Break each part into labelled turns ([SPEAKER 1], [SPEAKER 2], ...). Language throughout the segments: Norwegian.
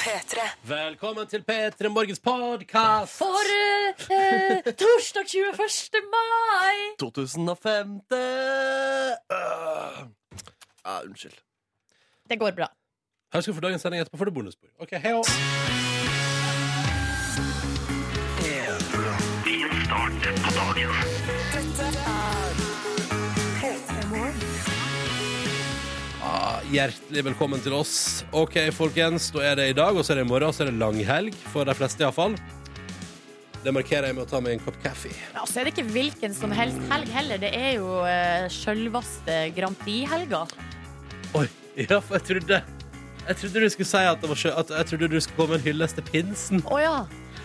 [SPEAKER 1] P3.
[SPEAKER 2] Velkommen til P3 Morgens podkast
[SPEAKER 3] For eh, eh, torsdag 21. mai!
[SPEAKER 2] 2005. Øh. Ah, unnskyld.
[SPEAKER 3] Det går bra.
[SPEAKER 2] Her skal du få dagens sending etterpå, får du bonusbord. Ok, hei og Ah, Hjertelig velkommen til oss. Ok, folkens, da er det i dag, og så er det i morgen, og så er det langhelg. For de fleste, iallfall. Det markerer jeg med å ta meg en kopp kaffe.
[SPEAKER 3] Ja, så Altså, er det ikke hvilken som helst helg heller. Det er jo uh, sjølvaste Grand Prix-helga.
[SPEAKER 2] Oi, ja, for jeg trodde Jeg trodde du skulle si at, det var sjø, at jeg trodde du skulle komme en hyllest til pinsen.
[SPEAKER 3] Å ja.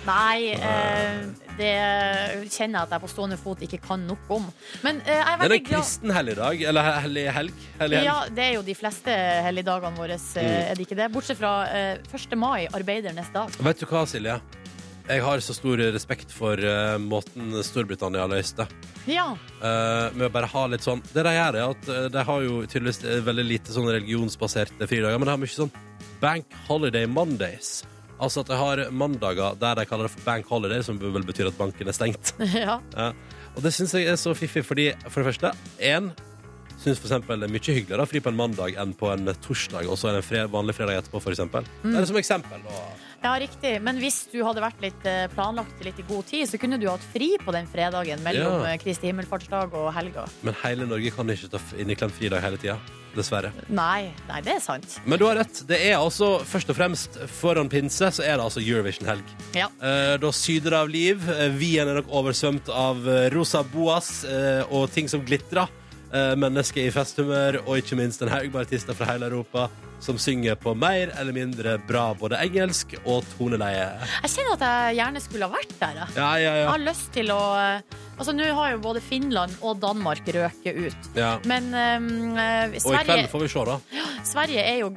[SPEAKER 3] Nei, eh, det kjenner jeg at jeg på stående fot ikke kan nok om. Men eh, jeg er
[SPEAKER 2] Den
[SPEAKER 3] veldig
[SPEAKER 2] er
[SPEAKER 3] glad
[SPEAKER 2] kristen helligdag. Eller he- hellig helg. Hellig helg.
[SPEAKER 3] ja, Det er jo de fleste helligdagene våre, eh, er det ikke det? Bortsett fra eh, 1. mai, arbeidernes dag.
[SPEAKER 2] Vet du hva, Silje? Jeg har så stor respekt for eh, måten Storbritannia har løst det.
[SPEAKER 3] Ja.
[SPEAKER 2] Eh, med å bare ha litt sånn Det de gjør, er at eh, de har jo tydeligvis eh, veldig lite sånn religionsbaserte fridager, men de har mye sånn Bank Holiday Mondays. Altså at de har mandager der de kaller det for Bank Holiday, som vel betyr at banken er stengt.
[SPEAKER 3] ja.
[SPEAKER 2] Ja. Og det syns jeg er så fiffig, fordi for det første én syns for eksempel det er mye hyggeligere å ha fri på en mandag enn på en torsdag, og så en fre vanlig fredag etterpå, for eksempel. Det er som eksempel. Og...
[SPEAKER 3] Ja, riktig. Men hvis du hadde vært litt eh, planlagt litt i god tid, så kunne du hatt fri på den fredagen mellom
[SPEAKER 2] Ja.
[SPEAKER 3] eh, Kristi himmelfartsdag og helga.
[SPEAKER 2] Men hele Norge kan ikke ta f- inneklemt fridag hele tida. Dessverre.
[SPEAKER 3] Nei, nei, det er sant.
[SPEAKER 2] Men du har rett. Det er altså først og fremst foran pinse så er det altså Eurovision-helg.
[SPEAKER 3] Ja.
[SPEAKER 2] Eh, da syder det av liv. Eh, Wien er nok oversvømt av eh, rosa boas eh, og ting som glitrer. Eh, mennesker i festhumør, og ikke minst en haug med artister fra hele Europa som synger på mer eller mindre bra både engelsk og toneleie.
[SPEAKER 3] Jeg kjenner at jeg gjerne skulle ha vært der. Jeg,
[SPEAKER 2] Ja, ja,
[SPEAKER 3] jeg
[SPEAKER 2] ja.
[SPEAKER 3] har lyst til å Altså, nå har jo både Finland og Danmark røket ut.
[SPEAKER 2] ja.
[SPEAKER 3] Men eh,
[SPEAKER 2] Og i kveld
[SPEAKER 3] Sverige,
[SPEAKER 2] får vi se, da.
[SPEAKER 3] Sverige er jo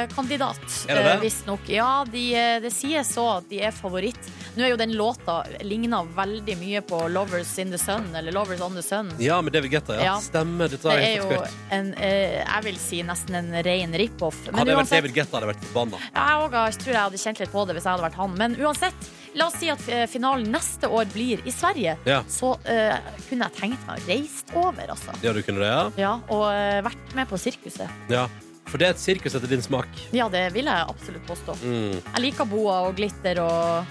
[SPEAKER 3] gullkandidat,
[SPEAKER 2] Er det det?
[SPEAKER 3] eh, visstnok. Ja, de, eh, det sies så at de er favoritt. Nå er jo den låta ligna veldig mye på 'Lovers in the Sun' eller 'Lovers on the Sun'.
[SPEAKER 2] Ja, med David Guetta, ja.
[SPEAKER 3] Ja.
[SPEAKER 2] Stemmer. Dette
[SPEAKER 3] Det
[SPEAKER 2] har
[SPEAKER 3] er
[SPEAKER 2] jeg
[SPEAKER 3] jo
[SPEAKER 2] fått skøyt.
[SPEAKER 3] en, eh, jeg vil si nesten en ren rip-off. Men
[SPEAKER 2] Hadde jeg vært
[SPEAKER 3] uansett,
[SPEAKER 2] David Guetta, hadde jeg vært forbanna.
[SPEAKER 3] jeg òg har- tror jeg hadde kjent litt på det hvis jeg hadde vært han. Men uansett, la oss si at eh, finalen neste år blir i Sverige.
[SPEAKER 2] Ja.
[SPEAKER 3] Så eh, kunne jeg tenkt meg å reist over, altså.
[SPEAKER 2] ja, du kunne det, ja?
[SPEAKER 3] Ja, og eh, vært med på sirkuset.
[SPEAKER 2] ja? For det er et sirkus etter din smak.
[SPEAKER 3] Ja, det vil jeg absolutt påstå.
[SPEAKER 2] Mm.
[SPEAKER 3] Jeg liker boa og glitter og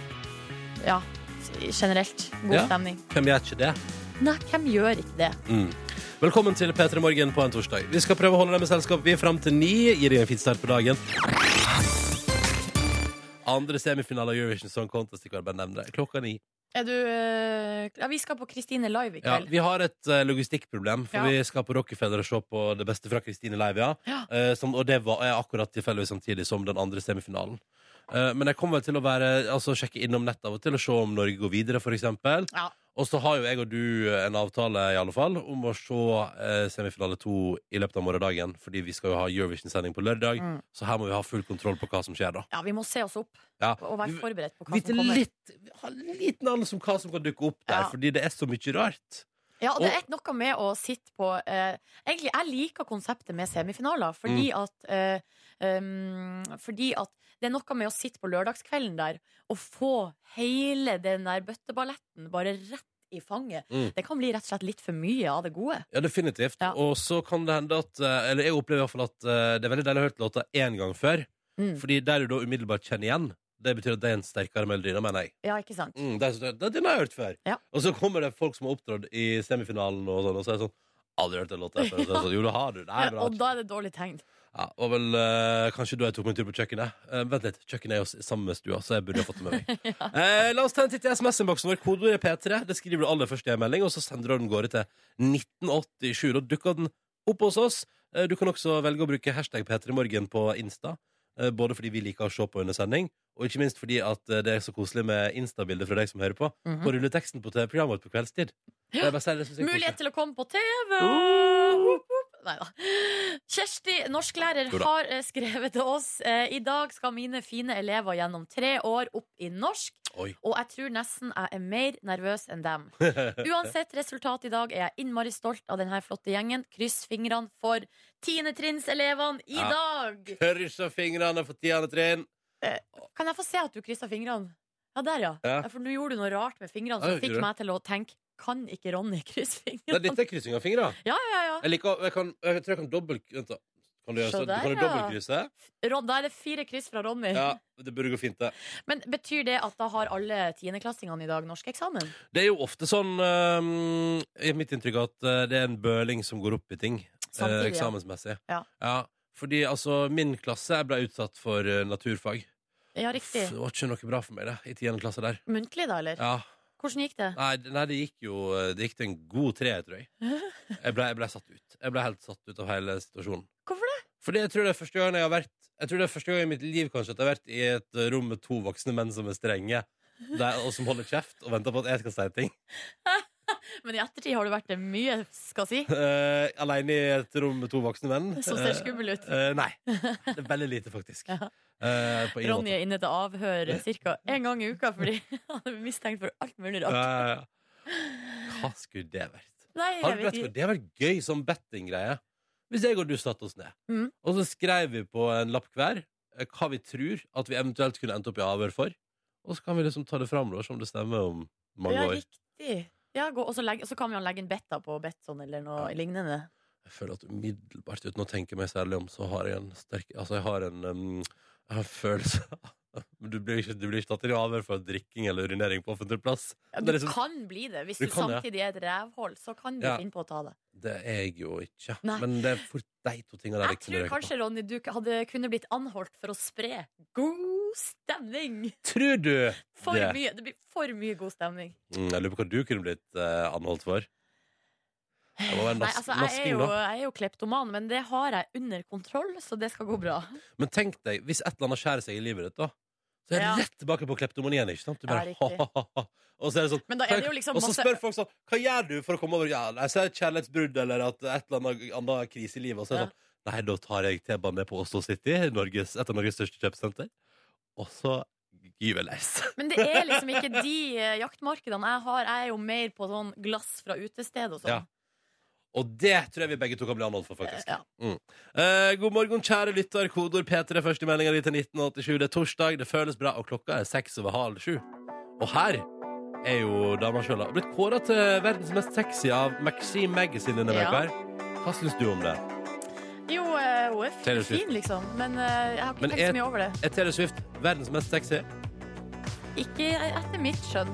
[SPEAKER 3] ja, generelt god
[SPEAKER 2] Ja.
[SPEAKER 3] stemning.
[SPEAKER 2] Hvem gjør ikke det?
[SPEAKER 3] Nei, hvem gjør ikke det?
[SPEAKER 2] Mm. Velkommen til P3 Morgen på en torsdag. Vi skal prøve å holde deg med selskap. Vi er fram til ni. Gi deg en fin start på dagen. Andre semifinale av Eurovision Song Contest i kveld, bare nevn det. Klokka ni.
[SPEAKER 3] Er du eh, Ja, vi skal på Kristine Live i
[SPEAKER 2] Ja,
[SPEAKER 3] kveld.
[SPEAKER 2] vi har et eh, logistikkproblem, for
[SPEAKER 3] Ja.
[SPEAKER 2] vi skal på Rockefeller og se på det beste fra Kristine Live, ja.
[SPEAKER 3] Ja.
[SPEAKER 2] Eh, som, og det var, er akkurat tilfeldigvis samtidig som den andre semifinalen. Eh, men jeg kommer vel til å være, altså, sjekke innom nettet av og til og se om Norge går videre, for eksempel.
[SPEAKER 3] Ja.
[SPEAKER 2] Og så har jo jeg og du en avtale i alle fall om å se eh, semifinale to i løpet av morgendagen, fordi vi skal jo ha Eurovision-sending på lørdag,
[SPEAKER 3] Mm.
[SPEAKER 2] så her må vi ha full kontroll på hva som skjer da.
[SPEAKER 3] Ja, vi må se oss opp
[SPEAKER 2] Ja.
[SPEAKER 3] og være
[SPEAKER 2] Vi-
[SPEAKER 3] forberedt på hva
[SPEAKER 2] Vite
[SPEAKER 3] som kommer.
[SPEAKER 2] litt, ha en liten anelse om hva som kan dukke opp der,
[SPEAKER 3] Ja.
[SPEAKER 2] fordi det er så mye rart.
[SPEAKER 3] Ja, og det er
[SPEAKER 2] Og-
[SPEAKER 3] et noe med å sitte på eh, Egentlig, jeg liker konseptet med semifinaler, fordi
[SPEAKER 2] Mm.
[SPEAKER 3] at eh, um, Fordi at det er noe med å sitte på lørdagskvelden der og få hele den der bøtteballetten bare rett i fanget.
[SPEAKER 2] Mm.
[SPEAKER 3] Det kan bli rett og slett litt for mye av det gode.
[SPEAKER 2] Ja, definitivt.
[SPEAKER 3] Ja.
[SPEAKER 2] Og så kan det hende at eh, Eller jeg opplever i hvert fall at eh, det er veldig deilig å høre låta én gang før.
[SPEAKER 3] Mm.
[SPEAKER 2] Fordi der du da umiddelbart kjenner igjen, det betyr at det er en sterkere melodi. Da mener jeg.
[SPEAKER 3] Ja, ikke sant?
[SPEAKER 2] Mm, det er så- det- den har jeg hørt før.
[SPEAKER 3] Ja.
[SPEAKER 2] Og så kommer det folk som har opptrådt i semifinalen, og, sånn, og så er det sånn Aldri hørt den låta her før. Og så er det Sånn, jo, det har du. Nei, men
[SPEAKER 3] Eh, og
[SPEAKER 2] det
[SPEAKER 3] da
[SPEAKER 2] har jeg ikke.
[SPEAKER 3] er det dårlig tegn.
[SPEAKER 2] ja, og vel eh, kanskje da jeg tok meg en tur på kjøkkenet. Eh, vent litt, kjøkkenet er jo s- i samme stua, så jeg burde ha fått det med meg. eh, la oss ta en titt i SMS-innboksen vår. Kodeordet er P3. Det skriver du aller først i en melding, og så sender du den gårde til 1987. Da dukker den opp hos oss. Eh, du kan også velge å bruke hashtag P3morgen på Insta. eh, Både fordi vi liker å se på under sending, og ikke minst fordi at eh, det er så koselig med Insta-bilder fra deg som hører på på rulleteksten på TV-programmet vårt på kveldstid. Det er bare å si det, synes jeg er
[SPEAKER 3] Mulighet til å komme på TV! Nei da. Kjersti, norsklærer,
[SPEAKER 2] Jo da.
[SPEAKER 3] har eh, skrevet til oss eh, I dag skal mine fine elever gjennom tre år opp i norsk,
[SPEAKER 2] koselig. Oi.
[SPEAKER 3] og jeg tror nesten jeg er mer nervøs enn dem. Uansett resultat i dag er jeg innmari stolt av denne flotte gjengen. Kryss fingrene for tiendetrinselevene i
[SPEAKER 2] Ja.
[SPEAKER 3] dag!
[SPEAKER 2] Krysser fingrene for tiende trinn.
[SPEAKER 3] Kan jeg få se at du kryssa fingrene? Ja, der, ja.
[SPEAKER 2] Ja.
[SPEAKER 3] ja. For nå gjorde du noe rart med
[SPEAKER 2] Ja,
[SPEAKER 3] fingrene som
[SPEAKER 2] jeg
[SPEAKER 3] fikk
[SPEAKER 2] gjorde
[SPEAKER 3] meg til å tenke Kan ikke Ronny krysse
[SPEAKER 2] Nei,
[SPEAKER 3] fingrene?
[SPEAKER 2] dette er kryssing av fingre.
[SPEAKER 3] Ja, ja, ja.
[SPEAKER 2] Jeg, liker, jeg, kan, jeg tror jeg kan dobbelt... Vent da. Kan du, gjøre
[SPEAKER 3] Se
[SPEAKER 2] sånn? kan
[SPEAKER 3] der,
[SPEAKER 2] du
[SPEAKER 3] ja.
[SPEAKER 2] dobbeltkrysse?
[SPEAKER 3] Ron, da er det fire kryss fra Ronny.
[SPEAKER 2] Ja, det burde gå fint, det.
[SPEAKER 3] Men betyr det at da har alle tiendeklassingene i dag norskeksamen?
[SPEAKER 2] Det er jo ofte sånn øhm, i Mitt inntrykk er at øh, det er en bøling som går opp i ting. øh,
[SPEAKER 3] Samtidig, ja.
[SPEAKER 2] eksamensmessig.
[SPEAKER 3] Ja.
[SPEAKER 2] Fordi altså, min klasse jeg ble utsatt for øh, naturfag.
[SPEAKER 3] Ja, riktig.
[SPEAKER 2] Uff, Det var ikke noe bra for meg det, i tiende klasse der.
[SPEAKER 3] Muntlig, da, eller?
[SPEAKER 2] Ja.
[SPEAKER 3] Hvordan gikk det?
[SPEAKER 2] Nei, det- nei, det gikk jo øh, Det gikk til en god tre, tror jeg. Jeg ble, jeg ble satt ut. Jeg ble helt satt ut av hele situasjonen.
[SPEAKER 3] Hvorfor
[SPEAKER 2] det? Fordi jeg tror det er første gang jeg har vært Jeg tror det er første gang i mitt liv kanskje at jeg har vært i et øh, rom med to voksne menn som er strenge, der, og som holder kjeft og venter på at jeg skal si ting.
[SPEAKER 3] Men i ettertid har du vært det mye, skal si,
[SPEAKER 2] Eh, alene i et rom med to voksne menn.
[SPEAKER 3] som ser skummel ut.
[SPEAKER 2] Eh, eh, nei. Det er veldig lite, faktisk.
[SPEAKER 3] Ja.
[SPEAKER 2] Eh, på ingen
[SPEAKER 3] Ronny er inne til avhør ca. én gang i uka fordi han er mistenkt for alt mulig
[SPEAKER 2] måte.
[SPEAKER 3] rart.
[SPEAKER 2] Ja, ja, ja. Hva skulle det vært?
[SPEAKER 3] Nei,
[SPEAKER 2] Har
[SPEAKER 3] jeg
[SPEAKER 2] du
[SPEAKER 3] vet
[SPEAKER 2] vet,
[SPEAKER 3] ikke.
[SPEAKER 2] hva, det har vært gøy som bettinggreie. Hvis jeg og du satte oss ned,
[SPEAKER 3] Mm.
[SPEAKER 2] og så skrev vi på en lapp hver eh, hva vi tror at vi eventuelt kunne endt opp i avhør for, og så kan vi liksom ta det fram da, og se om det stemmer om mange
[SPEAKER 3] Ja,
[SPEAKER 2] år.
[SPEAKER 3] riktig. Ja, gå, og, så legge, og så kan vi jo legge en betta på Betson eller noe
[SPEAKER 2] Ja.
[SPEAKER 3] lignende.
[SPEAKER 2] Jeg føler at umiddelbart, uten å tenke meg særlig om, så har jeg en sterk Altså, jeg har en, um, jeg har en følelse av- Men du blir, ikke, du blir ikke tatt i avhør for drikking eller urinering på offentlig plass.
[SPEAKER 3] Ja,
[SPEAKER 2] Det
[SPEAKER 3] Du
[SPEAKER 2] er liksom-
[SPEAKER 3] kan bli det. Hvis
[SPEAKER 2] Du
[SPEAKER 3] du,
[SPEAKER 2] kan det.
[SPEAKER 3] samtidig er et rævhold, så kan du
[SPEAKER 2] Ja.
[SPEAKER 3] finne på å ta det.
[SPEAKER 2] Det er jeg jo ikke.
[SPEAKER 3] Nei.
[SPEAKER 2] Men det er fort de to tingene der
[SPEAKER 3] Jeg tror kanskje, Ronny, du k- hadde kunne blitt anholdt for å spre god stemning.
[SPEAKER 2] Tror du
[SPEAKER 3] For
[SPEAKER 2] det?
[SPEAKER 3] mye, det blir for mye god stemning.
[SPEAKER 2] Mm, Jeg lurer på hva du kunne blitt eh, anholdt for. Det må være
[SPEAKER 3] Nei,
[SPEAKER 2] nas
[SPEAKER 3] altså, jeg,
[SPEAKER 2] nasking,
[SPEAKER 3] er jo,
[SPEAKER 2] da.
[SPEAKER 3] jeg er jo kleptoman, men det har jeg under kontroll, så det skal gå bra.
[SPEAKER 2] Men tenk deg, hvis et eller annet skjærer seg i livet ditt, da. Så er det
[SPEAKER 3] Ja.
[SPEAKER 2] rett tilbake på kleptomanien. ikke sant? Du
[SPEAKER 3] Ja,
[SPEAKER 2] bare,
[SPEAKER 3] riktig.
[SPEAKER 2] ha-ha-ha. Og så er det sånn
[SPEAKER 3] Men da er det jo liksom
[SPEAKER 2] Og så
[SPEAKER 3] masse
[SPEAKER 2] spør folk sånn Hva gjør du for å komme over ja, nei, så er det et kjærlighetsbrudd eller at et eller annet annen krise i livet? Og så er det
[SPEAKER 3] Ja.
[SPEAKER 2] sånn Nei, da tar jeg T-banen ned på Oslo City, Norges, et av Norges største kjøpesenter. Og så gyver jeg løs.
[SPEAKER 3] Men det er liksom ikke de eh, jaktmarkedene jeg har. Jeg er jo mer på sånn glass fra utested og
[SPEAKER 2] Ja,
[SPEAKER 3] sånn.
[SPEAKER 2] Og det tror jeg vi begge to kan bli anholdt for, faktisk.
[SPEAKER 3] Ja.
[SPEAKER 2] Mm. Eh, god morgen, kjære lytter. Kodord P3, første meldinga di til 1987. Det er torsdag, det føles bra, og klokka er seks over halv sju. Og her er jo dama sjøl blitt kåra til verdens mest sexy av Maxime Magazine denne
[SPEAKER 3] Ja.
[SPEAKER 2] veka her. Hva syns du om det?
[SPEAKER 3] Jo, eh, hun er
[SPEAKER 2] Taylor
[SPEAKER 3] fin,
[SPEAKER 2] Swift.
[SPEAKER 3] fin, liksom, men eh, jeg har ikke
[SPEAKER 2] Men
[SPEAKER 3] tenkt
[SPEAKER 2] er-
[SPEAKER 3] så mye over det.
[SPEAKER 2] Er Taylor Swift verdens mest sexy?
[SPEAKER 3] Ikke etter mitt skjønn.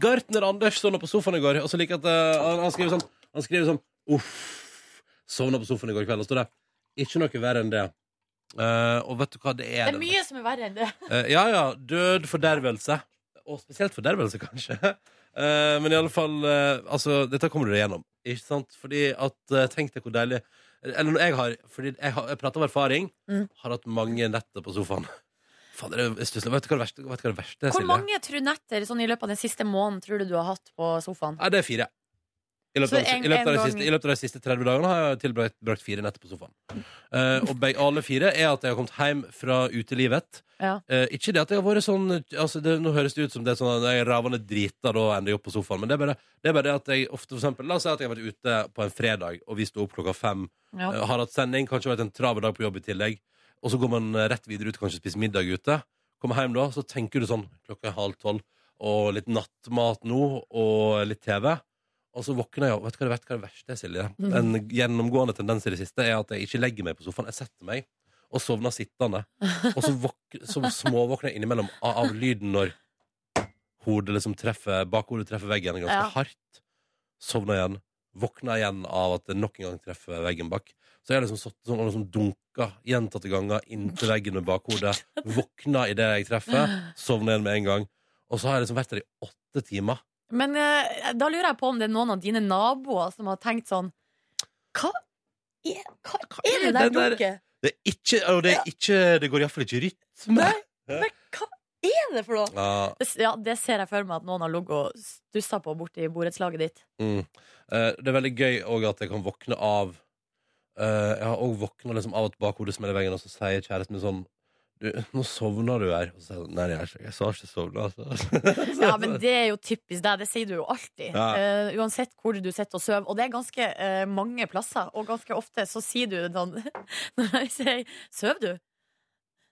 [SPEAKER 2] Gartner Anders sovna på sofaen i går, og så liker jeg at eh, han, han skriver sånn Han skriver sånn Uff. Sovna på sofaen i går kveld, og står det. Ikke noe verre enn det. Eh, og vet du hva det er?
[SPEAKER 3] Det er
[SPEAKER 2] den
[SPEAKER 3] mye som er verre enn det.
[SPEAKER 2] Eh, ja, ja. Død, fordervelse. Og spesielt fordervelse, kanskje. Eh, men i alle fall eh, Altså, dette kommer du deg gjennom. Ikke sant? Fordi at eh, Tenk deg hvor deilig Eller når jeg har Fordi jeg, har, jeg prater av erfaring.
[SPEAKER 3] Mm.
[SPEAKER 2] Har hatt mange netter på sofaen. Fader, det er stusslig. Vet du hva det verste, vet du hva det verste er,
[SPEAKER 3] Hvor
[SPEAKER 2] Silje?
[SPEAKER 3] mange tror netter sånn i løpet av den siste måneden tror du du har hatt på sofaen?
[SPEAKER 2] Nei, det er fire. I løpet,
[SPEAKER 3] sånn.
[SPEAKER 2] av,
[SPEAKER 3] Så
[SPEAKER 2] de-
[SPEAKER 3] en-
[SPEAKER 2] i, løpet av de
[SPEAKER 3] en
[SPEAKER 2] siste,
[SPEAKER 3] gang-
[SPEAKER 2] I løpet av de siste 30 dagene har jeg tilbrakt brakt fire netter på sofaen. Eh, og begge, alle fire er at jeg har kommet hjem fra utelivet.
[SPEAKER 3] Ja.
[SPEAKER 2] Eh, ikke det at jeg har vært sånn altså det, Nå høres det ut som det er sånn at jeg er ravende drita da ender jeg opp på sofaen, men det er bare det, er bare det at jeg ofte for eksempel, La oss si at jeg har vært ute på en fredag, og vi sto opp klokka fem,
[SPEAKER 3] Ja.
[SPEAKER 2] eh, har hatt sending, kanskje vært en travel dag på jobb i tillegg, og så går man eh, rett videre ut, kanskje spiser middag ute. Kommer hjem da, så tenker du sånn klokka er halv tolv, og litt nattmat nå, og litt TV. Og så våkner jeg, og vet du hva, det- vet du hva det verste er, Silje?
[SPEAKER 3] Mhm.
[SPEAKER 2] En gjennomgående tendens i det siste er at jeg ikke legger meg på sofaen. Jeg setter meg og sovner sittende. Og så, våk- så småvåkner jeg innimellom av, av lyden når hodet liksom treffer, bakhodet treffer veggen ganske
[SPEAKER 3] Ja.
[SPEAKER 2] hardt. Sovner igjen. Våkner igjen av at det nok en gang treffer veggen bak. Så jeg har liksom sittet sånn og liksom dunka gjentatte ganger inntil veggen med bakhodet. Våkna idet jeg treffer. Sovner igjen med en gang. Og så har jeg liksom vært der i åtte timer.
[SPEAKER 3] Men eh, da lurer jeg på om det er noen av dine naboer som har tenkt sånn Hva er, hva er det
[SPEAKER 2] er
[SPEAKER 3] der
[SPEAKER 2] den der-
[SPEAKER 3] dunket?
[SPEAKER 2] Det er ikke, og det, er ikke, det går iallfall ikke i rytme.
[SPEAKER 3] Nei. Men hva er det for noe?
[SPEAKER 2] Ja,
[SPEAKER 3] Det- Ja, det ser jeg for meg at noen har ligget og stussa på borti borettslaget ditt.
[SPEAKER 2] mm. Eh, det er veldig gøy òg at jeg kan våkne av eh, Jeg har òg våkna liksom av at bakhodet smeller i veggen, og så sier kjæresten min sånn du, nå sovna du her. Og så, sa jeg, sånn, nei, jeg, jeg sa ikke sovna. Altså.
[SPEAKER 3] Ja, men det er jo typisk deg. Det sier du jo alltid.
[SPEAKER 2] Ja.
[SPEAKER 3] Eh, uansett hvor du sitter og sover. Og det er ganske eh, mange plasser. Og ganske ofte så sier du sånn Når jeg sier 'Søv du?'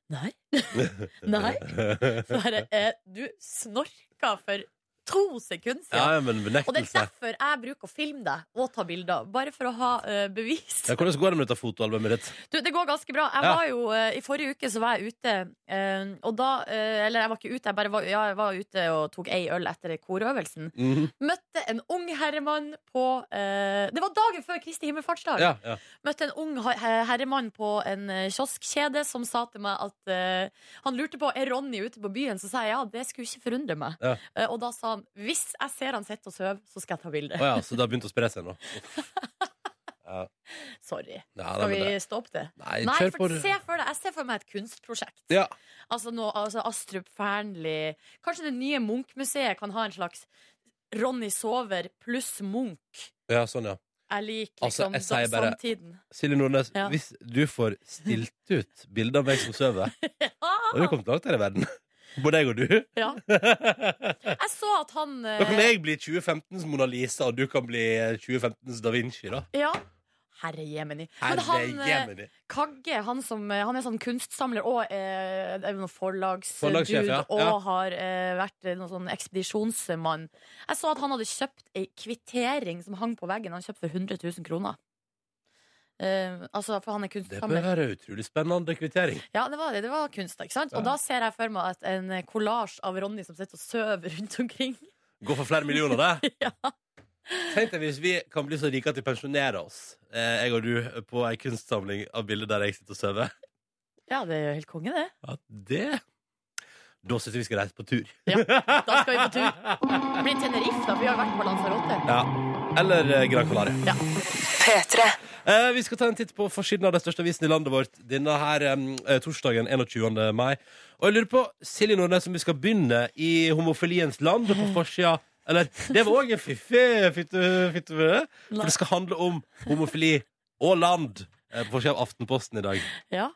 [SPEAKER 3] Nei. Nei. Så bare eh, Du snorka for to sekunder
[SPEAKER 2] Ja, ja,
[SPEAKER 3] siden.
[SPEAKER 2] men
[SPEAKER 3] Og det er
[SPEAKER 2] benektelse.
[SPEAKER 3] derfor jeg bruker å filme deg og ta bilder. Bare for å ha eh, bevis.
[SPEAKER 2] Ja, hvordan går det med dette fotoalbumet ditt?
[SPEAKER 3] Du, det går ganske bra. Jeg
[SPEAKER 2] Ja.
[SPEAKER 3] var jo, eh, I forrige uke så var jeg ute, eh, og da eh, Eller jeg var ikke ute, jeg bare var, ja, jeg var ute og tok ei øl etter korøvelsen.
[SPEAKER 2] Mhm.
[SPEAKER 3] Møtte en ung herremann på eh, Det var dagen før Kristi himmelfartsdag.
[SPEAKER 2] Ja, ja.
[SPEAKER 3] Møtte en ung he- herremann på en eh, kioskkjede som sa til meg at eh, Han lurte på er Ronny ute på byen, så sa jeg ja, det skulle ikke forundre meg.
[SPEAKER 2] Ja.
[SPEAKER 3] Eh, og da sa han hvis jeg ser han sitter og sover, så skal jeg ta bilde.
[SPEAKER 2] Å ja, så det har begynt å spre seg nå? Ja,
[SPEAKER 3] Sorry.
[SPEAKER 2] ja
[SPEAKER 3] Skal
[SPEAKER 2] nei,
[SPEAKER 3] vi
[SPEAKER 2] men det.
[SPEAKER 3] stoppe det?
[SPEAKER 2] Nei,
[SPEAKER 3] Nei,
[SPEAKER 2] kjør på.
[SPEAKER 3] for se for deg, jeg ser for meg et kunstprosjekt.
[SPEAKER 2] Ja.
[SPEAKER 3] Altså, noe, altså Astrup Fearnley Kanskje det nye Munch-museet kan ha en slags Ronny Sover pluss Munch.
[SPEAKER 2] ja, sånn, ja.
[SPEAKER 3] Jeg liker
[SPEAKER 2] Altså,
[SPEAKER 3] liksom
[SPEAKER 2] jeg sier
[SPEAKER 3] da-
[SPEAKER 2] bare-
[SPEAKER 3] samtiden.
[SPEAKER 2] Silje Nordnes,
[SPEAKER 3] Ja.
[SPEAKER 2] hvis du får stilt ut bilder av meg som sover, da har du
[SPEAKER 3] Ah,
[SPEAKER 2] kommet langt her i verden. Både jeg og du.
[SPEAKER 3] ja.
[SPEAKER 2] Da
[SPEAKER 3] Jeg så at han eh,
[SPEAKER 2] kan jeg bli 2015s Mona Lisa, og du kan bli 2015s Da Vinci, da.
[SPEAKER 3] Ja. Herre jemini. Men
[SPEAKER 2] Herre
[SPEAKER 3] han eh,
[SPEAKER 2] jemini.
[SPEAKER 3] Kagge, han, som, eh, han er sånn kunstsamler og eh, er noen
[SPEAKER 2] Forlagssjef,
[SPEAKER 3] forlagsdude
[SPEAKER 2] ja.
[SPEAKER 3] og
[SPEAKER 2] Ja.
[SPEAKER 3] har eh, vært eh, noen sånn ekspedisjonsmann. Jeg så at han hadde kjøpt ei kvittering som hang på veggen. Han kjøpte for 100 000 kroner. Eh, altså, for han er
[SPEAKER 2] Det bør
[SPEAKER 3] kunstsamler.
[SPEAKER 2] være utrolig spennende kvittering.
[SPEAKER 3] Ja, det var det. Det var kunst, ikke sant?
[SPEAKER 2] Ja.
[SPEAKER 3] Og da ser jeg for meg at en kollasj av Ronny som sitter og sover rundt omkring.
[SPEAKER 2] Gå for flere millioner, det.
[SPEAKER 3] Ja.
[SPEAKER 2] Tenk deg hvis vi kan bli så rike at vi pensjonerer oss, eh, jeg og du, på ei kunstsamling av bilder der jeg sitter og sover.
[SPEAKER 3] Ja, det er jo helt konge, det.
[SPEAKER 2] Ja, det Da syns jeg vi skal reise på tur.
[SPEAKER 3] Ja, Da skal vi på tur. Det blir Tenerife, da. for Vi har jo vært på Lanzarote.
[SPEAKER 2] Ja. Eller eh, Gran Canaria.
[SPEAKER 3] Ja.
[SPEAKER 2] Eh, vi skal ta en titt på forsiden av den største avisen i landet vårt denne her eh, torsdagen 21. mai. Og jeg lurer på, Silje Nordnes, om vi skal begynne i homofiliens land på forsida Eller det var òg en fiffig fitte... fitte for det skal handle om homofili og land eh, på forsida av Aftenposten i dag.
[SPEAKER 3] Ja.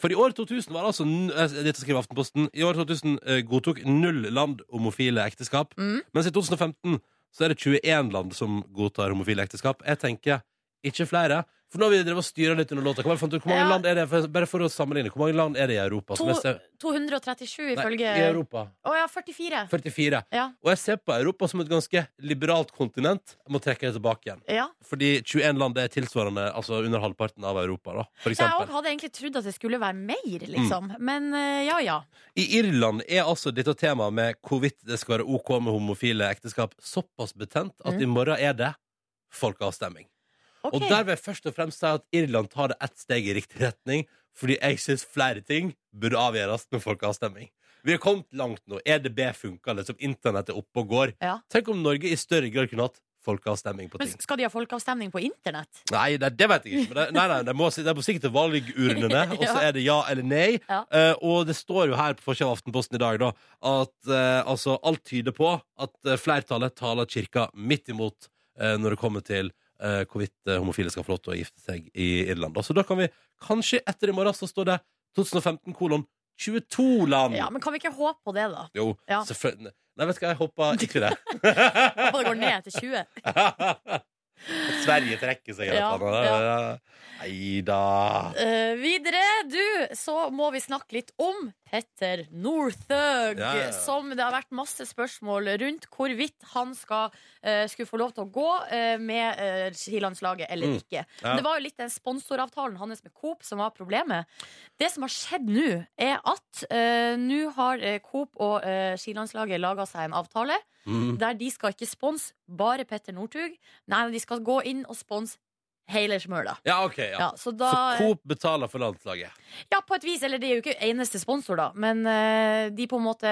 [SPEAKER 2] For i år 2000 var det altså n- eh, Dette skriver Aftenposten I år 2000 eh, godtok null land homofile ekteskap
[SPEAKER 3] Mm.
[SPEAKER 2] Mens i 2015 så er det 21 land som godtar homofile ekteskap Jeg tenker, ikke flere For nå har vi drevet og styret litt under låta Hvor mange, fant du- hvor mange
[SPEAKER 3] Ja.
[SPEAKER 2] land er det, for, bare for å sammenligne Hvor mange land er det i Europa? som
[SPEAKER 3] To-
[SPEAKER 2] er se-
[SPEAKER 3] 237
[SPEAKER 2] Nei,
[SPEAKER 3] ifølge
[SPEAKER 2] i Europa
[SPEAKER 3] Å ja, 44.
[SPEAKER 2] 44
[SPEAKER 3] Ja.
[SPEAKER 2] Og jeg ser på Europa som et ganske liberalt kontinent Jeg må trekke det tilbake igjen
[SPEAKER 3] Ja.
[SPEAKER 2] Fordi 21 land det er tilsvarende Altså under halvparten av Europa da For
[SPEAKER 3] Jeg
[SPEAKER 2] eksempel
[SPEAKER 3] også hadde egentlig trodd at det skulle være mer, liksom. Men eh, ja ja.
[SPEAKER 2] I Irland er altså dette temaet med hvorvidt det skal være OK med homofile ekteskap såpass betent at
[SPEAKER 3] Mm.
[SPEAKER 2] i morgen er det folkeavstemning.
[SPEAKER 3] Ok.
[SPEAKER 2] Og der vil jeg først og fremst si at Irland tar det ett steg i riktig retning, fordi jeg syns flere ting burde avgjøres med folkeavstemning. Vi har kommet langt nå. EDB funker, liksom. Internett er oppe og går.
[SPEAKER 3] Ja.
[SPEAKER 2] Tenk om Norge i større grad kunne hatt folkeavstemning på
[SPEAKER 3] Men
[SPEAKER 2] ting.
[SPEAKER 3] skal de ha folkeavstemning på internett?
[SPEAKER 2] Nei, det, det vet jeg ikke. Men det, nei, nei, det, må, det må sikkert til valgurnene, og så
[SPEAKER 3] Ja.
[SPEAKER 2] er det ja eller nei.
[SPEAKER 3] Ja.
[SPEAKER 2] Eh, og det står jo her på forsiden av Aftenposten i dag da, at eh, altså, alt tyder på at eh, flertallet taler kirka midt imot eh, når det kommer til eh, hvorvidt eh, homofile skal få lov til å gifte seg i Irland. Da. Så da kan vi kanskje etter i morgen så står det 2015 kolon 22 land.
[SPEAKER 3] Ja, Men kan vi ikke håpe på det, da?
[SPEAKER 2] Jo,
[SPEAKER 3] Ja.
[SPEAKER 2] selvfølgelig. Nei, vet du hva, jeg håper ikke det.
[SPEAKER 3] Håper det går ned til 20.
[SPEAKER 2] At Sverige trekker seg eller
[SPEAKER 3] Ja,
[SPEAKER 2] noe annet. Nei da.
[SPEAKER 3] Eh, videre, du, så må vi snakke litt om Petter Northug.
[SPEAKER 2] Ja, ja, ja.
[SPEAKER 3] Som det har vært masse spørsmål rundt hvorvidt han skal, eh, skulle få lov til å gå eh, med eh, skilandslaget eller
[SPEAKER 2] Mm,
[SPEAKER 3] ikke.
[SPEAKER 2] ja.
[SPEAKER 3] Det var jo litt den sponsoravtalen hans med Coop som var problemet. Det som har skjedd nå, er at eh, nå har eh, Coop og eh, skilandslaget laga seg en avtale
[SPEAKER 2] Mm.
[SPEAKER 3] der de skal ikke sponse bare Petter Northug. Nei, de skal gå inn og sponse hele smøla.
[SPEAKER 2] Ja, OK. Ja.
[SPEAKER 3] Ja, så da,
[SPEAKER 2] Så Coop betaler for landslaget.
[SPEAKER 3] Ja, på et vis. Eller det er jo ikke eneste sponsor, da. Men eh, de på en måte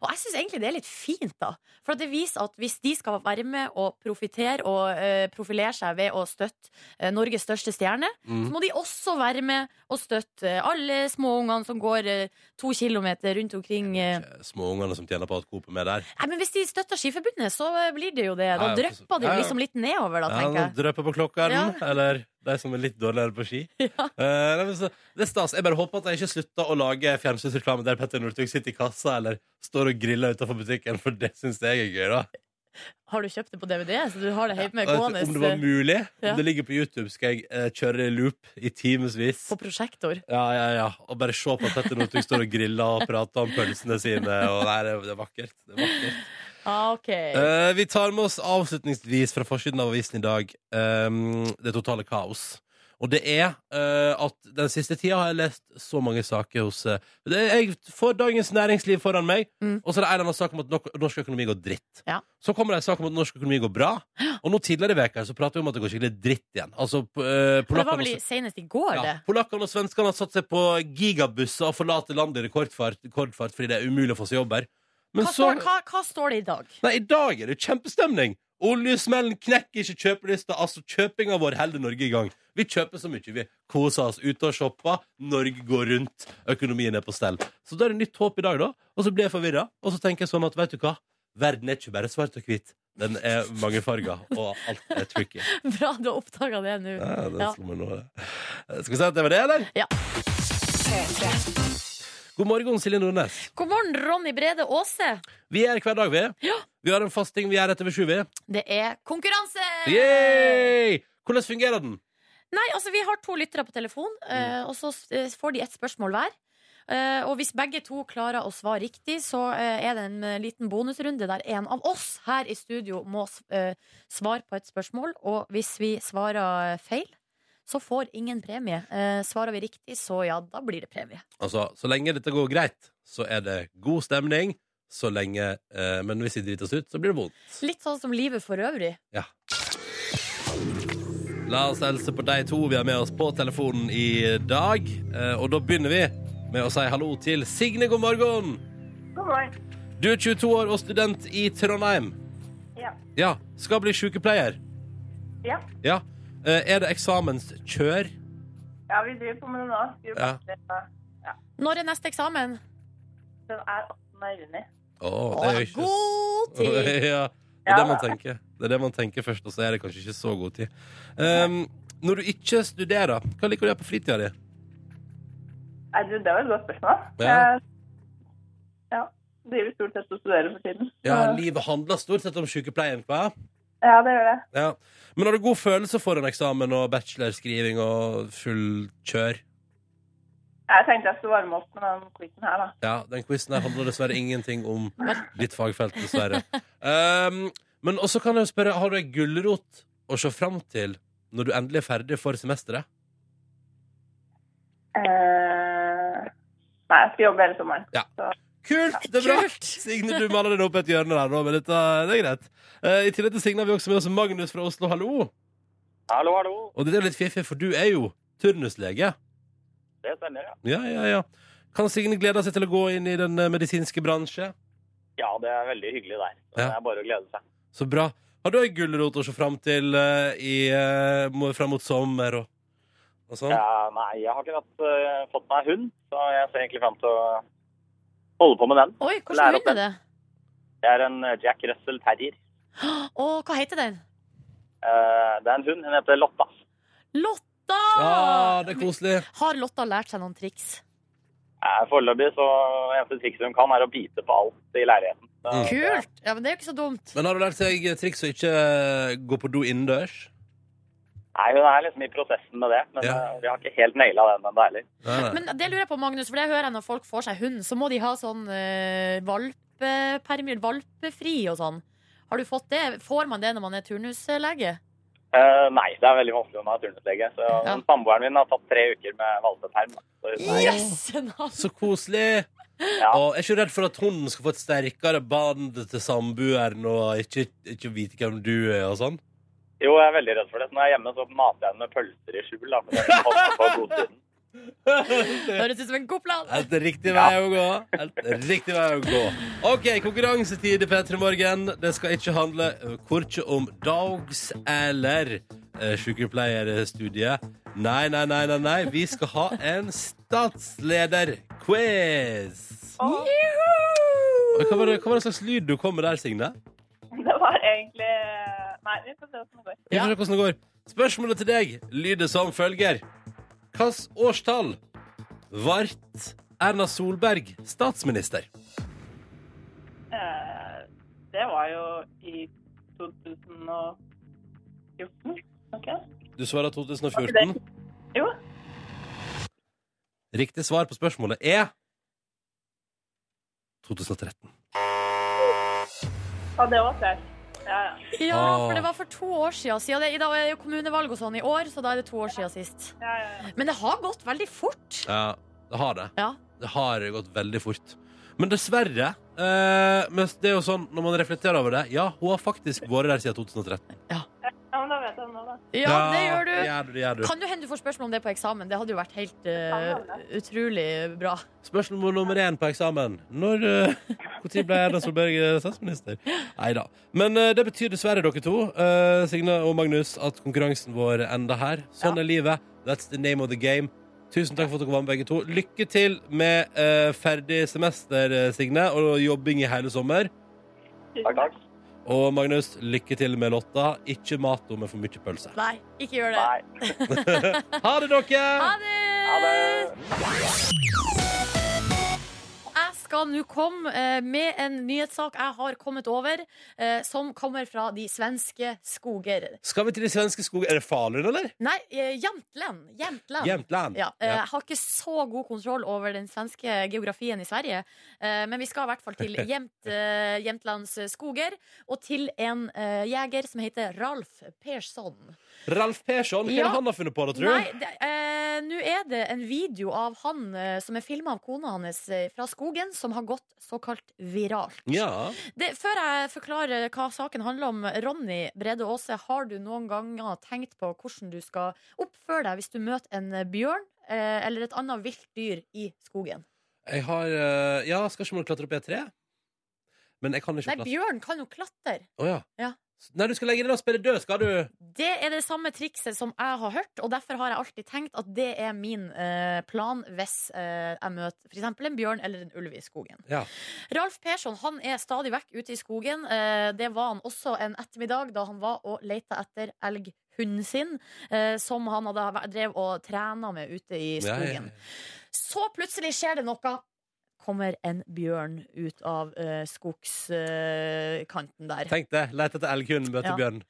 [SPEAKER 3] Og jeg syns egentlig det er litt fint, da. For at det viser at hvis de skal være med og profitere og eh, profilere seg ved å støtte eh, Norges største stjerne,
[SPEAKER 2] Mm.
[SPEAKER 3] så må de også være med og støtte eh, alle småungene som går eh, to kilometer rundt omkring. eh.
[SPEAKER 2] Småungene som tjener på at Coop er med der.
[SPEAKER 3] Nei, men hvis de støtter Skiforbundet, så eh, blir det jo det.
[SPEAKER 2] Ja, ja,
[SPEAKER 3] Da
[SPEAKER 2] for så-
[SPEAKER 3] drypper det
[SPEAKER 2] ja,
[SPEAKER 3] jo
[SPEAKER 2] ja.
[SPEAKER 3] liksom litt nedover, da,
[SPEAKER 2] Ja,
[SPEAKER 3] tenker
[SPEAKER 2] nå
[SPEAKER 3] jeg.
[SPEAKER 2] Drøper på klokka,
[SPEAKER 3] Ja.
[SPEAKER 2] eller eller de som er litt dårligere på ski. Eh, nei, men så, det er stas. Jeg bare håper at jeg ikke slutter å lage fjernsynsreklame der Petter Northug sitter i kassa eller står og griller utenfor butikken, for det syns jeg er gøy, da.
[SPEAKER 3] Har du kjøpt det på DVD? Så du har det hjemme
[SPEAKER 2] Og
[SPEAKER 3] gående
[SPEAKER 2] at, om det var
[SPEAKER 3] eh,
[SPEAKER 2] mulig,
[SPEAKER 3] Ja.
[SPEAKER 2] om det ligger på YouTube, skal jeg eh, kjøre i loop i timevis.
[SPEAKER 3] på prosjektor?
[SPEAKER 2] Ja, ja, ja. Og bare se på at Petter Northug står og griller og prater om pølsene sine. Og nei, det, det er vakkert. Det er vakkert.
[SPEAKER 3] Ah, ok.
[SPEAKER 2] Eh, vi tar med oss avslutningsvis fra forsiden av avisen i dag ehm, det totale kaos. Og det er eh, at den siste tida har jeg lest så mange saker hos eh, det er, Jeg får Dagens Næringsliv foran meg,
[SPEAKER 3] Mm.
[SPEAKER 2] og så er det en eller annen sak om at nok- norsk økonomi går dritt.
[SPEAKER 3] Ja.
[SPEAKER 2] Så kommer det en sak om at norsk økonomi går bra, og nå tidligere i veka så prater vi om at det går skikkelig dritt igjen. Altså, p- eh,
[SPEAKER 3] det var
[SPEAKER 2] polakkene
[SPEAKER 3] vel
[SPEAKER 2] og
[SPEAKER 3] i- senest i går,
[SPEAKER 2] ja,
[SPEAKER 3] det.
[SPEAKER 2] Polakkene og svenskene har satt seg på gigabusser og forlater landet i rekordfart, rekordfart fordi det er umulig å få seg jobb her. Men
[SPEAKER 3] Hva, står, hva, hva står det i dag?
[SPEAKER 2] Nei, i dag er det jo kjempestemning. Oljesmellen knekker ikke kjøpelysta. Altså, kjøpinga vår holder Norge i gang. Vi kjøper så mye, vi. Koser oss ute og shopper. Norge går rundt. Økonomien er på stell. Så da er det nytt håp i dag, da. Og så blir jeg forvirra. Og så tenker jeg sånn at vet du hva? Verden er ikke bare svart og hvit. Den er mangefarga, og alt er tricky.
[SPEAKER 3] Bra du har oppdaga det nå.
[SPEAKER 2] Ja, det
[SPEAKER 3] Ja.
[SPEAKER 2] slo meg nå, det. Eh, Skal vi si at det var det, eller?
[SPEAKER 3] Ja.
[SPEAKER 2] God morgen, Silje Nordnes.
[SPEAKER 3] God morgen, Ronny Brede Aase.
[SPEAKER 2] Vi er her hver dag, vi.
[SPEAKER 3] Ja.
[SPEAKER 2] Vi har en fast ting vi gjør etter ved sju, vi.
[SPEAKER 3] Det er konkurranse!
[SPEAKER 2] Yay! Hvordan fungerer den?
[SPEAKER 3] Nei, altså Vi har to lyttere på telefon,
[SPEAKER 2] Mm.
[SPEAKER 3] eh, og så eh, får de ett spørsmål hver. Eh, og hvis begge to klarer å svare riktig, så eh, er det en eh, liten bonusrunde der en av oss her i studio må s- eh, svare på et spørsmål. Og hvis vi svarer eh, feil, så får ingen premie. Eh, svarer vi riktig, så ja, da blir det premie.
[SPEAKER 2] Altså, Så lenge dette går greit, så er det god stemning. Så lenge, eh, Men hvis vi driter oss ut, så blir det vondt.
[SPEAKER 3] Litt sånn som livet for øvrig.
[SPEAKER 2] Ja. La oss helse på de to vi har med oss på telefonen i dag. Eh, og da begynner vi med å si hallo til Signe. God morgen!
[SPEAKER 1] God morgen.
[SPEAKER 2] Du er 22 år og student i Trondheim.
[SPEAKER 1] Ja.
[SPEAKER 2] Ja, skal bli sykepleier.
[SPEAKER 1] Ja.
[SPEAKER 2] Ja. Eh, er det eksamenskjør?
[SPEAKER 1] ja, vi driver på med det nå. Vi
[SPEAKER 2] Ja.
[SPEAKER 1] varsler- ja.
[SPEAKER 3] Når er neste eksamen?
[SPEAKER 1] Den er 18. juni.
[SPEAKER 2] Åh,
[SPEAKER 3] Å,
[SPEAKER 2] det er jo ikke
[SPEAKER 3] god tid!
[SPEAKER 2] ja, det er det man tenker. Det er det man tenker først, og så er det kanskje ikke så god tid. Ehm, når du ikke studerer, hva liker du å gjøre på fritida di?
[SPEAKER 1] Nei, du, det var et godt spørsmål.
[SPEAKER 2] Ja.
[SPEAKER 1] Eh, ja. Driver stort sett og studerer for tiden. Så-
[SPEAKER 2] Ja, livet handler stort sett om sykepleien, hva?
[SPEAKER 1] ja, det gjør det.
[SPEAKER 2] Ja. Men har du god følelse for en eksamen og bachelorskriving og full kjør?
[SPEAKER 1] Jeg tenkte jeg skulle varme opp med den quizen her, da.
[SPEAKER 2] Ja, den quizen her handler dessverre ingenting om ditt fagfelt, dessverre. Ehm, men også kan jeg jo spørre, har du ei gulrot å se fram til når du endelig er ferdig for semesteret?
[SPEAKER 1] Eh, nei, jeg skal jobbe hele sommeren.
[SPEAKER 2] Ja.
[SPEAKER 1] Så,
[SPEAKER 2] Kult! Det er bra.
[SPEAKER 3] Kult.
[SPEAKER 2] Signe, du maler deg opp i et hjørne der nå, men dette, det er greit. Eh, I tillegg til Signe har vi også med oss Magnus fra Oslo. Hallo!
[SPEAKER 4] Hallo, hallo.
[SPEAKER 2] Og det er jo litt fiffig, for du er jo turnuslege.
[SPEAKER 4] Det stemmer, ja.
[SPEAKER 2] Ja, ja, ja. Kan Signe glede seg til å gå inn i den eh, medisinske bransje?
[SPEAKER 4] Ja, det er veldig hyggelig der. Så
[SPEAKER 2] Ja.
[SPEAKER 4] Det er bare å glede seg.
[SPEAKER 2] Så bra. Har du ei gulrot å se fram til eh, i, eh, må- fram mot sommer og, og sånn?
[SPEAKER 4] Ja, nei, jeg har ikke hatt, eh, fått meg hund, så jeg ser egentlig frem til å holde på med den.
[SPEAKER 3] Oi,
[SPEAKER 4] Lær
[SPEAKER 3] hvordan
[SPEAKER 4] opp
[SPEAKER 3] begynner det?
[SPEAKER 4] Det er en eh, Jack Russell Terrier.
[SPEAKER 3] Å, hva heter den?
[SPEAKER 4] Eh, det er en hund, hun heter Lotta.
[SPEAKER 3] Lotta!
[SPEAKER 2] Ah, det er koselig.
[SPEAKER 3] Har Lotta lært seg noen triks?
[SPEAKER 4] Eh, Foreløpig så eneste trikset hun kan, er å bite på alt i leiligheten. Så,
[SPEAKER 2] Mm.
[SPEAKER 3] Kult! Ja, men det er jo ikke så dumt.
[SPEAKER 2] Men har du lært seg triks å ikke eh, gå på do innendørs?
[SPEAKER 4] Nei, hun er liksom i prosessen med det, men
[SPEAKER 2] Ja.
[SPEAKER 4] eh, vi har ikke helt naila den ennå heller.
[SPEAKER 2] Nei, nei.
[SPEAKER 3] Men det lurer jeg på, Magnus, for det hører jeg når folk får seg hund, så må de ha sånn eh, valpepermir, valpefri og sånn. Har du fått det? Får man det når man er turnuslege?
[SPEAKER 4] Eh, nei, det er veldig vanskelig å ha turnuslege. Så
[SPEAKER 3] Ja.
[SPEAKER 4] samboeren min har tatt tre uker med valpeperm. da. Så hun er-
[SPEAKER 3] Jøssen yes,
[SPEAKER 2] Så koselig!
[SPEAKER 4] Ja.
[SPEAKER 2] Og jeg er ikke redd for at hunden skal få et sterkere bånd til samboeren og ikke, ikke vite hvem du er og sånn.
[SPEAKER 4] Jo, jeg er veldig redd for det. Så når jeg er hjemme, så mater jeg den med pølser i skjul. Da, for jeg kan holde meg på godsiden.
[SPEAKER 3] Høres ut som en god plan.
[SPEAKER 2] Helt riktig vei å gå. Helt riktig vei å gå. OK, konkurransetid i P3 Morgen. Det skal ikke handle eh, korkje om dogs eller eh, sykepleierstudiet. Nei, nei, nei, nei, nei. Vi skal ha en statslederquiz.
[SPEAKER 1] og
[SPEAKER 2] Hva var, det, hva var det slags lyd du kom med der, Signe?
[SPEAKER 1] det var egentlig eh, Nei, vi får se hvordan det går.
[SPEAKER 2] Vi får se hvordan det går. Spørsmålet til deg lyder som følger. Hvilket årstall vart Erna Solberg statsminister?
[SPEAKER 1] Eh, det var jo i 2014, ikke
[SPEAKER 2] Du svarer 2014.
[SPEAKER 1] Jo.
[SPEAKER 2] Riktig svar på spørsmålet er 2013.
[SPEAKER 1] Og det var flaut. Ja, ja.
[SPEAKER 3] Ja,
[SPEAKER 2] Åh.
[SPEAKER 3] for det var for to år siden. siden det, I dag er det jo kommunevalg og sånn i år, så da er det to år siden sist.
[SPEAKER 1] ja, ja, ja.
[SPEAKER 3] Men det har gått veldig fort.
[SPEAKER 2] Ja, det har det.
[SPEAKER 3] Ja.
[SPEAKER 2] Det har gått veldig fort. Men dessverre eh, Men det er jo sånn, når man reflekterer over det Ja, hun har faktisk vært der siden 2013.
[SPEAKER 1] ja, men da vet jeg det nå, da.
[SPEAKER 3] Ja,
[SPEAKER 2] Det
[SPEAKER 3] det gjør du.
[SPEAKER 2] gjør du, det gjør du.
[SPEAKER 3] Kan du hende du får spørsmål om det på eksamen? Det hadde jo vært helt eh,
[SPEAKER 1] Kan
[SPEAKER 3] utrolig bra.
[SPEAKER 2] Spørsmål nummer én på eksamen. Når eh, hvor tid ble Erna Solberg eh, statsminister? Nei da. Men eh, det betyr dessverre, dere to, eh, Signe og Magnus, at konkurransen vår enda her. Sånn er livet. That's the name of the game. Tusen takk for at dere var med, begge to. Lykke til med eh, ferdig semester, eh, Signe, og jobbing i hele sommer.
[SPEAKER 4] Takk, takk.
[SPEAKER 2] Og Magnus, lykke til med Lotta. Ikke mat henne med for mye pølse.
[SPEAKER 3] Nei, ikke gjør det.
[SPEAKER 4] Nei.
[SPEAKER 2] Ha det, dere!
[SPEAKER 3] Ha det!
[SPEAKER 4] Ha det.
[SPEAKER 3] Jeg skal nå komme eh, med en nyhetssak jeg har kommet over, eh, som kommer fra de svenske skoger.
[SPEAKER 2] Skal vi til de svenske skoger? Er det Falun, eller?
[SPEAKER 3] Nei, eh, Jämtland. Jämtland.
[SPEAKER 2] Jämtland.
[SPEAKER 3] Ja, eh,
[SPEAKER 2] Ja.
[SPEAKER 3] jeg har ikke så god kontroll over den svenske geografien i Sverige, eh, men vi skal i hvert fall til Jämt, eh, Jämtlands skoger, og til en eh, jeger som heter Ralf Persson.
[SPEAKER 2] Ralf Persson, hva er
[SPEAKER 3] Ja.
[SPEAKER 2] det han har funnet på, da, tror du?
[SPEAKER 3] Nei, det- eh, nå er det en video av han eh, som er filma av kona hans eh, fra skogen, som har gått såkalt viralt.
[SPEAKER 2] Ja.
[SPEAKER 3] Det, før jeg forklarer hva saken handler om, Ronny Brede Aase, har du noen ganger tenkt på hvordan du skal oppføre deg hvis du møter en eh, bjørn eh, eller et annet vilt dyr i skogen?
[SPEAKER 2] Jeg har eh, Ja, skal ikke man klatre opp i et tre? Men jeg kan ikke
[SPEAKER 3] Nei,
[SPEAKER 2] klatre
[SPEAKER 3] bjørn kan jo klatre.
[SPEAKER 2] Å, ja.
[SPEAKER 3] Ja.
[SPEAKER 2] S- Nei, du skal legge deg ned og spille død, skal du?
[SPEAKER 3] Det er det samme trikset som jeg har hørt, og derfor har jeg alltid tenkt at det er min eh, plan hvis eh, jeg møter f.eks. en bjørn eller en ulv i skogen.
[SPEAKER 2] Ja.
[SPEAKER 3] Ralf Persson han er stadig vekk ute i skogen. Eh, det var han også en ettermiddag da han var og leita etter elghunden sin, eh, som han hadde væ- drev og trena med ute i
[SPEAKER 2] Ja, ja,
[SPEAKER 3] skogen.
[SPEAKER 2] ja.
[SPEAKER 3] Så plutselig skjer det noe. Kommer en bjørn ut av eh, skogskanten der.
[SPEAKER 2] Tenk det. Lete etter elghund, møte
[SPEAKER 3] Ja.
[SPEAKER 2] bjørn.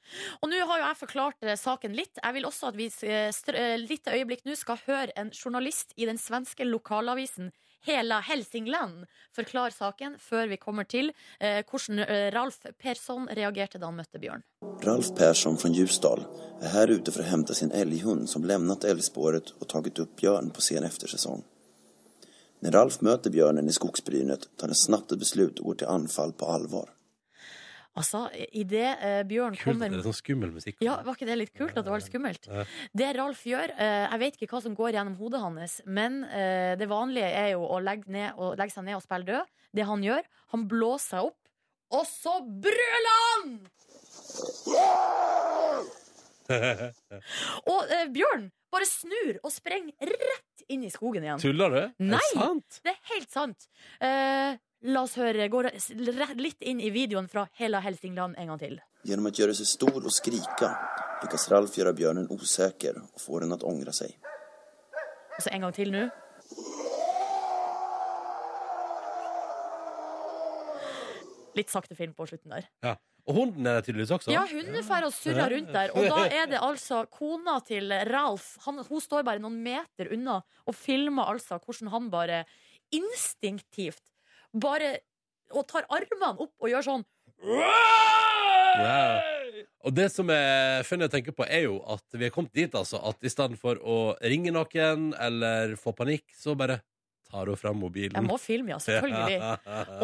[SPEAKER 3] Og nå har jo jeg forklart eh, saken litt. Jeg vil også at vi eh, str- eh, litt øyeblikk nå skal høre en journalist i den svenske lokalavisen Hela Helsingland forklare saken før vi kommer til eh, hvordan eh, Ralf Persson reagerte da han møtte Bjørn.
[SPEAKER 5] Ralf Persson från Ljusdal är här ute för att hämta sin älghund som lämnat älgspåret och tagit upp björn på sen eftersäsong. När Ralf möter björnen i skogsbrynet tar han snabbt ett beslut och går till anfall på allvar.
[SPEAKER 3] Altså, idet eh, Bjørn
[SPEAKER 2] Kult at
[SPEAKER 3] kommer
[SPEAKER 2] det er sånn skummel musikk.
[SPEAKER 3] Ja, Var ikke det litt kult at det var litt skummelt? Det Ralf gjør eh, Jeg vet ikke hva som går gjennom hodet hans, men eh, det vanlige er jo å legge, ned, å legge seg ned og spille død. Det han gjør, han blåser seg opp, og så brøler han! og eh, Bjørn bare snur og sprenger rett inn i skogen igjen.
[SPEAKER 2] Tuller du?
[SPEAKER 3] Nei.
[SPEAKER 2] Er det sant?
[SPEAKER 3] Det er helt sant. Eh, la oss høre. Gå re- litt inn i videoen fra Hela Helsingland en gang til.
[SPEAKER 5] Genom att göra sig stor och skrika lyckas Ralf göra björnen osäker och få den att ångra sig.
[SPEAKER 3] Og så Altså, en gang til nå. Litt sakte film på slutten der.
[SPEAKER 2] Ja. Og hunden er der tydeligvis også.
[SPEAKER 3] Ja, hunden drar og surrer rundt der. Og da er det altså kona til Ralf han, Hun står bare noen meter unna og filmer altså hvordan han bare instinktivt bare Og tar armene opp og gjør sånn.
[SPEAKER 2] Ja. Og det som er funnet å tenke på, er jo at vi er kommet dit, altså. At i stedet for å ringe noen eller få panikk, så bare tar hun fram mobilen.
[SPEAKER 3] Jeg må filme, ja. Selvfølgelig.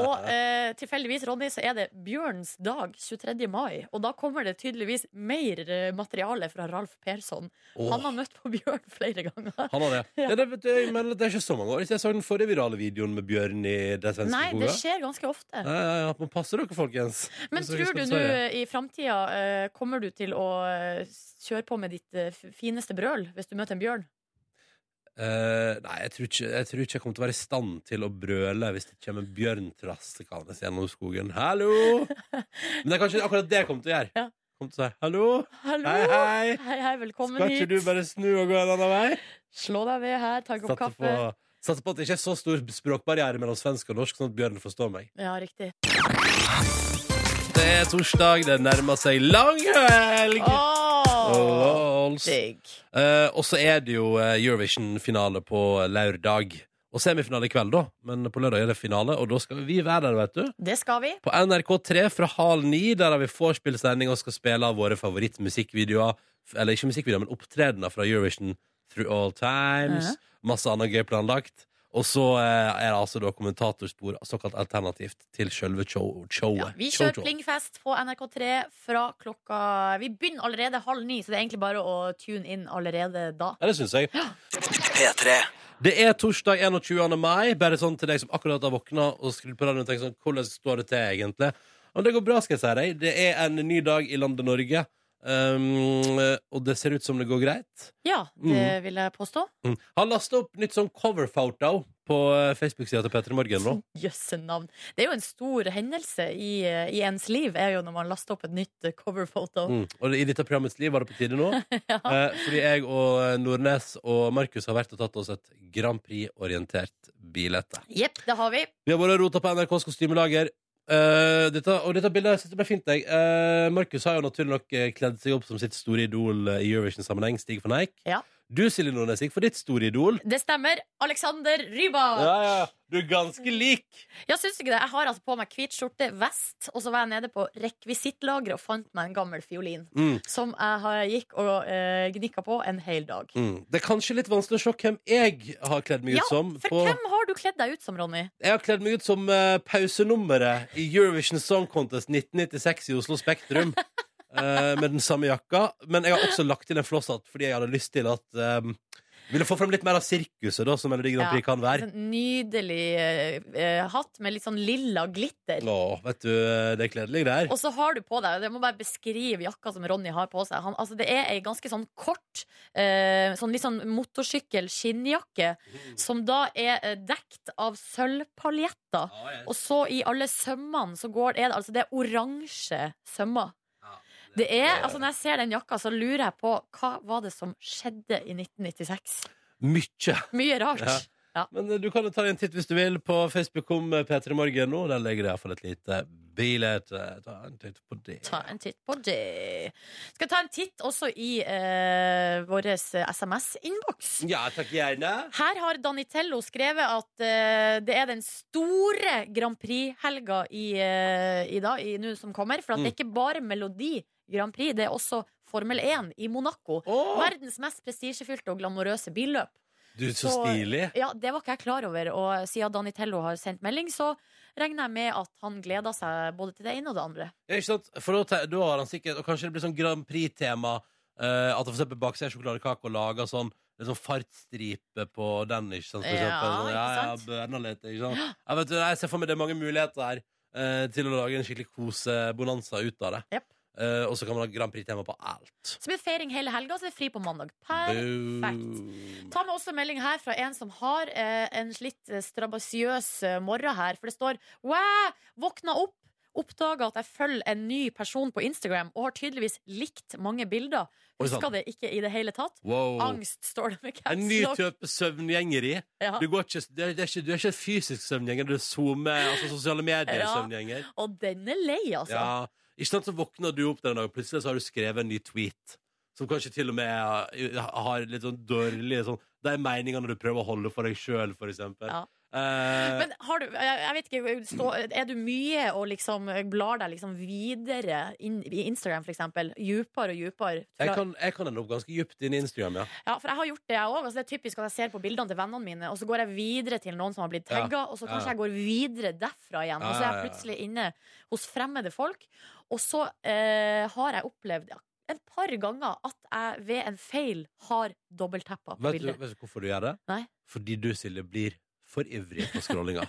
[SPEAKER 3] Og eh, tilfeldigvis, Ronny, så er det Bjørns dag 23. mai. Og da kommer det tydeligvis mer eh, materiale fra Ralf Persson.
[SPEAKER 2] Åh.
[SPEAKER 3] Han har møtt på Bjørn flere ganger.
[SPEAKER 2] Han har det.
[SPEAKER 3] Ja.
[SPEAKER 2] Ja. det, vet du, jeg mener at det er ikke så mange år siden jeg så den forrige virale videoen med bjørn i det svenske
[SPEAKER 3] Nei, det
[SPEAKER 2] skogen.
[SPEAKER 3] skjer ganske ofte.
[SPEAKER 2] Ja, ja, ja. Men passer dere, folkens.
[SPEAKER 3] Men
[SPEAKER 2] Så jeg
[SPEAKER 3] tror
[SPEAKER 2] skal
[SPEAKER 3] du nå
[SPEAKER 2] svare.
[SPEAKER 3] eh, i framtida eh, kommer du til å eh, kjøre på med ditt eh, f- fineste brøl hvis du møter en bjørn?
[SPEAKER 2] Eh, nei, jeg tror, ikke, jeg tror ikke jeg kommer til å være i stand til å brøle hvis det kommer en bjørn traskende gjennom skogen. Hallo! Men det er kanskje akkurat det jeg kommer til å gjøre.
[SPEAKER 3] Ja.
[SPEAKER 2] Kom til å si hallo.
[SPEAKER 3] Hallo!
[SPEAKER 2] Hei, hei.
[SPEAKER 3] Hei, hei, velkommen
[SPEAKER 2] Skal ikke
[SPEAKER 3] hit.
[SPEAKER 2] du bare snu og gå en annen vei?
[SPEAKER 3] Slå deg ved her, ta en kopp
[SPEAKER 2] Satser på,
[SPEAKER 3] kaffe.
[SPEAKER 2] satser på at det ikke er så stor språkbarriere mellom svensk og norsk, sånn at Bjørn forstår meg.
[SPEAKER 3] Ja, riktig.
[SPEAKER 2] Det er torsdag, det nærmer seg langhelg!
[SPEAKER 3] Åh,
[SPEAKER 2] Lols.
[SPEAKER 3] digg.
[SPEAKER 2] Eh, og så er det jo eh, Eurovision-finale på lørdag. Og semifinale i kveld, da. Men på lørdag er det finale, og da skal vi være der, vet du.
[SPEAKER 3] Det skal vi.
[SPEAKER 2] På NRK3 fra halv ni, der har vi vorspielsending og skal spille av våre favorittmusikkvideoer. f- Eller ikke musikkvideoer, men opptredener fra Eurovision through all times. Masse annet gøy planlagt. Og så eh, er det altså da kommentatorspor, såkalt alternativt, til sjølve show- showet.
[SPEAKER 3] Ja, vi
[SPEAKER 2] Show-
[SPEAKER 3] kjører
[SPEAKER 2] show.
[SPEAKER 3] Plingfest på NRK3 fra klokka Vi begynner allerede halv ni, så det er egentlig bare å tune inn allerede da.
[SPEAKER 2] Ja, det syns jeg. Det er torsdag 21. mai. Bare sånn til deg som akkurat har våkna og skrudd på radioen og tenkt sånn Hvordan står det til, egentlig? Og det går bra, skal jeg si deg. Det er en ny dag i landet Norge. Um, og det ser ut som det går greit.
[SPEAKER 3] Ja, det vil jeg påstå.
[SPEAKER 2] Mm. Har lasta opp nytt sånn coverfoto på eh, Facebook-sida til Petter i Morgen nå.
[SPEAKER 3] Jøsse navn. Det er jo en stor hendelse i, i ens liv, er jo når man laster opp et nytt coverfoto.
[SPEAKER 2] Mm. Og i dette programmets liv var det på tide nå. eh, fordi jeg og Nordnes og Markus har vært og tatt oss et Grand Prix-orientert bilete.
[SPEAKER 3] Jepp, det har vi.
[SPEAKER 2] Vi har vært og rota på NRKs kostymelager. Eh, dette, og dette bildet jeg synes det ble fint. Jeg. Eh, Markus har jo naturlig nok eh, kledd seg opp som sitt store idol eh, i Eurovision-sammenheng, Stig van Eijk.
[SPEAKER 3] Ja.
[SPEAKER 2] Du, Silje Nordnes, gikk for ditt store idol.
[SPEAKER 3] Det stemmer. Alexander Rybak.
[SPEAKER 2] Ja, ja. Du er ganske lik.
[SPEAKER 3] Jeg syns ikke det. Jeg har altså på meg hvit skjorte, vest, og så var jeg nede på rekvisittlageret og fant meg en gammel fiolin.
[SPEAKER 2] Mm.
[SPEAKER 3] Som jeg har- gikk og uh, gnikka på en hel dag.
[SPEAKER 2] Mm. Det er kanskje litt vanskelig å se hvem jeg har kledd meg ut
[SPEAKER 3] Ja,
[SPEAKER 2] som.
[SPEAKER 3] For
[SPEAKER 2] på-
[SPEAKER 3] hvem har du kledd deg ut som, Ronny?
[SPEAKER 2] Jeg har kledd meg ut som eh, pausenummeret i Eurovision Song Contest 1996 i Oslo Spektrum. eh, med den samme jakka. Men jeg har også lagt til en flosshatt fordi jeg hadde lyst til at eh, Ville få frem litt mer av sirkuset da, som Melodi Grand Prix kan være.
[SPEAKER 3] En nydelig eh, eh, hatt med litt sånn lilla glitter.
[SPEAKER 2] Å, vet du, eh, det er kledelig, det her.
[SPEAKER 3] Og så har du på deg, jeg må bare beskrive jakka som Ronny har på seg. Han, altså det er ei ganske sånn kort, eh, sånn litt sånn motorsykkel-skinnjakke, som da er eh, dekt av sølvpaljetter. Og så i alle sømmene så går det, er det altså det er oransje sømmer. Det er, altså Når jeg ser den jakka, så lurer jeg på hva var det som skjedde i 1996.
[SPEAKER 2] Mykje.
[SPEAKER 3] Mye rart.
[SPEAKER 2] Ja. Men eh, du kan jo ta deg en titt hvis du vil på Facebook om eh, P3 Morgen nå. Der ligger det iallfall et lite bilete. Ta en titt på det.
[SPEAKER 3] Ta en titt på det. Skal ta en titt også i eh, vår SMS-innboks.
[SPEAKER 2] Ja, takk gjerne.
[SPEAKER 3] Her har Danitello skrevet at eh, det er den store Grand Prix-helga i, eh, i dag, i nå som kommer. For at det er ikke bare Melodi Grand Prix, det er også Formel 1 i Monaco.
[SPEAKER 2] Å,
[SPEAKER 3] Verdens mest prestisjefylte og glamorøse billøp.
[SPEAKER 2] du, så
[SPEAKER 3] Så-
[SPEAKER 2] stilig.
[SPEAKER 3] Ja, Det var ikke jeg klar over, og siden Danitello har sendt melding, så regner jeg med at han gleder seg både til det ene og det andre.
[SPEAKER 2] Ja, ikke sant? For da, te- da har han sikkert Og kanskje det blir sånn Grand Prix-tema. eh, at det for eksempel bakser en sjokoladekake og lager sånn det er sånn fartsstripe på den. ikke sant? For
[SPEAKER 3] Ja,
[SPEAKER 2] eksempel, sånn, ja,
[SPEAKER 3] ikke
[SPEAKER 2] ja,
[SPEAKER 3] sant?
[SPEAKER 2] bønner litt, ikke sant? Ja, vet du, nei, jeg ser for meg det er mange muligheter her eh, til å lage en skikkelig kosebonanza ut av det.
[SPEAKER 3] Jep.
[SPEAKER 2] Eh, og så kan man ha Grand Prix-tema på alt.
[SPEAKER 3] Så blir det feiring hele helga, så er det fri på mandag. Perfekt.
[SPEAKER 2] Boom.
[SPEAKER 3] Ta med også en melding her fra en som har eh, en litt eh, strabasiøs eh, morgen her. For det står Wow! Våkna opp, oppdaga at jeg følger en ny person på Instagram og har tydeligvis likt mange bilder.
[SPEAKER 2] Oi, sant.
[SPEAKER 3] Husker det ikke i det hele tatt.
[SPEAKER 2] Wow.
[SPEAKER 3] Angst, står det med
[SPEAKER 2] En ny
[SPEAKER 3] caps lock.
[SPEAKER 2] type søvngjengeri.
[SPEAKER 3] Ja.
[SPEAKER 2] Du, går ikke, det er, det er ikke, du er ikke fysisk søvngjenger, du er SoMe, altså sosiale
[SPEAKER 3] Ja.
[SPEAKER 2] medier-søvngjenger.
[SPEAKER 3] Og den er lei, altså.
[SPEAKER 2] Ja, ikke sant så våkner du opp den dagen, plutselig så har du skrevet en ny tweet. Som kanskje til og med ja, har litt sånn dårlige sånn De meningene du prøver å holde for deg sjøl, for eksempel.
[SPEAKER 3] Ja.
[SPEAKER 2] Eh,
[SPEAKER 3] Men har du, jeg jeg vet ikke, stå, er du mye og liksom blar deg liksom videre inn i Instagram, for eksempel? Djupere og djupere?
[SPEAKER 2] jeg, kan, jeg kan ende opp ganske dypt inn i Instagram, ja.
[SPEAKER 3] Ja, for jeg har gjort det, jeg òg. Altså, det er typisk at jeg ser på bildene til vennene mine, og så går jeg videre til noen som har blitt
[SPEAKER 2] Ja.
[SPEAKER 3] tagga, og så kanskje
[SPEAKER 2] Ja.
[SPEAKER 3] jeg går videre derfra igjen. Og
[SPEAKER 2] Ja,
[SPEAKER 3] så er
[SPEAKER 2] ja, ja.
[SPEAKER 3] jeg plutselig inne hos fremmede folk. Og så eh, har jeg opplevd ja, en par ganger at jeg ved en feil har dobbelttappa på
[SPEAKER 2] Vet du,
[SPEAKER 3] bildet.
[SPEAKER 2] vet du hvorfor du gjør det?
[SPEAKER 3] Nei.
[SPEAKER 2] Fordi du, Silje, blir for ivrig på scrollinga.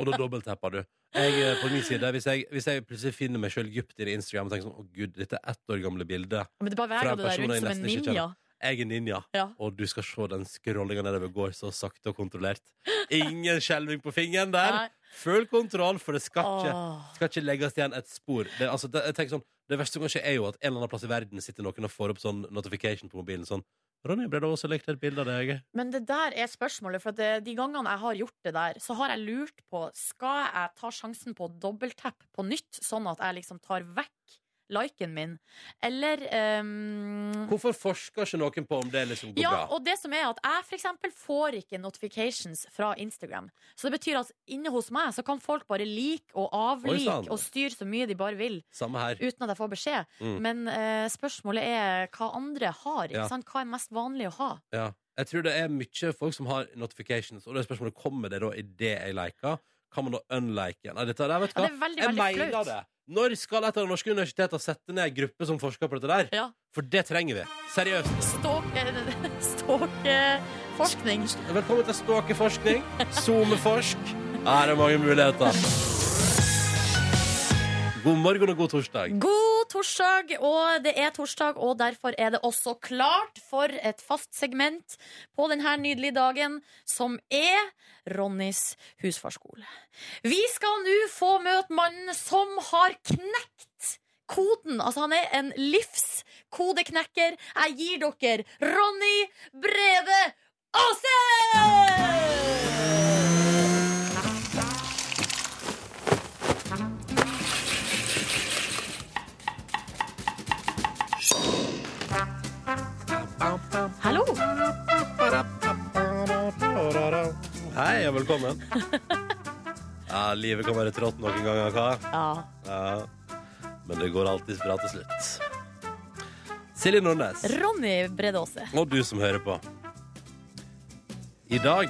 [SPEAKER 2] Og da dobbelttapper du. Jeg, eh, på min side, hvis jeg, hvis jeg plutselig finner meg sjøl dypt inn i Instagram og tenker sånn Å, gud, dette er ett år gamle bildet.
[SPEAKER 3] Men det
[SPEAKER 2] Fra
[SPEAKER 3] beveger
[SPEAKER 2] en
[SPEAKER 3] du deg
[SPEAKER 2] person
[SPEAKER 3] rundt
[SPEAKER 2] jeg
[SPEAKER 3] som en
[SPEAKER 2] nesten ikke
[SPEAKER 3] ninja.
[SPEAKER 2] Jeg er ninja,
[SPEAKER 3] Ja.
[SPEAKER 2] og du skal se den scrollinga nedover går så sakte og kontrollert. Ingen skjelving på fingeren der.
[SPEAKER 3] Nei.
[SPEAKER 2] Full kontroll, for det skal ikke,
[SPEAKER 3] Åh.
[SPEAKER 2] skal ikke legges igjen et spor. Det, altså, det, jeg tenker sånn, det verste som kan skje, er jo at en eller annen plass i verden sitter noen og får opp sånn notification på mobilen sånn Ronny, ble det også lekt et bilde av deg?
[SPEAKER 3] Men det der er spørsmålet, for at det, de gangene jeg har gjort det der, så har jeg lurt på Skal jeg ta sjansen på å dobbelttappe på nytt, sånn at jeg liksom tar vekk liken min, eller ehm,
[SPEAKER 2] Hvorfor forsker ikke noen på om det liksom går
[SPEAKER 3] ja,
[SPEAKER 2] bra?
[SPEAKER 3] og det som er at jeg for eksempel får ikke notifications fra Instagram. Så det betyr at inne hos meg så kan folk bare like og
[SPEAKER 2] sann.
[SPEAKER 3] avlike og styre så mye de bare vil,
[SPEAKER 2] Samme her.
[SPEAKER 3] uten at jeg får beskjed.
[SPEAKER 2] Mm.
[SPEAKER 3] Men eh, spørsmålet er hva andre har. Ikke
[SPEAKER 2] Ja.
[SPEAKER 3] sant? Hva er mest vanlig å ha?
[SPEAKER 2] Ja. Jeg tror det er mye folk som har notifications, og det er spørsmålet kommer det da i det jeg liker. Kan man da unlike igjen? Nei, dette, nei, vet du
[SPEAKER 3] Ja,
[SPEAKER 2] hva?
[SPEAKER 3] det er veldig,
[SPEAKER 2] jeg
[SPEAKER 3] veldig
[SPEAKER 2] mener
[SPEAKER 3] flaut.
[SPEAKER 2] det! Når skal et av de norske universitetene sette ned en gruppe som forsker på dette der?
[SPEAKER 3] Ja.
[SPEAKER 2] For det trenger vi. Seriøst.
[SPEAKER 3] Stalk- Stalkeforskning.
[SPEAKER 2] Velkommen til Språkeforskning. SoMeforsk. Her er mange muligheter. God morgen og god torsdag.
[SPEAKER 3] God torsdag, og det er torsdag, og derfor er det også klart for et fast segment på denne nydelige dagen, som er Ronnys husfarskole. Vi skal nå få møte mannen som har knekt koden. Altså, han er en livskodeknekker. Jeg gir dere Ronny Breve Aase! Hallo!
[SPEAKER 2] Hei og velkommen. Ja, livet kan være trått noen ganger, hva?
[SPEAKER 3] Ja.
[SPEAKER 2] Ja. Men det går alltid bra til slutt. Silje Nordnes,
[SPEAKER 3] Ronny Brede Aase.
[SPEAKER 2] og du som hører på. I dag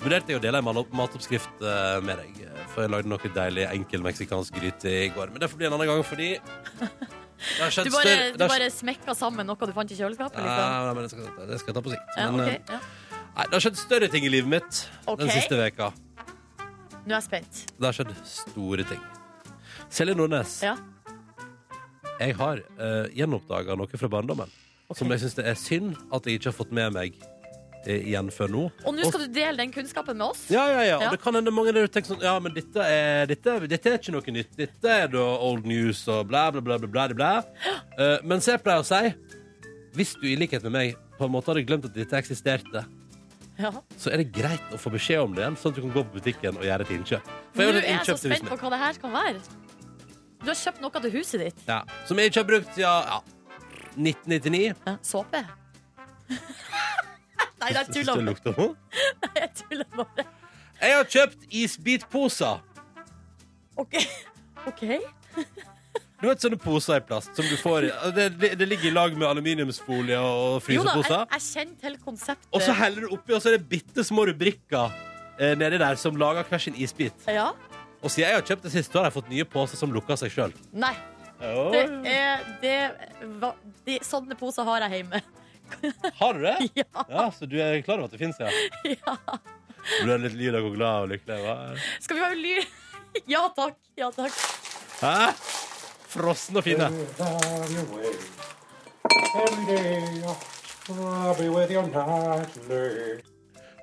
[SPEAKER 2] vurderte jeg å dele en mal- matoppskrift eh, med deg. For jeg lagde noe deilig enkel meksikansk gryte i går. Men det får bli en annen gang, fordi det har skjedd
[SPEAKER 3] Du bare,
[SPEAKER 2] større-
[SPEAKER 3] du
[SPEAKER 2] det har skjedd-
[SPEAKER 3] bare smekka sammen noe du fant i kjøleskapet? Liksom.
[SPEAKER 2] Ja, nei, men det skal, jeg ta- det skal jeg ta på sikt.
[SPEAKER 3] Ja,
[SPEAKER 2] Men,
[SPEAKER 3] ok,
[SPEAKER 2] eh,
[SPEAKER 3] ja.
[SPEAKER 2] nei, det har skjedd større ting i livet mitt
[SPEAKER 3] Ok.
[SPEAKER 2] den siste veka.
[SPEAKER 3] Nå er jeg spent.
[SPEAKER 2] Det har skjedd store ting. Selje Nordnes,
[SPEAKER 3] Ja.
[SPEAKER 2] jeg har uh, gjenoppdaga noe fra barndommen som jeg syns det er synd at jeg ikke har fått med meg eh, igjen før nå.
[SPEAKER 3] Og nå skal du dele den kunnskapen med oss?
[SPEAKER 2] ja, ja, ja. Og
[SPEAKER 3] Ja.
[SPEAKER 2] det kan hende mange der ute tenker sånn Ja, men dette er, dette, er- dette er ikke noe nytt. Dette er da old news og bla, bla, bla, bla, bla, bla. Eh, mens jeg pleier å si Hvis du i likhet med meg på en måte hadde glemt at dette eksisterte,
[SPEAKER 3] Ja.
[SPEAKER 2] så er det greit å få beskjed om det igjen, sånn at du kan gå på butikken og gjøre et innkjøp. For
[SPEAKER 3] Nå
[SPEAKER 2] jeg
[SPEAKER 3] er
[SPEAKER 2] har et
[SPEAKER 3] jeg så
[SPEAKER 2] innkjøp til
[SPEAKER 3] spent
[SPEAKER 2] huset
[SPEAKER 3] på
[SPEAKER 2] mitt.
[SPEAKER 3] hva det her kan være. Du har kjøpt noe til huset ditt.
[SPEAKER 2] Ja. Som jeg ikke har brukt siden ja, 1999.
[SPEAKER 3] Ja. Såpe? Nei, jeg
[SPEAKER 2] Synes det
[SPEAKER 3] tuller bare.
[SPEAKER 2] lukter vondt.
[SPEAKER 3] Jeg tuller bare.
[SPEAKER 2] Jeg har kjøpt isbitposer.
[SPEAKER 3] OK. Ok.
[SPEAKER 2] Du vet sånne poser i plast som du får i Det, det, det ligger i lag med aluminiumsfolie og
[SPEAKER 3] Jo da, jeg,
[SPEAKER 2] fryseposer.
[SPEAKER 3] jeg kjenner til konseptet.
[SPEAKER 2] Og så heller du oppi, og så er det bitte små rubrikker eh, nedi der som lager hver sin isbit.
[SPEAKER 3] Ja?
[SPEAKER 2] Og siden jeg har kjøpt det siste, har jeg fått nye poser som lukker seg sjøl.
[SPEAKER 3] Nei. Det er, det, hva, de, sånne poser har jeg hjemme.
[SPEAKER 2] Har du det?
[SPEAKER 3] Ja.
[SPEAKER 2] Ja, Så du er klar over at det fins, ja?
[SPEAKER 3] ja.
[SPEAKER 2] Du er litt lyd og glad og lykkelig? Hva?
[SPEAKER 3] Skal vi være ly... Ja takk. Ja takk.
[SPEAKER 2] Hæ? Frosne og fine.
[SPEAKER 6] Have your way. Every day, I'll be with you nightly.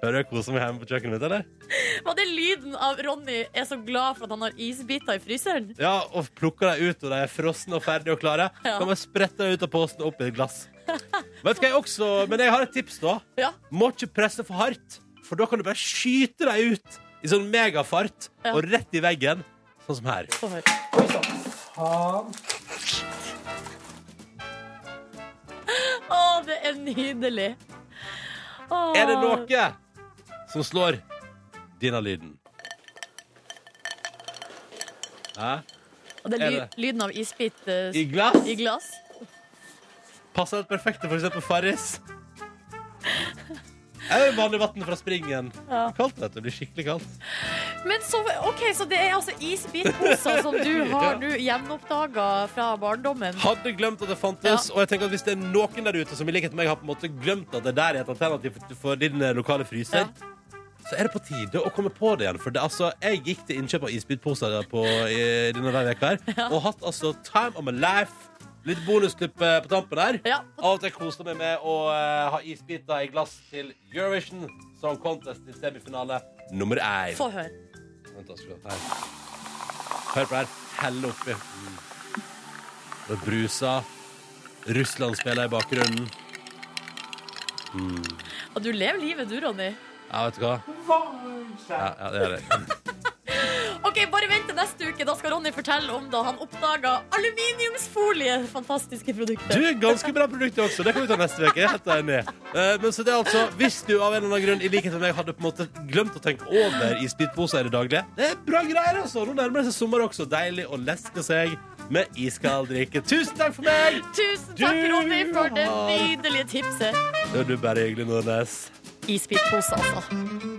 [SPEAKER 2] Hører jeg koser meg hjemme på kjøkkenet mitt, eller?
[SPEAKER 3] Var det lyden av Ronny er så glad for at han har isbiter i fryseren?
[SPEAKER 2] Ja, og plukker dem ut, og de er frosne og ferdige og klare.
[SPEAKER 3] Ja.
[SPEAKER 2] Kan man sprette dem ut av posen og opp i et glass. Vet du hva jeg også Men jeg har et tips, da.
[SPEAKER 3] Ja.
[SPEAKER 2] Må ikke presse for hardt, for da kan du bare skyte dem ut i sånn megafart
[SPEAKER 3] Ja.
[SPEAKER 2] og rett i veggen. Sånn som her.
[SPEAKER 3] Få høre.
[SPEAKER 6] Tom,
[SPEAKER 3] Å, det er nydelig. Å.
[SPEAKER 2] Er det noe som slår denne lyden? Hæ?
[SPEAKER 3] Og det
[SPEAKER 2] er
[SPEAKER 3] er ly
[SPEAKER 2] det?
[SPEAKER 3] lyden av isbit eh,
[SPEAKER 2] I glass?
[SPEAKER 3] i glass.
[SPEAKER 2] Passer helt perfekt til for eksempel Farris. Eller vanlig vann fra springen.
[SPEAKER 3] Ja.
[SPEAKER 2] Kaldt, vet du. Det blir skikkelig kaldt.
[SPEAKER 3] Men så, ok, så det er altså isbitposer som du har
[SPEAKER 2] Ja.
[SPEAKER 3] nå gjenoppdaga fra barndommen.
[SPEAKER 2] Hadde glemt at det fantes. Og jeg tenker at hvis det er noen der ute som i likhet med meg har på en måte glemt at det der er et alternativ for- for din eh, lokale fryser, så er det på tide å komme på det igjen. For det, altså, jeg gikk til innkjøp av isbitposer på i, denne der veka her, og hatt altså time of my life. Litt bonusklipp eh, på tampen her.
[SPEAKER 3] Ja.
[SPEAKER 2] Av og til koste meg med å eh, ha isbiter i glass til Eurovision Song Contest i semifinale nummer én.
[SPEAKER 3] Få høre.
[SPEAKER 2] Vent, da skal vi ha her. Hør på det her. Helle oppi. Mm. Det bruser. Russland spiller i bakgrunnen.
[SPEAKER 3] Og du lever livet, du, Ronny.
[SPEAKER 2] Ja, vet du hva? Ja, ja, det gjør jeg.
[SPEAKER 3] Ok, Bare vent til neste uke. Da skal Ronny fortelle om da han oppdaga aluminiumsfolie. Fantastiske
[SPEAKER 2] Du,
[SPEAKER 3] produkter.
[SPEAKER 2] ganske bra produkt også. Det kan vi ta neste uke. Jeg er helt enig. Eh, Men så det er altså, hvis du av en eller annen grunn, i likhet med meg, hadde på en måte glemt å tenke over i spyttposer i det daglige, det er bra greier, altså. Nå nærmer det seg sommer også. Deilig å leske seg med iskald drikke. Tusen takk for meg!
[SPEAKER 3] Tusen takk,
[SPEAKER 2] Du
[SPEAKER 3] Ronny, for det
[SPEAKER 2] har-
[SPEAKER 3] nydelige tipset.
[SPEAKER 2] Det er du bare hyggelig, Nordnes.
[SPEAKER 3] I spyttpose, altså.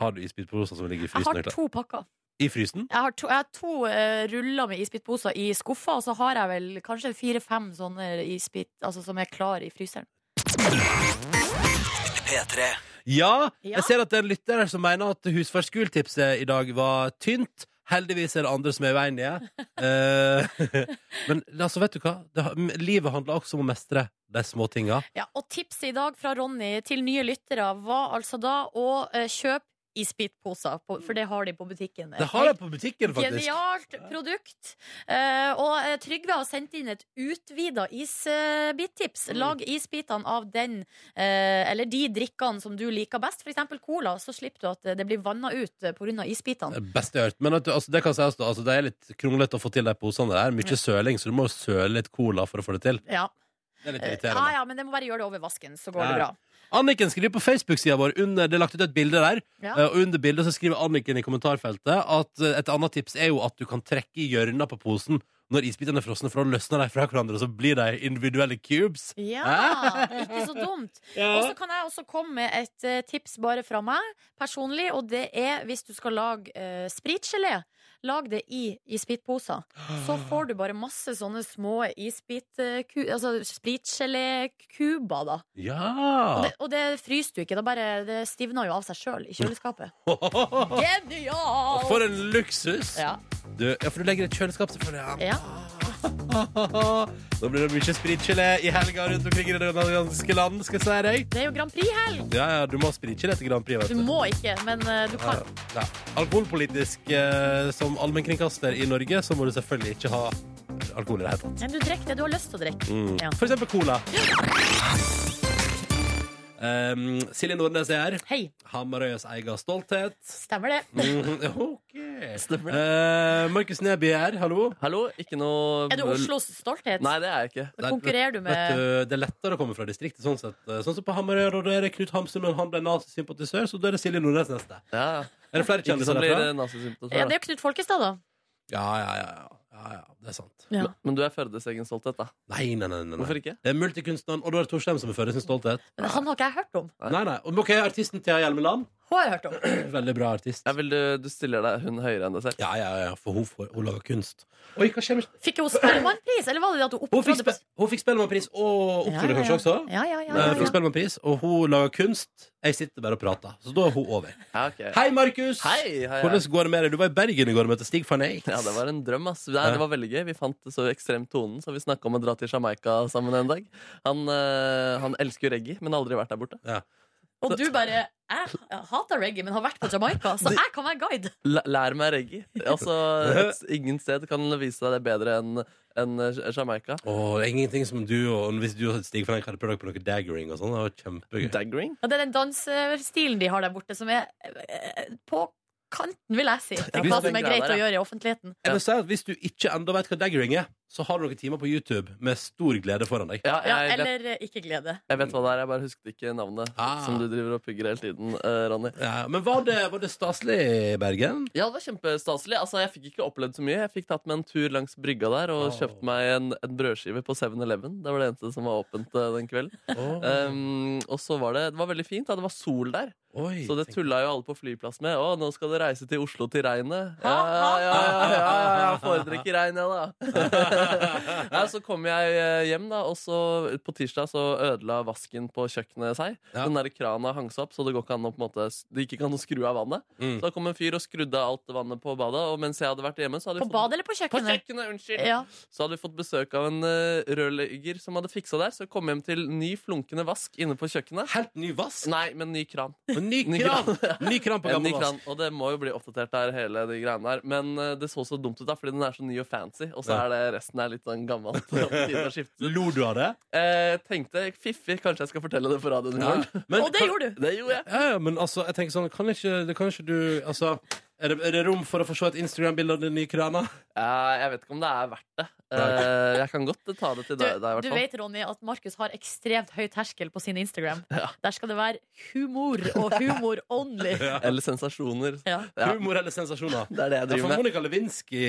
[SPEAKER 2] Har du isbitposer som ligger i
[SPEAKER 3] Jeg
[SPEAKER 2] frysen?
[SPEAKER 3] har
[SPEAKER 2] Ekla?
[SPEAKER 3] to pakker.
[SPEAKER 2] I frysen?
[SPEAKER 3] Jeg har to, jeg har to eh, ruller med isbitposer i skuffa, og så har jeg vel kanskje fire-fem sånne isbit altså, som er klar i fryseren.
[SPEAKER 2] Ja,
[SPEAKER 3] Ja.
[SPEAKER 2] jeg ser at det er en lytter her som mener at husfarsgultipset i dag var tynt. Heldigvis er det andre som er uenige. Eh, Men altså, vet du hva? Det, har- m- livet handler også om å mestre de små tinga.
[SPEAKER 3] Ja, og tipset i dag fra Ronny til nye lyttere var altså da å eh, kjøpe isbitposer, på- for det har de på butikken.
[SPEAKER 2] Det har jeg på butikken, faktisk.
[SPEAKER 3] Genialt produkt. Eh, og eh, Trygve har sendt inn et utvida isbittips.
[SPEAKER 2] Mm.
[SPEAKER 3] Lag isbitene av den eh, eller de drikkene som du liker best, f.eks. cola. Så slipper du at eh, det blir vanna ut eh, på grunn av isbitene.
[SPEAKER 2] Det beste jeg har hørt. Men vet du, altså, det kan sies, da. Altså, det er litt kronglete å få til de posene der. Mye søling, så du må jo søle litt cola for å få det til.
[SPEAKER 3] Ja.
[SPEAKER 2] Det er litt
[SPEAKER 3] Eh,
[SPEAKER 2] irriterende.
[SPEAKER 3] ja, ja, men det må bare gjøre det over vasken, så går
[SPEAKER 2] Ja,
[SPEAKER 3] det
[SPEAKER 2] ja.
[SPEAKER 3] bra.
[SPEAKER 2] Anniken skriver på Facebook-sida vår under, Det er lagt ut et bilde der.
[SPEAKER 3] Ja.
[SPEAKER 2] eh, Og under bildet så skriver Anniken i kommentarfeltet at eh, et annet tips er jo at du kan trekke i hjørnene på posen når isbitene er frosne, for da løsner de fra hverandre, og så blir de individuelle cubes.
[SPEAKER 3] Ja, ikke så dumt.
[SPEAKER 2] Ja.
[SPEAKER 3] Og så kan jeg også komme med et eh, tips bare fra meg personlig, og det er hvis du skal lage eh, spritgelé. Lag det i isbitposer. Så får du bare masse sånne små isbit, eh, ku- altså spritgelékuber, da. Og
[SPEAKER 2] Ja!
[SPEAKER 3] det, og det fryser du ikke. Det, bare, det stivner jo av seg sjøl i kjøleskapet. Genialt!
[SPEAKER 2] For en luksus!
[SPEAKER 3] Ja.
[SPEAKER 2] Du, ja, for du legger i et kjøleskap, selvfølgelig. Ja.
[SPEAKER 3] ja.
[SPEAKER 2] Nå blir det mye spritgelé i helga rundt omkring i det ganske land, skal jeg si deg.
[SPEAKER 3] Det er jo Grand Prix-helg!
[SPEAKER 2] Ja, ja, du må ha spritgelé til Grand Prix, vet
[SPEAKER 3] Du må ikke, men eh, du kan.
[SPEAKER 2] Ja. Alkoholpolitisk eh, som allmennkringkaster i Norge, så må du selvfølgelig ikke ha alkohol i det hele tatt.
[SPEAKER 3] Men du drikker det du har lyst til å drikke.
[SPEAKER 2] Mm.
[SPEAKER 3] Ja.
[SPEAKER 2] For eksempel cola. Um, Silje Nordnes er her.
[SPEAKER 3] Hei.
[SPEAKER 2] Hamarøyas egen stolthet.
[SPEAKER 3] Stemmer det.
[SPEAKER 2] Mhm, OK.
[SPEAKER 7] Stemmer det.
[SPEAKER 2] Eh, Markus Neby er her, hallo.
[SPEAKER 7] Hallo, ikke noe
[SPEAKER 3] Er du Oslos stolthet?
[SPEAKER 7] Nei, det er jeg ikke.
[SPEAKER 2] Der,
[SPEAKER 3] konkurrerer du med-
[SPEAKER 2] vet du, Det er lettere å komme fra distriktet. Sånn sett Eh, Sånn som på Hamarøya, da er det Knut Hamsun, men han ble nazisympatisør, så da er det Silje Nordnes neste.
[SPEAKER 7] Ja, ja.
[SPEAKER 2] Er det flere
[SPEAKER 7] Ikke
[SPEAKER 2] kjendiser
[SPEAKER 7] som blir
[SPEAKER 2] derfra?
[SPEAKER 7] nazisympatiser.
[SPEAKER 3] Ja, det er jo Knut Folkestad, da.
[SPEAKER 2] Ja, ja, ja, ja. ja, ja. Det er sant.
[SPEAKER 3] Ja.
[SPEAKER 7] Men du er Førdes egen stolthet, da.
[SPEAKER 2] Nei, nei, nei. nei, nei.
[SPEAKER 7] Hvorfor ikke?
[SPEAKER 2] Det er Eh, multikunstneren og da er det Torstein som er født i sin stolthet.
[SPEAKER 3] Men han har ikke jeg hørt om.
[SPEAKER 7] Nei.
[SPEAKER 2] Nei, nei. Og, Ok, artisten Thea Hjelmeland.
[SPEAKER 3] Hun har jeg hørt om.
[SPEAKER 2] Veldig bra artist.
[SPEAKER 7] Ja, vil du, du stiller deg hun høyere enn deg selv?
[SPEAKER 2] Ja, ja, ja, for hun, får, hun lager kunst. Oi, hva skjer med
[SPEAKER 3] Fikk hun Spellemannpris, eller var det det at hun
[SPEAKER 2] Hun fikk,
[SPEAKER 3] opptrådte
[SPEAKER 2] spe hun fikk Spellemannpris og opptrådte kanskje også.
[SPEAKER 3] Ja, ja, ja.
[SPEAKER 2] Eh,
[SPEAKER 3] ja,
[SPEAKER 2] Fikk
[SPEAKER 3] ja.
[SPEAKER 2] Spellemannpris, og hun lager kunst. Jeg sitter bare og prater. Så da er hun over.
[SPEAKER 7] Ja, ok.
[SPEAKER 2] Hei, Markus!
[SPEAKER 7] Hei, hei, hei.
[SPEAKER 2] Hvordan går det med deg? Du var i Bergen i går og møtte Stig van Eijk.
[SPEAKER 7] Ja, det var en drøm, ass. Nei, det var veldig gøy. Vi fant så ekstremt tonen, så vi snakka om å dra til Jamaica sammen en dag. Han, eh, han elsker jo reggae, men aldri vært der borte.
[SPEAKER 3] Og du bare Jeg hater reggae, men har vært på Jamaica, så jeg kan være guide.
[SPEAKER 7] L lær meg reggae. Altså, et, ingen sted kan vise deg det bedre enn enn Jamaica.
[SPEAKER 2] Åh, det er ingenting som du og Hvis du og Stig van Eijk hadde prøvd dere på noe daggering og sånn, det var kjempegøy.
[SPEAKER 7] Daggering?
[SPEAKER 3] Og det er den dansestilen de har der borte, som er eh, på kanten, vil jeg si, til
[SPEAKER 7] hvis
[SPEAKER 3] hva
[SPEAKER 7] det
[SPEAKER 3] som er
[SPEAKER 7] er
[SPEAKER 3] greit
[SPEAKER 7] der,
[SPEAKER 3] å
[SPEAKER 7] ja.
[SPEAKER 3] gjøre i offentligheten.
[SPEAKER 2] Jeg vil si at Hvis du ikke enda vet hva daggering er, så har du noen timer på YouTube med stor glede foran deg.
[SPEAKER 7] Ja,
[SPEAKER 3] Ja,
[SPEAKER 7] jeg, vet,
[SPEAKER 3] eller eh, ikke glede.
[SPEAKER 7] jeg vet hva det er, jeg bare husket ikke navnet
[SPEAKER 2] Ah.
[SPEAKER 7] som du driver og pugger hele tiden, eh, Ronny.
[SPEAKER 2] Ja, men var det, var det staselig i Bergen?
[SPEAKER 7] Ja, det var kjempestaselig. Altså, jeg fikk ikke opplevd så mye. Jeg fikk tatt meg en tur langs brygga der og
[SPEAKER 2] Åh.
[SPEAKER 7] kjøpt meg en, en brødskive på 7-Eleven. Det var det eneste som var åpent eh, den kvelden.
[SPEAKER 2] Ah. Ehm,
[SPEAKER 7] Um, og så var det, det var veldig fint. Da. Det var sol der,
[SPEAKER 2] Oi,
[SPEAKER 7] så det
[SPEAKER 2] tenk-
[SPEAKER 7] tulla jo alle på flyplass med. Å, nå skal du reise til Oslo til regnet.
[SPEAKER 3] Ha,
[SPEAKER 7] Ja,
[SPEAKER 3] ha,
[SPEAKER 7] ja, ja, ja, ja, ja, jeg foretrekker regn, jeg, da. Nei, så kom jeg eh, hjem, da, og så på tirsdag så ødela vasken på kjøkkenet seg.
[SPEAKER 2] Ja.
[SPEAKER 7] Den der krana hang seg opp, så det, går ikke an å, på en måte, det gikk ikke an å skru av vannet.
[SPEAKER 2] Mm.
[SPEAKER 7] Så da kom en fyr og skrudde av alt vannet på badet, og mens jeg hadde vært hjemme, så hadde
[SPEAKER 3] På
[SPEAKER 7] jeg fått-
[SPEAKER 3] badet eller på
[SPEAKER 7] På
[SPEAKER 3] kjøkkenet?
[SPEAKER 7] kjøkkenet, unnskyld!
[SPEAKER 3] Ja.
[SPEAKER 7] Så hadde vi fått besøk av en uh, rørlegger som hadde fiksa der. Så jeg kom hjem til ny flunkende vask inne på kjøkkenet.
[SPEAKER 2] Helt ny vask!
[SPEAKER 7] Nei, men ny kran.
[SPEAKER 2] Og ny
[SPEAKER 7] Ny
[SPEAKER 2] kran! Ny kran på
[SPEAKER 7] En ny
[SPEAKER 2] gammel
[SPEAKER 7] kran.
[SPEAKER 2] vask.
[SPEAKER 7] Og det må jo bli oppdatert der, hele de greiene der. Men eh, det så så dumt ut da, fordi den er så ny og fancy. Og så
[SPEAKER 2] Ja.
[SPEAKER 7] er det resten er litt sånn gammelt. og på tide å skifte ut.
[SPEAKER 2] Lo du av det?
[SPEAKER 7] Eh, tenkte fiffig, kanskje jeg skal fortelle det på radioen i morgen.
[SPEAKER 2] Men,
[SPEAKER 3] Og det gjorde du.
[SPEAKER 7] Det gjorde jeg.
[SPEAKER 2] Ja, ja, men altså, jeg tenker sånn Kan ikke, det kan ikke du altså, er, det, er det rom for å få se et Instagram-bilde av den nye krana?
[SPEAKER 7] Eh, jeg vet ikke om det er verdt det. Eh, jeg kan godt ta det til
[SPEAKER 3] Du,
[SPEAKER 7] deg, deg i
[SPEAKER 3] du
[SPEAKER 7] hvert fall.
[SPEAKER 3] vet, Ronny, at Markus har ekstremt høy terskel på sin Instagram.
[SPEAKER 7] Ja.
[SPEAKER 3] Der skal det være humor og humor only.
[SPEAKER 7] Eller sensasjoner.
[SPEAKER 3] Ja.
[SPEAKER 7] Ja.
[SPEAKER 2] Humor eller sensasjoner?
[SPEAKER 7] Det er det jeg
[SPEAKER 2] Ja, for
[SPEAKER 7] driver med.
[SPEAKER 2] Monica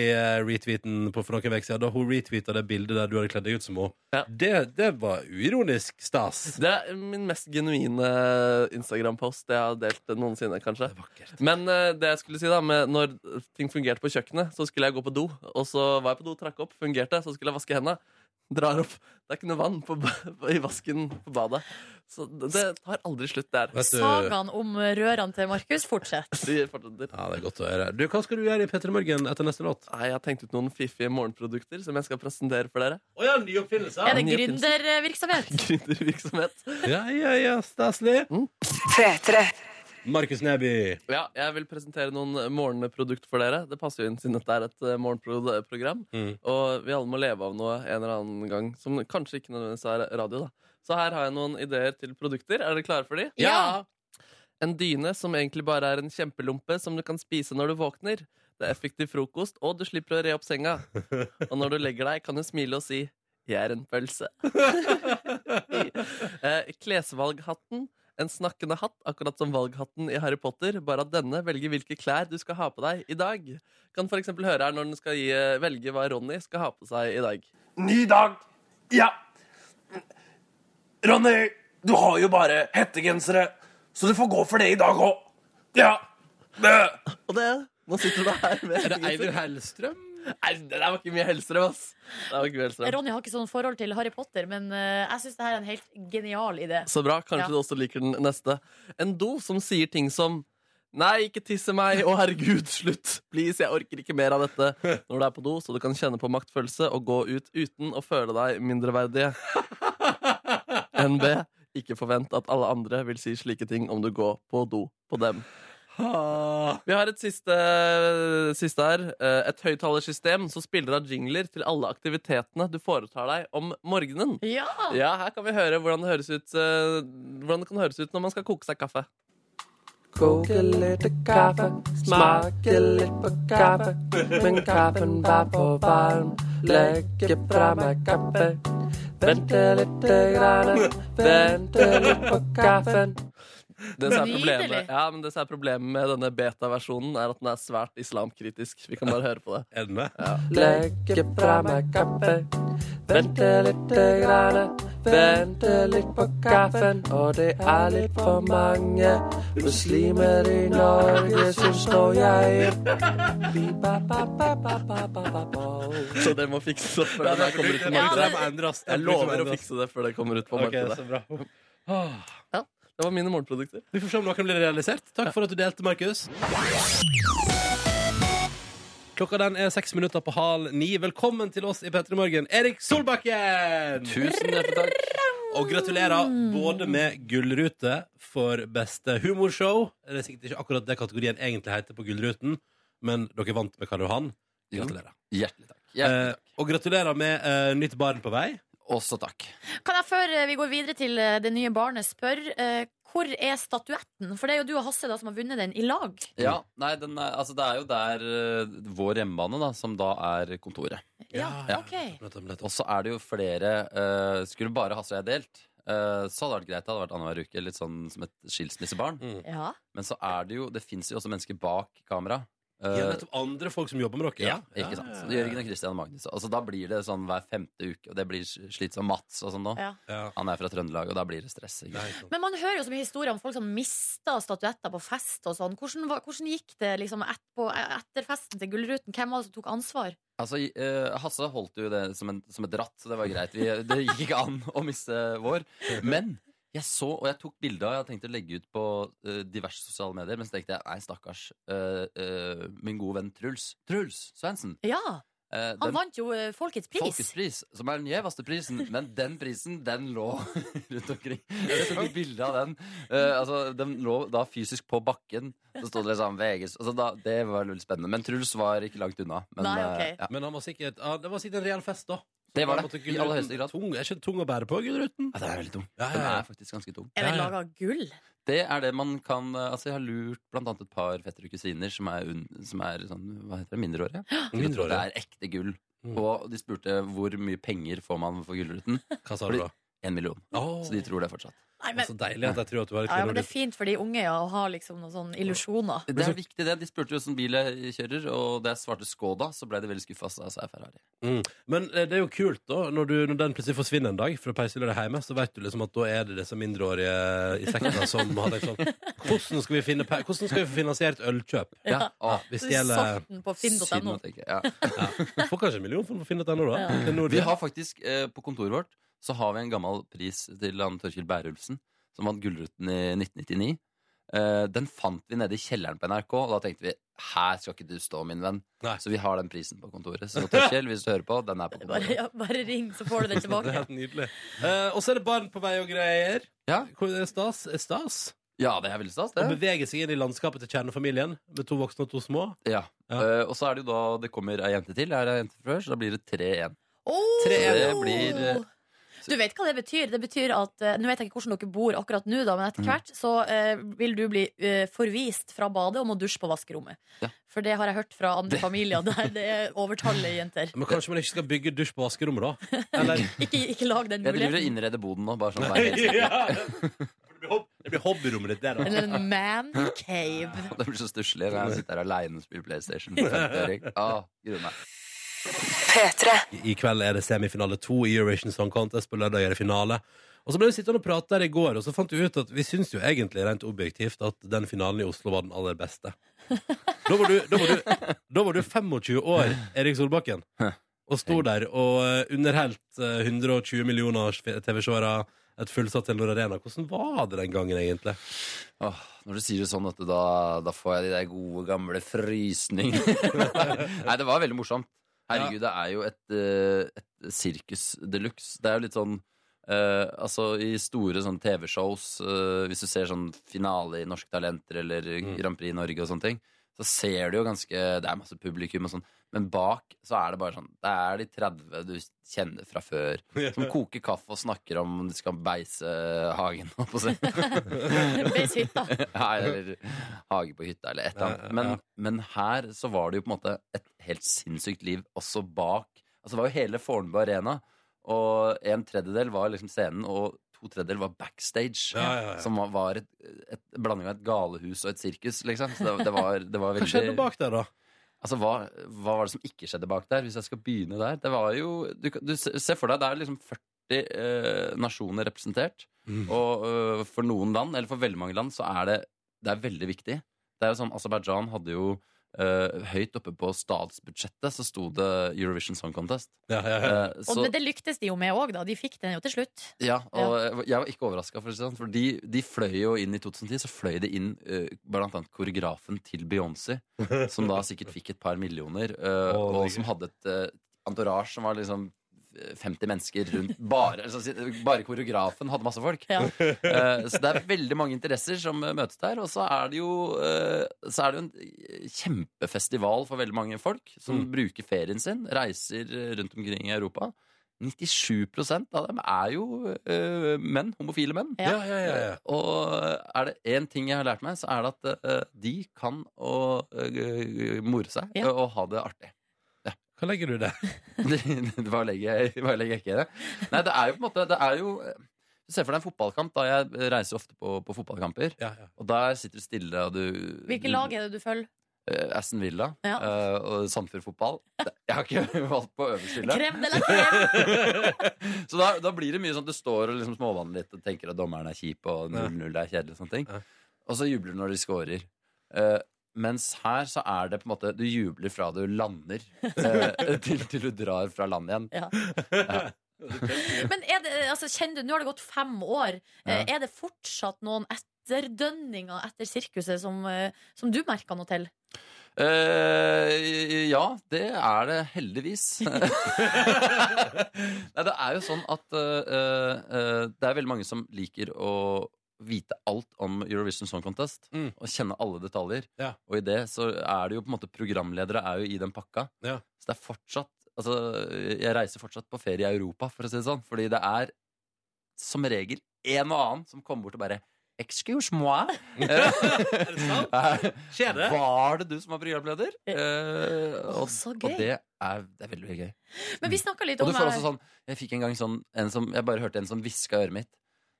[SPEAKER 2] Lewinsky-retweeten på for noen uker siden, da hun retweeta det bildet der du hadde kledd deg ut som henne,
[SPEAKER 7] Ja.
[SPEAKER 2] det, det var uironisk stas.
[SPEAKER 7] Det er min mest genuine Instagram-post jeg har delt noensinne, kanskje.
[SPEAKER 2] Vakkert.
[SPEAKER 7] Men eh, det jeg skulle si da med når ting fungerte på kjøkkenet, så skulle jeg gå på do. Og så var jeg på do, trakk opp, fungerte, så skulle jeg vaske hendene. Drar opp. Det er ikke noe vann på, ba- i vasken på badet. Så det, det tar aldri slutt der.
[SPEAKER 2] Vet du, ja,
[SPEAKER 3] Sagaen om rørene til Markus fortsetter.
[SPEAKER 7] De fortsetter.
[SPEAKER 2] det er godt å høre. Du, hva skal du gjøre i P3 Morgen etter neste låt?
[SPEAKER 7] Nei, jeg har tenkt ut noen fiffige morgenprodukter som jeg skal presentere for dere.
[SPEAKER 2] Å ja, nye oppfinnelser?
[SPEAKER 3] Er det
[SPEAKER 7] Nye pins.
[SPEAKER 3] gründervirksomhet?
[SPEAKER 7] Gründervirksomhet.
[SPEAKER 2] Ja, ja, ja, staselig. Markus Neby.
[SPEAKER 7] Ja, jeg vil presentere noen eh, morgenprodukt for dere. Det passer jo inn siden dette er et eh, morgenprogram.
[SPEAKER 2] Mm.
[SPEAKER 7] Og vi alle må leve av noe en eller annen gang. Som kanskje ikke nødvendigvis er radio, da. Så her har jeg noen ideer til produkter. Er dere klare for de?
[SPEAKER 3] Ja.
[SPEAKER 7] En dyne som egentlig bare er en kjempelompe som du kan spise når du våkner. Det er effektiv frokost, og du slipper å re opp senga. Og når du legger deg, kan du smile og si 'Jeg er en pølse'. Eh, Klesvalghatten. En snakkende hatt, akkurat som valghatten i Harry Potter, bare at denne velger hvilke klær du skal ha på deg i dag. Kan for eksempel høre her når den skal gi, eh, velge hva Ronny skal ha på seg i dag.
[SPEAKER 8] Ny dag. Ja. Ronny, du har jo bare hettegensere, så du får gå for det i dag òg. Ja. Bø.
[SPEAKER 7] Og det, nå sitter du her med
[SPEAKER 2] Er det Eivind Hellstrøm?
[SPEAKER 7] Nei, det der var ikke mye helstrøm, ass. Det var ikke mye helstrøm.
[SPEAKER 3] Ronny har ikke sånn forhold til Harry Potter, men eh, jeg syns det her er en helt genial idé.
[SPEAKER 7] Så bra, kanskje
[SPEAKER 3] Ja.
[SPEAKER 7] du også liker den neste. En do som sier ting som Nei, ikke tisse meg! Å, herregud, slutt! Please, jeg orker ikke mer av dette. Når du er på do, så du kan kjenne på maktfølelse og gå ut uten å føle deg mindreverdige. NB, ikke forvent at alle andre vil si slike ting om du går på do på dem. Vi har et siste, siste her. Eh, Et høyttalersystem som spiller av jingler til alle aktivitetene du foretar deg om morgenen.
[SPEAKER 3] Ja!
[SPEAKER 7] Ja, her kan vi høre hvordan det, høres ut, eh, hvordan det kan høres ut når man skal koke seg kaffe.
[SPEAKER 9] Koke litt kaffe, smake litt på kaffe. Men kaffen var for varm, legge fra meg kaffe. Vente litt, grann, vente litt på kaffen.
[SPEAKER 7] Det som er
[SPEAKER 3] Nydelig.
[SPEAKER 7] problemet, ja, men det som er problemet med denne beta-versjonen, er at den er svært islamkritisk. Vi kan bare høre på det.
[SPEAKER 2] Er den det?
[SPEAKER 9] Legge fra meg kaffe. Vente litt, grann, vente litt på kaffen. Og det er litt for mange muslimer i Norge, syns nå jeg. Bi-ba-ba-ba-ba-ba-ba-ba.
[SPEAKER 7] Så det må fikses opp før
[SPEAKER 2] Ja,
[SPEAKER 7] den her
[SPEAKER 2] det
[SPEAKER 7] kommer ut på
[SPEAKER 2] må
[SPEAKER 7] markedet.
[SPEAKER 2] endres.
[SPEAKER 7] Jeg lover å fikse det før det kommer ut på
[SPEAKER 2] Ok,
[SPEAKER 7] markedet.
[SPEAKER 2] så bra. Åh.
[SPEAKER 7] Det var mine morgenprodukter.
[SPEAKER 2] Vi får se om noen blir realisert. Takk for at du delte, Markus. Klokka den er seks minutter på halv ni. Velkommen til oss i P3 Morgen, Erik Solbakken!
[SPEAKER 7] Tusen hjertelig takk.
[SPEAKER 2] Og gratulerer både med gullrute for beste humorshow. Det er sikkert ikke akkurat det kategorien egentlig heter på Gullruten, men dere vant med Karl Johan. Gratulerer.
[SPEAKER 10] Hjertelig takk.
[SPEAKER 2] Eh, og gratulerer med eh, nytt barn på vei.
[SPEAKER 10] Også takk.
[SPEAKER 3] Kan jeg før eh, vi går videre til eh, det nye barnet spørre eh, hvor er statuetten? For det er jo du og Hasse da som har vunnet den i lag.
[SPEAKER 10] Ja, nei, den er, altså, det er jo der eh, vår hjemmebane, da, som da er kontoret. Ja.
[SPEAKER 3] ok
[SPEAKER 2] Nettopp, nettopp.
[SPEAKER 10] Og så er det jo flere eh, Skulle bare Hasse og jeg delt, eh, så hadde det vært greit. Det hadde vært annenhver uke, litt sånn som et skilsmissebarn.
[SPEAKER 2] Mm.
[SPEAKER 3] Ja.
[SPEAKER 10] Men så er det jo Det fins jo også mennesker bak kamera
[SPEAKER 7] Eh,
[SPEAKER 2] Ja, nettopp andre folk som jobber med dere.
[SPEAKER 7] ja, ikke sant. Så Jørgen og Kristian og Magnus. Altså, da blir det sånn hver femte uke, og det blir slitsomt. Mats og sånn nå.
[SPEAKER 3] Ja.
[SPEAKER 7] Han er fra Trøndelag, og da blir det stress. Ikke? sant?
[SPEAKER 3] Men man hører jo så mye historier om folk som mista statuetter på fest og sånn. Hvordan, var- hvordan gikk det liksom etterpå, etter festen til Gullruten? Hvem var det som tok ansvar?
[SPEAKER 7] Altså, eh, Hasse holdt jo det som, en, som et ratt, så det var greit. Vi, det gikk ikke an å miste vår. Men jeg så, og jeg tok bilde av, jeg tenkte å legge ut på eh, diverse sosiale medier, men så tenkte jeg nei, stakkars. eh, eh, min gode venn Truls. Truls Svendsen.
[SPEAKER 3] Ja!
[SPEAKER 7] Eh,
[SPEAKER 3] Han
[SPEAKER 7] den-
[SPEAKER 3] vant jo eh, Folkets pris.
[SPEAKER 7] Folkets pris, som er den gjeveste prisen. Men den prisen, den lå rundt omkring. Jeg tok et bilde av den. Eh, altså, den lå da fysisk på bakken. Så sto det liksom VGs. Altså, da, det var veldig spennende. Men Truls var ikke langt unna. Men, eh, ja.
[SPEAKER 2] Men han var sikkert, ja, det var sikkert en reell fest, da.
[SPEAKER 7] Det var
[SPEAKER 2] Da
[SPEAKER 7] det,
[SPEAKER 2] måtte
[SPEAKER 7] i
[SPEAKER 2] Gullruten-
[SPEAKER 7] aller høyeste grad.
[SPEAKER 2] Tung, er ikke tung å bære på, Gullruten?
[SPEAKER 7] Ja, den er veldig tung.
[SPEAKER 2] Ja,
[SPEAKER 7] Den
[SPEAKER 2] ja, ja.
[SPEAKER 7] er faktisk ganske tung.
[SPEAKER 3] Er den laga av gull?
[SPEAKER 7] Det er det man kan eh, Altså, jeg har lurt blant annet et par fettere og kusiner som er, un, som er sånn, hva heter det, mindreårige. Som tror
[SPEAKER 2] mindreårige. Mm.
[SPEAKER 7] Det er ekte gull. Og de spurte hvor mye penger får man for Gullruten.
[SPEAKER 2] Hva sa du da?
[SPEAKER 7] En million. Så de tror det fortsatt.
[SPEAKER 3] Nei, men-
[SPEAKER 2] Så deilig at jeg tror at du har et
[SPEAKER 3] Ja, ja, men det
[SPEAKER 2] gullord.
[SPEAKER 3] er fint for de unge ja, å ha liksom noen sånne illusjoner.
[SPEAKER 7] Det er viktig, det. De spurte jo hvordan bil jeg kjører, og da jeg svarte Skoda, så ble de veldig skuffa. Så jeg sa jeg Ferrari.
[SPEAKER 2] Mm. Men eh, det er jo kult, da. Når, du, når den plutselig forsvinner en dag fra peisehyllet hjemme, så vet du liksom at da er det disse mindreårige i sekta som har tenkt sånn Hvordan skal vi, finne, pe- hvordan skal vi få finansiert ølkjøp?
[SPEAKER 3] Ja.
[SPEAKER 2] Hvis
[SPEAKER 3] Så
[SPEAKER 2] det gjelder
[SPEAKER 3] solgte den på finn.no.
[SPEAKER 7] Synd å tenke, ja.
[SPEAKER 2] Du får kanskje en million for å finne dette nå, da. Det er noe
[SPEAKER 7] Vi
[SPEAKER 2] det-
[SPEAKER 7] har faktisk, eh, på kontoret vårt, så har vi en gammel pris til han Torkild Bærulfsen, som vant Gullruten i 1999. Eh, den fant vi nede i kjelleren på NRK, og da tenkte vi her skal ikke du stå, min venn. Så vi har den prisen på kontoret. Så Torkild, hvis du hører på, den er på
[SPEAKER 3] Bare,
[SPEAKER 7] kontoret.
[SPEAKER 3] ja, bare ring, så får du den
[SPEAKER 2] Det er
[SPEAKER 3] tilbake.
[SPEAKER 2] helt nydelig. Eh, og så er det barn på vei og greier.
[SPEAKER 7] Ja.
[SPEAKER 2] Hvor er det stas? Er stas?
[SPEAKER 7] Ja, det er veldig stas, det.
[SPEAKER 2] Å bevege seg inn i landskapet til kjernefamilien med to voksne og to små.
[SPEAKER 7] Ja. Eh, og så er det jo da det kommer ei jente til. Er det ei jente før, så da blir det 3-1.
[SPEAKER 3] Åh!
[SPEAKER 7] Så det blir eh,
[SPEAKER 3] Du vet hva det betyr? Det betyr at eh, Nå vet jeg ikke hvordan dere bor akkurat nå, da, men etter
[SPEAKER 7] Mhm.
[SPEAKER 3] hvert så eh, vil du bli eh, forvist fra badet og må dusje på vaskerommet. For det har jeg hørt fra andre familier der det er overtallige jenter.
[SPEAKER 2] Men kanskje man ikke skal bygge dusj på vaskerommet, da?
[SPEAKER 3] Ikke, ikke lag den
[SPEAKER 7] Jeg driver og
[SPEAKER 3] muligheten.
[SPEAKER 7] innreder boden nå, bare sånn.
[SPEAKER 2] Nei,
[SPEAKER 7] det er helt-
[SPEAKER 2] Det blir hobbyrommet ditt, det, da.
[SPEAKER 3] Eller en man cave.
[SPEAKER 7] Det blir så stusslig når jeg sitter her aleine og spiller PlayStation. 50-øring. Ah, gruer meg.
[SPEAKER 2] I kveld er det semifinale to i Eurovision Song Contest. På lørdag er det finale. Og så ble vi sittende og prate der i går, og så fant vi ut at vi syns jo egentlig rent objektivt at den finalen i Oslo var den aller beste. Da var du, da var du, da var du 25 år, Erik Solbakken, og sto der og eh, underholdt eh, 120 millioner TV-seere, et fullsatt Telenor Arena. Hvordan var det den gangen, egentlig?
[SPEAKER 7] Åh, når du sier det sånn, vet du, da, da får jeg de der gode, gamle frysningene. Nei, det var veldig morsomt. Herregud, det er jo et, eh, et sirkus de luxe. Det er jo litt sånn eh, altså I store sånn TV-shows, eh, hvis du ser sånn finale i Norske Talenter eller Grand Prix i Norge og sånne ting, så ser du jo ganske Det er masse publikum og sånn, men bak så er det bare sånn Det er de 30 du kjenner fra før, som koker kaffe og snakker om de skal beise hagen, holdt på å si.
[SPEAKER 3] Beis hytta.
[SPEAKER 7] Ja, eller hage på hytta, eller et eller annet. Men, men her så var det jo på en måte et helt sinnssykt liv også bak. Altså, det var jo hele Fornebu Arena, og en tredjedel var liksom scenen, og to tredjedel var backstage.
[SPEAKER 2] Ja, ja, ja.
[SPEAKER 7] Som var- var et, et en blanding av et galehus og et sirkus, liksom. Så det, det, var, det var veldig
[SPEAKER 2] Hva skjedde bak der, da?
[SPEAKER 7] Altså, hva, hva var det som ikke skjedde bak der? Hvis jeg skal begynne der Det var jo Du, kan- du se se for deg, det er liksom 40 eh, nasjoner representert. Og eh, for noen land, eller for veldig mange land, så er det Det er veldig viktig. Det er jo sånn, Aserbajdsjan hadde jo eh, Høyt oppe på statsbudsjettet så sto det Eurovision Song Contest. Eh,
[SPEAKER 3] Og
[SPEAKER 7] så-
[SPEAKER 3] men det lyktes de jo med òg, da. De fikk den jo til slutt.
[SPEAKER 7] ja, og jeg- jeg var ikke overraska, for, å si det sånn, for de, de fløy jo inn i 2010. Så fløy det inn eh, blant annet koreografen til Beyoncé, som da sikkert fikk et par millioner, eh,
[SPEAKER 2] Å,
[SPEAKER 7] og som hadde et uh, entourage som var liksom 50 mennesker rundt bare, altså, si- bare koreografen hadde masse folk.
[SPEAKER 3] Ja.
[SPEAKER 7] Eh, så det er veldig mange interesser som eh, møtes der. Og så er det jo, eh, så er det jo en kjempefestival for veldig mange folk som bruker ferien sin, reiser eh, rundt omkring i Europa. 97 av dem er jo eh, menn, homofile menn.
[SPEAKER 2] Ja, ja, ja. ja.
[SPEAKER 7] Og eh, er det én ting jeg har lært meg, så er det at eh, de kan å eh, more seg
[SPEAKER 3] Ja.
[SPEAKER 7] og ha det artig.
[SPEAKER 2] Hva legger du i det?
[SPEAKER 7] Det- det- Hva legger jeg hva legger jeg ikke i det? Nei, det er jo på en måte Det er jo eh, Se for deg en fotballkamp. da Jeg reiser ofte på, på fotballkamper.
[SPEAKER 2] Ja, ja.
[SPEAKER 7] Og der sitter du stille, og du
[SPEAKER 3] Hvilket
[SPEAKER 7] du-
[SPEAKER 3] lag er det du følger?
[SPEAKER 7] eh, Aston Villa
[SPEAKER 3] Ja.
[SPEAKER 7] eh, og Sandefjord fotball. Jeg har ikke valgt på øverste hylle.
[SPEAKER 3] Krem de la creme!
[SPEAKER 7] Så da, da blir det mye sånn at du står og liksom småvanner litt og tenker at dommeren er kjip og 0-0 er kjedelig og sånne ting. Og så jubler du når de scorer. Eh, mens her så er det på en måte Du jubler fra du lander eh, til, til du drar fra land igjen.
[SPEAKER 3] Ja.
[SPEAKER 7] Ja.
[SPEAKER 3] Men er det, altså, kjenner du, nå har det gått fem år. Eh, Er det fortsatt noen etterdønninger etter sirkuset som, eh, som du merker noe til?
[SPEAKER 7] Eh, ja, det er det heldigvis. Nei, det er jo sånn at eh, eh, det er veldig mange som liker å vite alt om Eurovision Song Contest og kjenne alle detaljer.
[SPEAKER 2] Mm. Ja.
[SPEAKER 7] Og i det så er det jo på en måte programledere er jo i den pakka.
[SPEAKER 2] Ja.
[SPEAKER 7] Så det er fortsatt Altså, jeg reiser fortsatt på ferie i Europa, for å si det sånn, fordi det er som regel en og annen som kommer bort og bare Excuse moi. Eh, er det sant?
[SPEAKER 2] Skjer det?
[SPEAKER 7] Var det du som var programleder? Eh, og,
[SPEAKER 3] så gøy.
[SPEAKER 7] og det er, det er veldig, veldig gøy.
[SPEAKER 3] Men vi snakka litt
[SPEAKER 7] Mm. Og
[SPEAKER 3] om eh,
[SPEAKER 7] du får også sånn Jeg fikk en gang sånn, en som, jeg bare hørte en som hviska i øret mitt.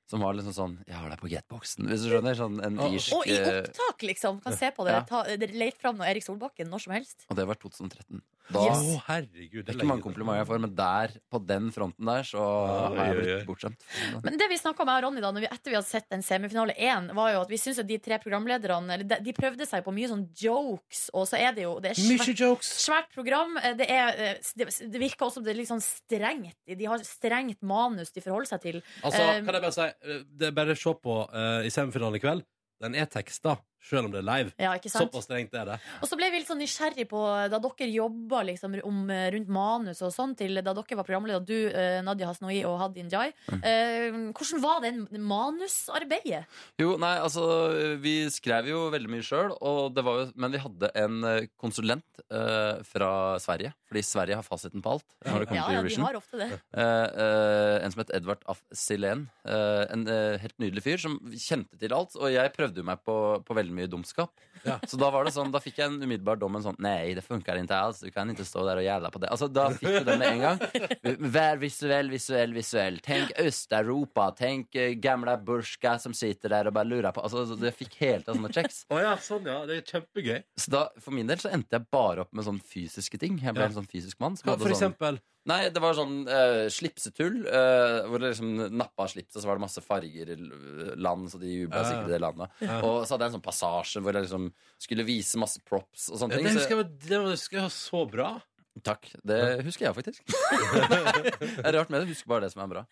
[SPEAKER 7] Som var liksom sånn Jeg har deg på getboxen, hvis du skjønner. Sånn en
[SPEAKER 3] Og-
[SPEAKER 7] irsk
[SPEAKER 3] Og i
[SPEAKER 7] eh,
[SPEAKER 3] opptak, liksom. Kan se på det.
[SPEAKER 7] Ja.
[SPEAKER 3] Ta, leit fram noe Erik Solbakken når som helst.
[SPEAKER 7] Og det var 2013.
[SPEAKER 3] Yes.
[SPEAKER 2] Å, herregud.
[SPEAKER 7] det er ikke mange komplimenter jeg får, men der, på den fronten der, så har jeg
[SPEAKER 2] oi,
[SPEAKER 7] blitt bortskjemt.
[SPEAKER 3] Men det vi snakka om jeg og Ronny da når vi, etter vi hadde sett den semifinale én, var jo at vi syns at de tre programlederne eller de, de prøvde seg på mye sånn jokes, og så er det jo det er
[SPEAKER 2] Mye
[SPEAKER 3] svært,
[SPEAKER 2] jokes.
[SPEAKER 3] svært program. eh, Det, er, eh, det, det virker også som det er litt sånn strengt. De har strengt manus de forholder seg til.
[SPEAKER 2] Altså,
[SPEAKER 3] Eh,
[SPEAKER 2] kan jeg bare si eh, Det er bare å se på eh, i semifinalen i kveld. Den er teksta, selv om det er live.
[SPEAKER 3] Ja, ikke sant?
[SPEAKER 2] Såpass strengt er det.
[SPEAKER 3] Og så ble vi litt sånn nysgjerrig på da dere jobba liksom, om, rundt manus og sånn til da dere var programleder, du, eh, Nadia Hasnoi og Hadin Jai. Eh, hvordan var den manusarbeidet?
[SPEAKER 7] Jo, nei, altså Vi skrev jo veldig mye sjøl, men vi hadde en eh, konsulent eh, fra Sverige. Fordi Sverige har fasiten på alt når det kommer
[SPEAKER 3] Ja, ja,
[SPEAKER 7] til
[SPEAKER 3] de
[SPEAKER 7] Eurovision.
[SPEAKER 3] har ofte det.
[SPEAKER 7] Eh, eh, en som het Edvard af Silén. Eh, en eh, helt nydelig fyr som kjente til alt. Og jeg prøvde jo meg på, på veldig mye dumskap. Så da var det sånn, da fikk jeg en umiddelbar dom en sånn Nei, det funker ikke alls. Du kan ikke stå der og jævla på det. Altså, Da fikk du det med en gang. Vær visuell, visuell, visuell. Tenk Øst-Europa. Tenk eh, gamle Burska som sitter der og bare lurer på Altså, så Jeg fikk hele tiden sånne checks.
[SPEAKER 2] Å ja, sånn ja. Det er kjempegøy.
[SPEAKER 7] Så da, For min del så endte jeg bare opp med sånn fysiske ting. Jeg ble
[SPEAKER 2] Ja.
[SPEAKER 7] en sånn fysisk mann. som
[SPEAKER 2] Hva,
[SPEAKER 7] hadde
[SPEAKER 2] for
[SPEAKER 7] sånn,
[SPEAKER 2] eksempel
[SPEAKER 7] Nei, det var sånn eh, slipsetull. eh, hvor det liksom nappa av slipset, så var det masse farger i l- land, så de jubla
[SPEAKER 2] Ja, ja.
[SPEAKER 7] sikkert i det landet.
[SPEAKER 2] Ja.
[SPEAKER 7] Og så hadde jeg en sånn passasje hvor jeg liksom skulle vise masse props og sånne
[SPEAKER 2] ja,
[SPEAKER 7] ting.
[SPEAKER 2] Det
[SPEAKER 7] så-
[SPEAKER 2] husker jeg var- det var- husker jeg var så bra.
[SPEAKER 7] Takk. Det husker jeg faktisk. det er rart med det. Husker bare det som er bra.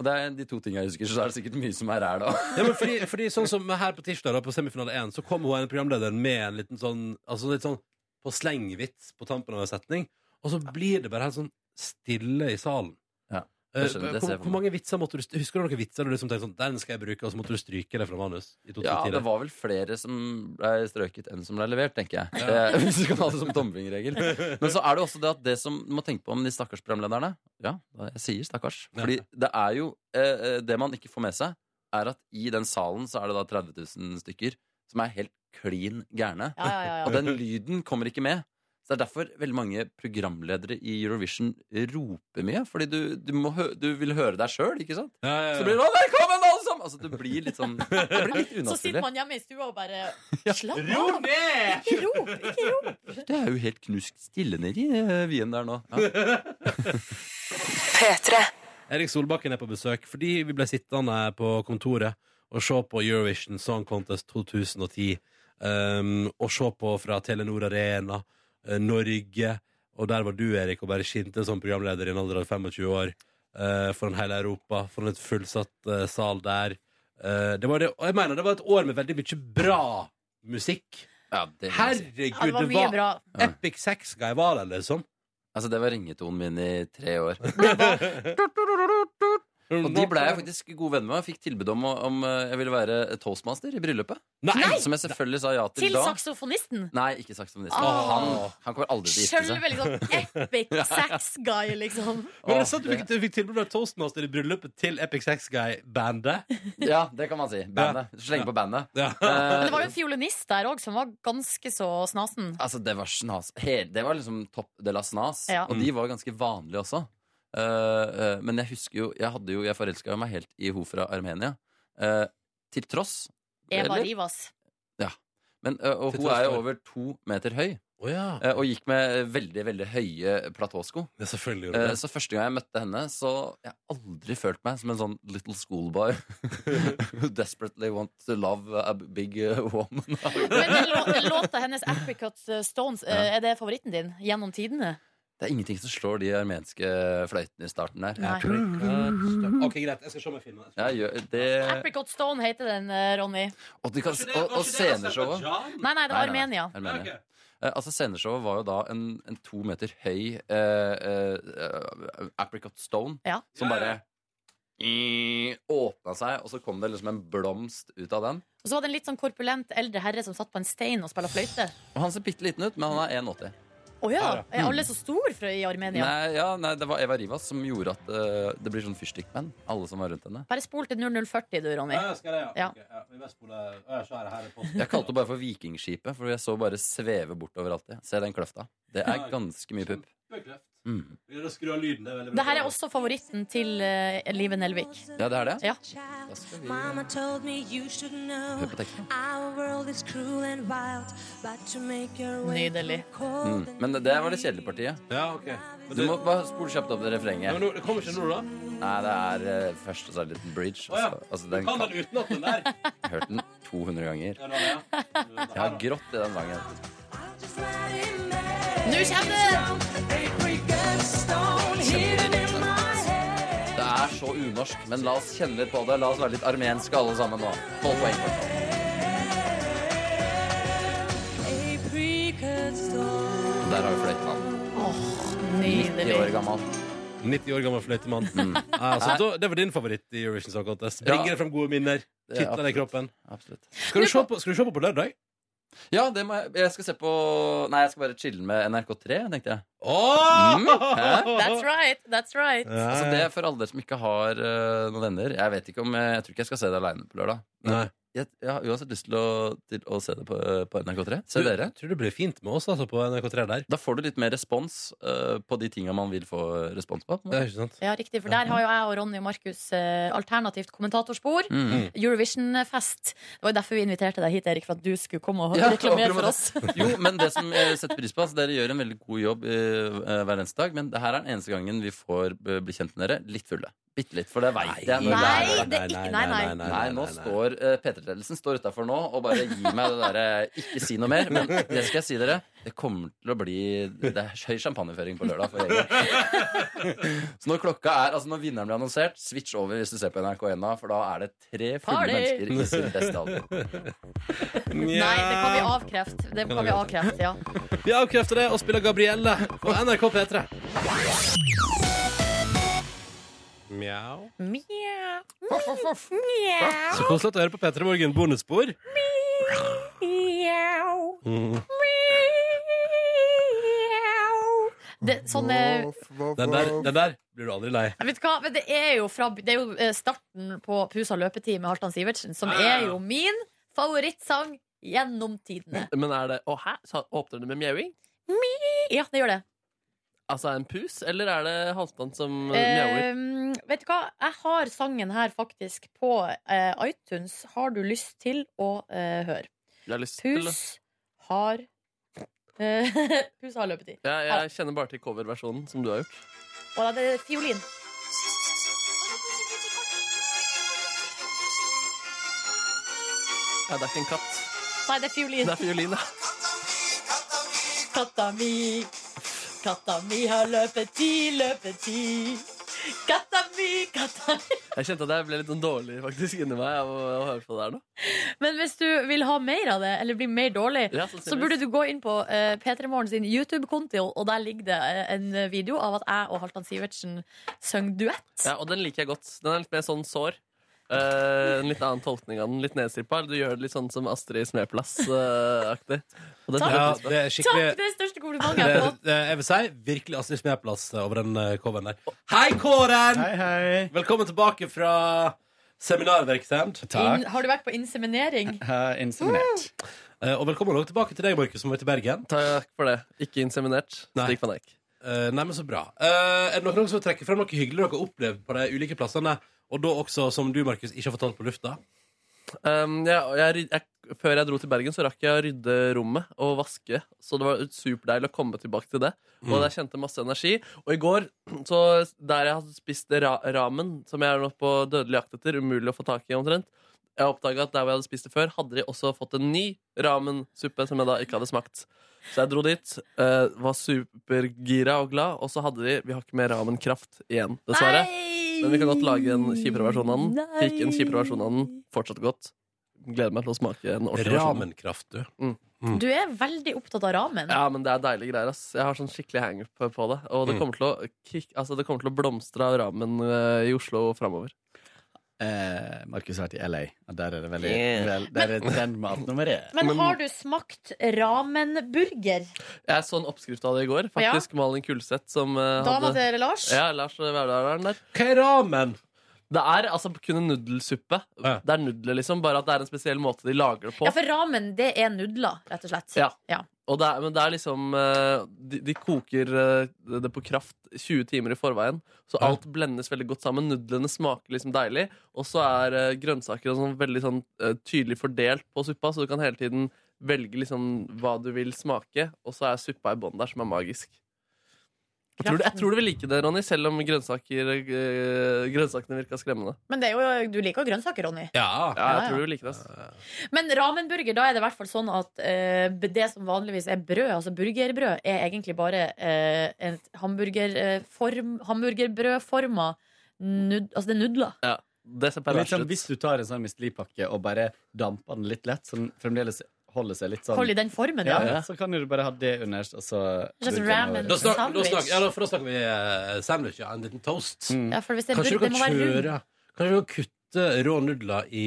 [SPEAKER 7] Og det er de to tingene jeg husker, så er det sikkert mye som er ræl òg.
[SPEAKER 2] Ja, men fordi, fordi sånn som her på tirsdag da, på semifinale 1 Så kom hun en programleder med en liten sånn Altså litt sånn på slengvits På tampen av en setning Og så blir det bare helt sånn stille i salen
[SPEAKER 7] Ja,
[SPEAKER 2] Eh,
[SPEAKER 7] jeg skjønner, det ser
[SPEAKER 2] hvor,
[SPEAKER 7] jeg for
[SPEAKER 2] hvor mange vitser måtte du st- Husker du noen vitser du liksom tenkte sånn Den skal jeg bruke, og så måtte du stryke det fra manus I
[SPEAKER 7] Ja,
[SPEAKER 2] 2010
[SPEAKER 7] det var vel flere som ble strøket enn som ble levert, tenker jeg. Eh, Hvis du kan ha det som tommelfingerregel. Men så er det også det at det som du må tenke på om de stakkars programlederne Ja, da jeg sier stakkars. Fordi det er jo eh, eh, Det man ikke får med seg, er at i den salen så er det da 30 000 stykker som er helt klin gærne.
[SPEAKER 3] Ja, ja, ja,
[SPEAKER 7] Og
[SPEAKER 3] ja.
[SPEAKER 7] den lyden kommer ikke med. Så Det er derfor veldig mange programledere i Eurovision roper mye. Fordi du, du, må hø du vil høre deg sjøl, ikke sant?
[SPEAKER 2] ja, ja,
[SPEAKER 7] Så blir det sånn 'Velkommen, alle sammen!' Altså, det blir litt sånn Det blir litt
[SPEAKER 3] Så sitter
[SPEAKER 7] unaturlig.
[SPEAKER 3] man hjemme i stua og bare Slapp av! Ikke rop! Ikke rop!
[SPEAKER 7] Det er jo helt knust stille nedi eh, Wien der nå. Ja.
[SPEAKER 2] Erik Solbakken er på besøk fordi vi ble sittende på kontoret og se på Eurovision Song Contest 2010. Um, og se på fra Telenor Arena, eh, Norge. Og der var du, Erik, og bare skinte som programleder i en alder av 25 år. eh, foran hele Europa, foran et fullsatt eh, sal der. Eh, det var det, og jeg mener det var et år med veldig mye bra musikk.
[SPEAKER 7] Ja, det,
[SPEAKER 2] Herregud, det
[SPEAKER 3] Ja, det var mye bra.
[SPEAKER 2] Epic Sex Guy var det, liksom.
[SPEAKER 7] altså, det var ringetonen min i tre år. Og de ble jeg faktisk god venn med. og Fikk tilbud om, å- om eh, jeg ville være toastmaster i bryllupet.
[SPEAKER 2] Nei!
[SPEAKER 7] Som jeg selvfølgelig sa ja til,
[SPEAKER 3] Til
[SPEAKER 7] da.
[SPEAKER 3] saksofonisten.
[SPEAKER 7] Nei, ikke saksofonist.
[SPEAKER 3] Ah.
[SPEAKER 7] Han, han kommer aldri til å gifte seg.
[SPEAKER 3] Sjølve liksom epic sax guy, liksom.
[SPEAKER 2] Men det
[SPEAKER 7] Åh,
[SPEAKER 2] er sant, du
[SPEAKER 7] det-
[SPEAKER 2] fikk, du fikk tilbud fra Toastmaster i bryllupet til Epic Sex Guy-bandet.
[SPEAKER 7] Ja, det kan man si. Bandet. Slenge på bandet.
[SPEAKER 2] Ja.
[SPEAKER 7] Eh,
[SPEAKER 3] Men det var jo en fiolinist der òg som var ganske så snasen.
[SPEAKER 7] Altså, det var snas. Hele, det var liksom topp de la snas.
[SPEAKER 3] Ja.
[SPEAKER 7] Og
[SPEAKER 2] Mm.
[SPEAKER 7] de var jo ganske vanlige også. Eh, eh, men jeg husker jo Jeg, hadde jo, jeg forelska meg helt i hun fra Armenia. Eh, til tross
[SPEAKER 3] Eva
[SPEAKER 7] eller?
[SPEAKER 3] Rivas.
[SPEAKER 7] Men, ø, og
[SPEAKER 2] Til
[SPEAKER 7] hun
[SPEAKER 2] tross
[SPEAKER 7] er jo
[SPEAKER 2] for-
[SPEAKER 7] over to meter høy.
[SPEAKER 2] Å ja.
[SPEAKER 7] Eh, Og gikk med veldig, veldig høye platåsko.
[SPEAKER 2] Ja, selvfølgelig gjorde
[SPEAKER 7] Eh,
[SPEAKER 2] hun det.
[SPEAKER 7] Så første gang jeg møtte henne, så jeg har aldri følt meg som en sånn little schoolboy who desperately want to love a big eh, woman.
[SPEAKER 3] Men den, lå, den låta hennes, 'Apricot Stones', eh, er det favoritten din gjennom tidene?
[SPEAKER 7] Det er ingenting som slår de armenske fløytene i starten der.
[SPEAKER 3] Nei.
[SPEAKER 2] OK, greit. Jeg skal se om jeg finner det.
[SPEAKER 7] Ja, gjør det.
[SPEAKER 3] Apricot Stone heter den, eh, Ronny.
[SPEAKER 7] Og, de kan, og, og sceneshowet
[SPEAKER 3] Nei, nei, det var
[SPEAKER 7] Nei, nei, nei.
[SPEAKER 3] Armenia.
[SPEAKER 7] Armenia. Eh, altså Sceneshowet var jo da en, en to meter høy eh, eh, eh, apricot stone
[SPEAKER 3] Ja.
[SPEAKER 7] som bare i, åpna seg, og så kom det liksom en blomst ut av den.
[SPEAKER 3] Og så var det en litt sånn korpulent eldre herre som satt på en stein og spilla fløyte.
[SPEAKER 7] Og Han ser bitte liten ut, men han er 1,80.
[SPEAKER 3] Å ja!
[SPEAKER 7] Ja, ja.
[SPEAKER 3] Er alle så store fra i Armenia?
[SPEAKER 7] Nei, ja, nei, det var Eva Rivas som gjorde at eh, det blir sånn fyrstikkmenn, alle som var rundt henne.
[SPEAKER 3] Bare spol til 0040, du, Ronny.
[SPEAKER 2] Ja, skal jeg, ja.
[SPEAKER 3] Ja.
[SPEAKER 2] Ok, ja. Vi bare spoler Å, ja, så er det her i posten.
[SPEAKER 7] Jeg kalte det bare for Vikingskipet, for jeg så bare sveve bort overalt. jeg. Se den kløfta. Det er ganske mye pupp.
[SPEAKER 2] Kjempekreft.
[SPEAKER 7] Mm.
[SPEAKER 2] Vi greier å skru av lyden. Det er veldig bra.
[SPEAKER 3] Det her er også favoritten til eh, Live Nelvik.
[SPEAKER 7] Ja, det er det.
[SPEAKER 3] Ja.
[SPEAKER 7] Da skal vi
[SPEAKER 11] Mama told me you should know
[SPEAKER 7] høre på teksten.
[SPEAKER 11] our world is cruel and wild, but to make your way
[SPEAKER 3] Nydelig.
[SPEAKER 11] cold
[SPEAKER 7] Mm. Men det var det kjedelige partiet.
[SPEAKER 2] Ja, ok. Men
[SPEAKER 7] Du
[SPEAKER 2] det-
[SPEAKER 7] må bare spole kjapt opp det
[SPEAKER 2] Ja, men
[SPEAKER 7] refrenget.
[SPEAKER 2] nå- det kommer ikke nå, da?
[SPEAKER 7] Nei, det er eh, først og så er det en liten bridge.
[SPEAKER 2] Å ja.
[SPEAKER 7] Altså, altså,
[SPEAKER 2] Du
[SPEAKER 7] den
[SPEAKER 2] kan
[SPEAKER 7] kan,
[SPEAKER 2] den utenat, den der.
[SPEAKER 7] jeg har hørt den 200 ganger.
[SPEAKER 2] Ja, nå, ja.
[SPEAKER 7] Jeg har grått i den sangen.
[SPEAKER 3] Nå kommer det!
[SPEAKER 7] Det er så unorsk, men la oss kjenne litt på det. La oss være litt armenske alle sammen nå. Tolv poeng. for tolv. Der har vi fløytemann.
[SPEAKER 3] Nydelig.
[SPEAKER 7] 90 år gammel.
[SPEAKER 2] 90 år gammel fløytemann. Mm. Ja, så da, det var din favoritt i Eurovision Song Contest. Bringer
[SPEAKER 7] Mm. Ja.
[SPEAKER 2] deg fram gode minner.
[SPEAKER 7] Det er
[SPEAKER 2] Kittler deg i kroppen.
[SPEAKER 7] Absolutt.
[SPEAKER 2] Skal du, se på, skal du se på på lørdag?
[SPEAKER 7] Ja, det må jeg Jeg skal se på Nei, jeg skal bare chille med NRK3, tenkte jeg.
[SPEAKER 2] Åh!
[SPEAKER 7] Mm, hæ?
[SPEAKER 3] That's right. That's right.
[SPEAKER 2] Ja,
[SPEAKER 7] Altså,
[SPEAKER 2] ja.
[SPEAKER 7] det er for alle dere som ikke har eh, noen venner. Jeg vet ikke om eh, Jeg tror ikke jeg skal se det aleine på lørdag. Men
[SPEAKER 2] Nei.
[SPEAKER 7] Jeg, jeg har uansett lyst til å, til å se det på, eh, på NRK3. Se
[SPEAKER 2] Du-
[SPEAKER 7] dere.
[SPEAKER 2] Tror det blir fint med oss altså, på NRK3 der.
[SPEAKER 7] Da får du litt mer respons eh, på de tinga man vil få eh, respons på.
[SPEAKER 2] Det er ikke sant?
[SPEAKER 3] Ja, riktig. For der har jo jeg og Ronny og Markus eh, alternativt kommentatorspor.
[SPEAKER 7] Mm.
[SPEAKER 3] Eurovision-fest. Det var jo derfor vi inviterte deg hit, Erik, for at du skulle komme og
[SPEAKER 7] Ja,
[SPEAKER 3] reklamere
[SPEAKER 7] akkurat
[SPEAKER 3] for
[SPEAKER 7] det.
[SPEAKER 3] oss.
[SPEAKER 7] Jo, men det som jeg setter pris på altså, Dere gjør en veldig god jobb eh, eh, hver eneste dag, men det her er den eneste gangen vi får eh, bli kjent med dere litt fulle. Bitte litt, for det veit jeg. når
[SPEAKER 3] Nei,
[SPEAKER 7] det er lørdag.
[SPEAKER 3] det er ikke- nei, nei.
[SPEAKER 7] Nei, nå står eh, P3-ledelsen står utafor nå og bare gir meg det derre 'ikke si noe mer'. Men det skal jeg si dere, det kommer til å bli Det er høy champagneføring på lørdag. For Jørgen. så når klokka er Altså når vinneren blir annonsert, switch over hvis du ser på NRK1 da, for da er det tre fulle
[SPEAKER 3] Party!
[SPEAKER 7] mennesker i sin beste alder.
[SPEAKER 3] Nei, det kan vi avkrefte. Det kan vi avkrefte, ja.
[SPEAKER 2] Vi avkrefter det og spiller Gabrielle på NRK P3. Mjau.
[SPEAKER 3] Mjau. Mjau.
[SPEAKER 2] Så koselig at du hører på P3 Morgen bonusspor.
[SPEAKER 3] Mjau.
[SPEAKER 2] Mm.
[SPEAKER 3] Mjau. Det, sånn eh,
[SPEAKER 2] Den der, den der blir du aldri lei.
[SPEAKER 3] Vet du hva, men det er jo, fra, det er jo eh, starten på Pusa løpetid med Halvdan Sivertsen, som er jo min favorittsang gjennom tidene.
[SPEAKER 9] Men er det Å, hæ? Så åpner det med mjauing?
[SPEAKER 3] Ja, det gjør det.
[SPEAKER 9] Altså en pus, eller er det Halvdan som mjauer?
[SPEAKER 3] Eh, vet du hva, jeg har sangen her faktisk på eh, iTunes. Har du lyst til å eh, høre?
[SPEAKER 9] Jeg har lyst til å
[SPEAKER 3] Pus har eh, Pus har løpetid.
[SPEAKER 9] ja, Jeg kjenner bare til coverversjonen som du har gjort.
[SPEAKER 3] Og det er fiolin.
[SPEAKER 9] Ja, det er ikke en katt.
[SPEAKER 3] Nei, det er fiolin.
[SPEAKER 9] Det er fiolin, ja.
[SPEAKER 3] Katta mi, katta mi har løpetid, løpetid. Katta mi, katta mi
[SPEAKER 9] Jeg kjente at jeg ble litt sånn dårlig faktisk inni meg av å, å høre på det her nå.
[SPEAKER 3] Men hvis du vil ha mer av det, eller bli mer dårlig,
[SPEAKER 9] Ja,
[SPEAKER 3] så
[SPEAKER 9] sannsynligvis.
[SPEAKER 3] burde du gå inn på uh, P3 Morgen sin YouTube-konto, og der ligger det eh, en video av at jeg og Halvdan Sivertsen sang duett.
[SPEAKER 9] Ja, og den liker jeg godt. Den er litt mer sånn sår. Eh, en litt annen tolkning av den. Litt nedstrippa. Du gjør det litt sånn som Astrid Smeplass-aktig. Og det
[SPEAKER 2] Ja,
[SPEAKER 9] setter jeg pris på.
[SPEAKER 2] det er
[SPEAKER 3] Takk!
[SPEAKER 2] skikkelig
[SPEAKER 3] Det er det største komplimentet
[SPEAKER 2] det,
[SPEAKER 3] jeg har fått.
[SPEAKER 2] det, Jeg vil si virkelig Astrid Smeplass over den eh, coveren der. Hei, Kåren!
[SPEAKER 12] Hei, hei.
[SPEAKER 2] Velkommen tilbake fra seminarvirksomhet.
[SPEAKER 3] Inn- Har du vært på inseminering?
[SPEAKER 12] Eh, Inseminert.
[SPEAKER 2] Eh, Og velkommen også tilbake til deg, Markus, som er til Bergen.
[SPEAKER 9] Takk for det. Ikke inseminert.
[SPEAKER 2] Nei.
[SPEAKER 9] Stig van Eijk.
[SPEAKER 2] Eh, nei, men så bra. Eh, er det noen som trekker frem noe hyggelig dere har opplevd på de ulike plassene? Og da også, som du, Markus, ikke har fortalt på lufta?
[SPEAKER 7] Ehm,
[SPEAKER 9] Um, jeg, jeg, ryd- jeg
[SPEAKER 7] før jeg dro til Bergen, så rakk jeg å rydde rommet og vaske. Så det var superdeilig å komme tilbake til det. Og
[SPEAKER 13] Mm.
[SPEAKER 7] jeg kjente masse energi. Og i går, så der jeg hadde spist ra ramen, som jeg er nå på dødelig jakt etter, umulig å få tak i omtrent jeg oppdaga at der hvor jeg hadde spist det før, hadde de også fått en ny ramensuppe som jeg da ikke hadde smakt. Så jeg dro dit, eh, var supergira og glad, og så hadde de Vi har ikke mer ramenkraft igjen, dessverre. Men vi kan godt lage en kjipere versjon av den. Fikk en kjipere versjon av den. Fortsatt godt. Gleder meg til å smake en ordentlig versjon.
[SPEAKER 2] Ramenkraft, du.
[SPEAKER 7] Mm.
[SPEAKER 3] Du er veldig opptatt av ramen.
[SPEAKER 7] Ja, men det er deilige greier. ass Jeg har sånn skikkelig hangup på det. Og det
[SPEAKER 2] Mm.
[SPEAKER 7] kommer til å, kick, altså, det kommer til å blomstre av ramen eh, i Oslo framover.
[SPEAKER 12] Eh, Markus har vært i LA, og der er det veldig
[SPEAKER 7] Yeah.
[SPEAKER 12] vel, Der er den matnummeret.
[SPEAKER 3] Men har du smakt ramenburger?
[SPEAKER 7] Jeg så en oppskrift av det i går.
[SPEAKER 3] Ja.
[SPEAKER 7] Faktisk Malin Kulseth som uh,
[SPEAKER 3] Dama til Lars?
[SPEAKER 7] Ja, Lars eh, Verdalen der.
[SPEAKER 2] Hva er ramen?
[SPEAKER 7] Det er altså kun en nudelsuppe. Det er nudler, liksom, bare at det er en spesiell måte de lager det på.
[SPEAKER 3] Ja, for ramen, det er nudler, rett og slett.
[SPEAKER 7] Ja. Og det er, men det er liksom eh, de, de koker eh, det på kraft 20 timer i forveien, så alt blendes veldig godt sammen. Nudlene smaker liksom deilig, og så er eh, grønnsaker og sånn veldig sånn eh, tydelig fordelt på suppa, så du kan hele tiden velge liksom hva du vil smake, og så er suppa i bånn der, som er magisk. Jeg tror, du, jeg tror du vil like det, Ronny, selv om grønnsaker, eh, grønnsakene virka skremmende.
[SPEAKER 3] Men det er jo, du liker jo grønnsaker, Ronny.
[SPEAKER 2] Ja,
[SPEAKER 7] jeg
[SPEAKER 3] ja.
[SPEAKER 7] tror du vil like det. ass.
[SPEAKER 3] Men ramenburger, da er det i hvert fall sånn at eh, det som vanligvis er brød, altså burgerbrød, er egentlig bare eh, en hamburger, eh, form- hamburgerbrødforma nud, Altså det er nudler.
[SPEAKER 7] Ja, det ser
[SPEAKER 12] litt
[SPEAKER 7] perverst
[SPEAKER 12] sånn,
[SPEAKER 7] ut.
[SPEAKER 12] hvis du tar en sånn Misteli-pakke og bare damper den litt lett, så den fremdeles holder seg litt sånn
[SPEAKER 3] Hold i den formen,
[SPEAKER 12] ja.
[SPEAKER 3] ja.
[SPEAKER 12] ja. Så kan du bare ha det underst, og så
[SPEAKER 3] Slags ramen
[SPEAKER 2] Da snak- da
[SPEAKER 3] sandwich.
[SPEAKER 2] snak- ja, da- for da snakker vi eh, sandwich, ja. En liten
[SPEAKER 12] Mm.
[SPEAKER 2] toast.
[SPEAKER 3] Ja, for hvis det er
[SPEAKER 2] Kanskje du
[SPEAKER 3] brød,
[SPEAKER 2] kan
[SPEAKER 3] det må være rund.
[SPEAKER 2] kjøre Kanskje du kan kutte rå nudler i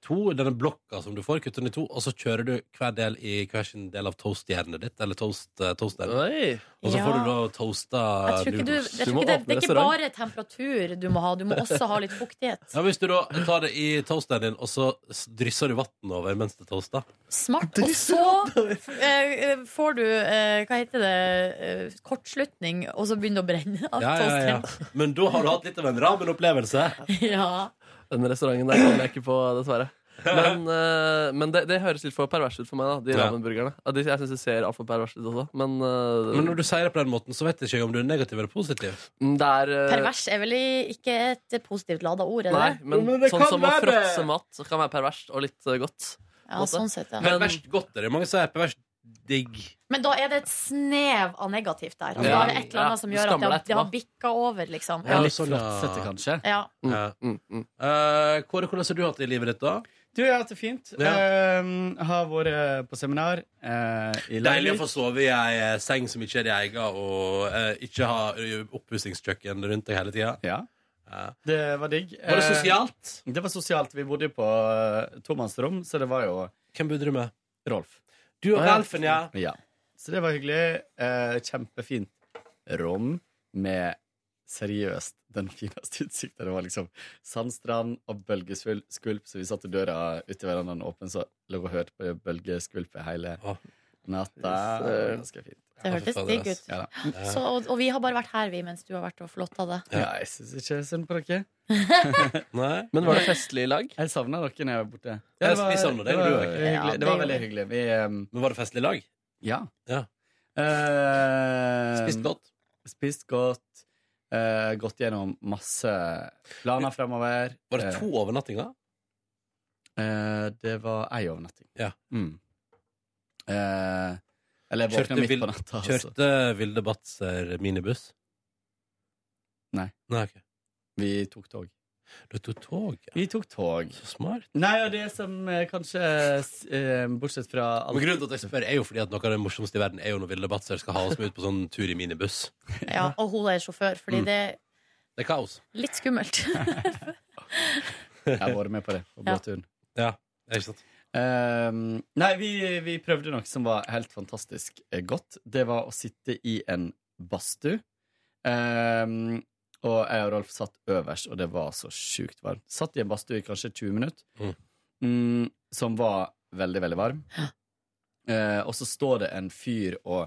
[SPEAKER 2] to, denne blokka som du får, kutte den i to, og så kjører du hver del i hver sin del av toastjernet ditt, eller toast, eh, toasteren. Og så
[SPEAKER 3] Ja.
[SPEAKER 2] får du da toasta
[SPEAKER 3] Jeg tror ikke du, jeg
[SPEAKER 2] nudels.
[SPEAKER 3] tror ikke det, det er ikke bare temperatur du må ha, du må også ha litt fuktighet.
[SPEAKER 2] ja, Hvis du da tar det i toasteren din, og så s- drysser du vann over mens det toaster
[SPEAKER 3] Smart. Og så eh, får du, eh, hva heter det, eh, kortslutning, og så begynner det å brenne. av
[SPEAKER 2] ja, ja, ja.
[SPEAKER 3] toasteren.
[SPEAKER 2] Men da har du hatt litt av en ramen-opplevelse.
[SPEAKER 3] Ja.
[SPEAKER 7] Den restauranten der kom jeg ikke på, dessverre. Men, eh, men det, det høres litt for pervers ut for meg, da, de
[SPEAKER 2] Ja.
[SPEAKER 7] ramenburgerne. Ja, de- Jeg syns det ser altfor pervers ut også, men, eh,
[SPEAKER 2] Men når du sier det på den måten, så vet jeg ikke om du er negativ eller positiv.
[SPEAKER 7] mm, det er eh,
[SPEAKER 3] Pervers er vel i- ikke et positivt lada ord, er det
[SPEAKER 7] Nei,
[SPEAKER 3] det?
[SPEAKER 7] men, sånn som å fråtse mat så kan være perverst og litt eh, godt.
[SPEAKER 3] Ja, sånn sett, ja.
[SPEAKER 7] Um,
[SPEAKER 2] Perverst godt er det. Mange sier perverst digg.
[SPEAKER 3] Men da er det et snev av negativt der. Altså,
[SPEAKER 2] Ja.
[SPEAKER 3] Da er det et eller
[SPEAKER 2] Ja,
[SPEAKER 3] annet som
[SPEAKER 2] du
[SPEAKER 3] gjør at det
[SPEAKER 2] skammer
[SPEAKER 3] har,
[SPEAKER 2] deg
[SPEAKER 3] det har bikka over, liksom.
[SPEAKER 2] Ja, litt flåtsete,
[SPEAKER 12] kanskje.
[SPEAKER 3] Ja.
[SPEAKER 2] Ja.
[SPEAKER 7] Mm,
[SPEAKER 2] Eh, Kåre, hvordan har du hatt det i livet ditt, da?
[SPEAKER 12] Du, jeg har hatt det fint. Eh, har vært på seminar eh, i
[SPEAKER 2] Deilig å
[SPEAKER 12] Larvik.
[SPEAKER 2] få sove i ei eh, seng som ikke er din egen, og eh, ikke ha eh, oppussingskjøkken rundt deg hele tida.
[SPEAKER 12] Ja. Det var digg.
[SPEAKER 2] Var det
[SPEAKER 12] Eh,
[SPEAKER 2] sosialt?
[SPEAKER 12] Det var sosialt. Vi bodde jo på eh, tomannsrom, så det var jo
[SPEAKER 2] Eh, Hvem bodde du med?
[SPEAKER 12] Rolf.
[SPEAKER 2] Du og Ralfen, ja.
[SPEAKER 12] Så det var hyggelig. Eh, kjempefint rom med seriøst den fineste utsikta. Det var liksom sandstrand og bølgeskvulp, så vi satte døra uti verandaen åpen, så lå og hørte på bølgeskvulpet hele natta.
[SPEAKER 7] Yes,
[SPEAKER 12] Det var
[SPEAKER 7] eh,
[SPEAKER 12] ganske fint.
[SPEAKER 3] Det hørtes digg ut. Mm,
[SPEAKER 12] Ja, da.
[SPEAKER 3] Så, og, og vi har bare vært her, vi, mens du har vært og flotta det.
[SPEAKER 12] Ja, jeg syns ikke synd på dere.
[SPEAKER 7] Men var det festlig i lag?
[SPEAKER 12] Jeg savna dere når jeg var borte.
[SPEAKER 2] Ja, vi savner deg,
[SPEAKER 12] det var,
[SPEAKER 2] du,
[SPEAKER 12] hyggelig.
[SPEAKER 2] egentlig. Ja, det
[SPEAKER 12] det var
[SPEAKER 2] gjorde
[SPEAKER 12] veldig
[SPEAKER 2] vi.
[SPEAKER 12] hyggelig. Vi, eh,
[SPEAKER 2] Men var det festlig lag?
[SPEAKER 12] Ja.
[SPEAKER 2] ja.
[SPEAKER 12] Eh,
[SPEAKER 2] Spist godt?
[SPEAKER 12] Spist godt. Eh, gått gjennom masse planer fremover.
[SPEAKER 2] Var det to overnattinger?
[SPEAKER 12] Eh, det var ei overnatting.
[SPEAKER 2] Ja.
[SPEAKER 12] Mm. Eh, eller jeg våkna midt på natta. altså.
[SPEAKER 2] Kjørte Vilde Batzer minibuss?
[SPEAKER 12] Nei.
[SPEAKER 2] ok.
[SPEAKER 12] Vi tok tog.
[SPEAKER 2] Du tok tog? Ja.
[SPEAKER 12] Vi tok tog.
[SPEAKER 2] Så smart.
[SPEAKER 12] Nei, og det som eh, kanskje eh, Bortsett fra alt
[SPEAKER 2] Men grunnen til at jeg spør, er jo fordi at noe av det morsomste i verden er jo når Vilde Batzer skal ha oss med ut på sånn tur i minibuss.
[SPEAKER 3] Ja, og hun er sjåfør, fordi
[SPEAKER 2] Mm.
[SPEAKER 3] det er
[SPEAKER 2] Det er kaos.
[SPEAKER 3] litt skummelt.
[SPEAKER 12] Jeg har vært med på det. På
[SPEAKER 3] Ja.
[SPEAKER 12] båtturen.
[SPEAKER 2] Ja, ikke sant
[SPEAKER 12] Ehm, Nei, vi, vi prøvde noe som var helt fantastisk eh, godt. Det var å sitte i en badstue. Ehm, og jeg og Rolf satt øverst, og det var så sjukt varmt. Satt i en badstue i kanskje 20 minutter,
[SPEAKER 2] Mm.
[SPEAKER 12] mm, som var veldig, veldig varm. Eh, og så står det en fyr og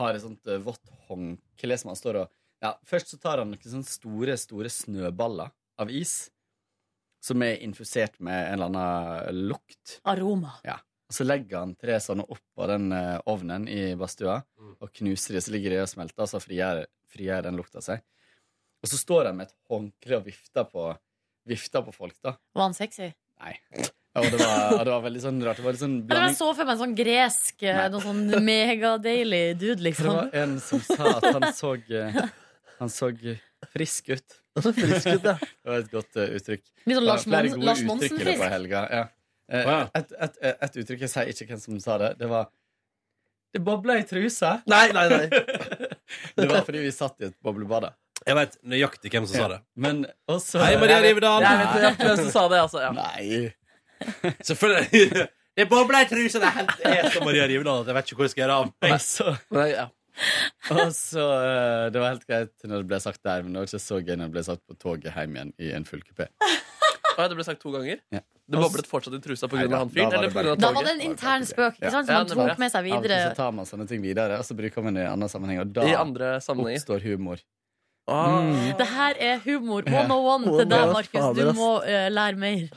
[SPEAKER 12] har et sånt eh, vått håndkle som han står og ja, Først så tar han noen sånne store, store snøballer av is.
[SPEAKER 7] som er infusert med en eller annen lukt.
[SPEAKER 3] Aroma.
[SPEAKER 7] Ja. Og så legger han tre sånne oppå den eh, ovnen i badstua
[SPEAKER 9] Mm.
[SPEAKER 7] og knuser de, så ligger de og smelter, og så frigjør, frigjør den lukta seg. Og så står han med et håndkle og vifter på, vifter på folk, da.
[SPEAKER 3] Var han sexy?
[SPEAKER 7] Nei. Og det var, og det var veldig sånn rart. Det var litt sånn
[SPEAKER 3] Eller jeg
[SPEAKER 7] blanding.
[SPEAKER 3] så for meg en sånn gresk, eh, noe sånn megadeilig dude,
[SPEAKER 7] For det
[SPEAKER 3] liksom.
[SPEAKER 7] var en som sa at han så eh, Han så frisk ut.
[SPEAKER 9] frisk ut, ja.
[SPEAKER 7] Det var et godt eh, uttrykk.
[SPEAKER 3] Litt sånn
[SPEAKER 7] Det var
[SPEAKER 3] Lars
[SPEAKER 7] flere
[SPEAKER 3] Monsen-
[SPEAKER 7] gode
[SPEAKER 3] Lars
[SPEAKER 7] uttrykk i løpet av
[SPEAKER 3] Monsen-frisk.
[SPEAKER 7] helga, Ja. Eh, Et, et, et, et uttrykk jeg sier ikke hvem som sa det. Det var Det bobla i trusa.
[SPEAKER 9] Nei, nei, nei.
[SPEAKER 7] det var fordi vi satt i et boblebad.
[SPEAKER 2] Jeg veit nøyaktig hvem som sa det.
[SPEAKER 7] Men også
[SPEAKER 2] Hei, Maria Rivedal!
[SPEAKER 9] Jeg vet nøyaktig hvem som sa det, altså. Ja.
[SPEAKER 7] Nei.
[SPEAKER 2] Selvfølgelig. Det bobler i trusa! Det er helt- det er som Maria Rivedal at jeg vet ikke hvor jeg skal gjøre av meg.
[SPEAKER 7] Og så eh, Det var helt greit når det ble sagt der, men det var ikke så gøy når det ble sagt på toget hjem igjen i en full kupé.
[SPEAKER 9] Oi, det ble sagt to ganger.
[SPEAKER 7] Ja.
[SPEAKER 9] Det boblet fortsatt i trusa pga.
[SPEAKER 7] Nei, da-
[SPEAKER 9] han
[SPEAKER 7] da
[SPEAKER 9] fyren?
[SPEAKER 7] var
[SPEAKER 9] Eller
[SPEAKER 7] det
[SPEAKER 9] på grunn av
[SPEAKER 3] Da var det
[SPEAKER 9] toget?
[SPEAKER 3] en intern spøk, ikke sant?
[SPEAKER 9] Ja,
[SPEAKER 3] Som han
[SPEAKER 9] det var
[SPEAKER 3] tok
[SPEAKER 9] det.
[SPEAKER 3] med seg
[SPEAKER 7] Av og til så
[SPEAKER 3] videre.
[SPEAKER 7] tar man sånne ting videre, og så bruker man det i andre sammenhenger. Og da
[SPEAKER 9] I andre sammenhenger.
[SPEAKER 7] oppstår humor.
[SPEAKER 9] Ah.
[SPEAKER 7] Mm.
[SPEAKER 3] Det her er humor
[SPEAKER 7] Ja.
[SPEAKER 3] 101
[SPEAKER 9] Å,
[SPEAKER 3] til deg,
[SPEAKER 9] nei,
[SPEAKER 3] Markus.
[SPEAKER 9] fader,
[SPEAKER 3] Du
[SPEAKER 9] ass.
[SPEAKER 3] må eh, lære mer.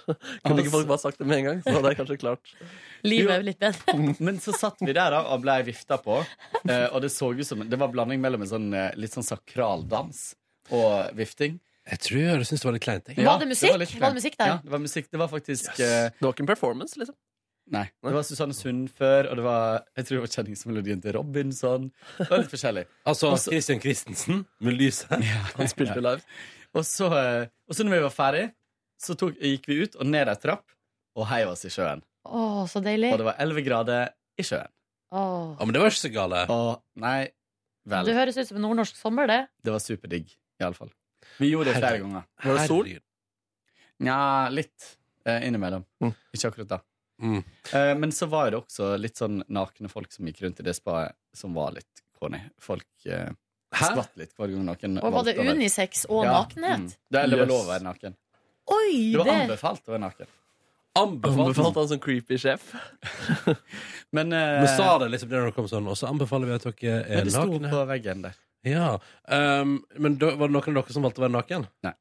[SPEAKER 9] Kunne ikke folk bare sagt det med en gang? Så hadde jeg kanskje klart
[SPEAKER 3] Livet er litt bedre.
[SPEAKER 7] Men så satt vi der da og blei vifta på, eh, og det så ut som Det var blanding mellom en sånn eh, litt sånn sakraldans og vifting.
[SPEAKER 2] Jeg tror jeg syns det var litt kleint. jeg.
[SPEAKER 3] Var det musikk?
[SPEAKER 7] litt
[SPEAKER 3] Var det
[SPEAKER 7] kleint.
[SPEAKER 3] musikk der?
[SPEAKER 7] Ja, det var musikk. Det var faktisk eh,
[SPEAKER 9] Det var ikke en performance, liksom.
[SPEAKER 7] Nei. Det var Susanne Sund før, og det var jeg tror det var kjenningsmelodien til Robinson. Det var litt forskjellig.
[SPEAKER 2] Altså
[SPEAKER 7] Og så-
[SPEAKER 2] Christian Christensen med lyset.
[SPEAKER 9] Han spilte live.
[SPEAKER 7] Og så, eh, og så når vi var ferdig, så tok, gikk vi ut og ned ei trapp og heiv oss i sjøen.
[SPEAKER 3] Å, så deilig.
[SPEAKER 7] Og det var 11 grader i sjøen.
[SPEAKER 3] Å.
[SPEAKER 2] Ja, men det var ikke så gale.
[SPEAKER 7] Og nei vel.
[SPEAKER 3] Det høres ut som en nordnorsk sommer, det.
[SPEAKER 7] Det var superdigg, iallfall. Vi gjorde det flere
[SPEAKER 2] Herregud.
[SPEAKER 7] ganger.
[SPEAKER 9] Var det sol?
[SPEAKER 2] Herregud.
[SPEAKER 7] Nja, litt eh, innimellom. Ikke akkurat da.
[SPEAKER 2] Mm.
[SPEAKER 7] Eh, men så var det også litt sånn nakne folk som gikk rundt i det spaet, som var litt corny. Folk eh, skvatt litt hver gang noen
[SPEAKER 3] Og var det
[SPEAKER 7] valgte å være-
[SPEAKER 3] unisex og
[SPEAKER 7] Ja,
[SPEAKER 3] nakenhet?
[SPEAKER 7] mm. Det, det var
[SPEAKER 9] Yes.
[SPEAKER 7] lov å være naken.
[SPEAKER 3] Oi,
[SPEAKER 7] Det var
[SPEAKER 3] det
[SPEAKER 7] anbefalt å være naken.
[SPEAKER 2] Anbefalt.
[SPEAKER 9] Anbefalt han som creepy sjef.
[SPEAKER 7] Men, eh,
[SPEAKER 2] Men sa det liksom det når det kom sånn, og så anbefaler vi at dere
[SPEAKER 7] men
[SPEAKER 2] er
[SPEAKER 7] det sto
[SPEAKER 2] nakne.
[SPEAKER 7] på veggen der.
[SPEAKER 2] Ja. Um, men da, var det noen av dere som valgte å være naken?
[SPEAKER 7] Nei.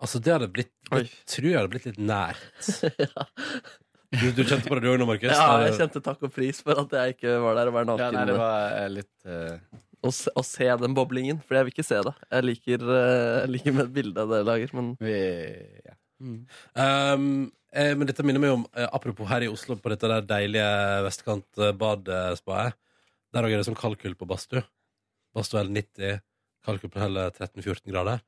[SPEAKER 2] Altså, det hadde blitt
[SPEAKER 9] Oi.
[SPEAKER 2] Jeg tror jeg hadde blitt litt nært. Du, du kjente på det du òg nå, Markus?
[SPEAKER 9] Ja, jeg kjente takk og pris for at jeg ikke var der og var
[SPEAKER 7] Ja,
[SPEAKER 9] naken.
[SPEAKER 7] nei, det var eh, litt eh,
[SPEAKER 9] å, se, å se den boblingen, for jeg vil ikke se det. Jeg liker, eh, jeg liker med bildet dere lager, men
[SPEAKER 7] vi, ja.
[SPEAKER 2] Um, eh, men dette minner meg om, eh, apropos her i Oslo, på dette der deilige vestkantbadspaet. Der òg er det sånn kalkul på badstue. Badstue er 90, kalkul på hele 13-14 grader.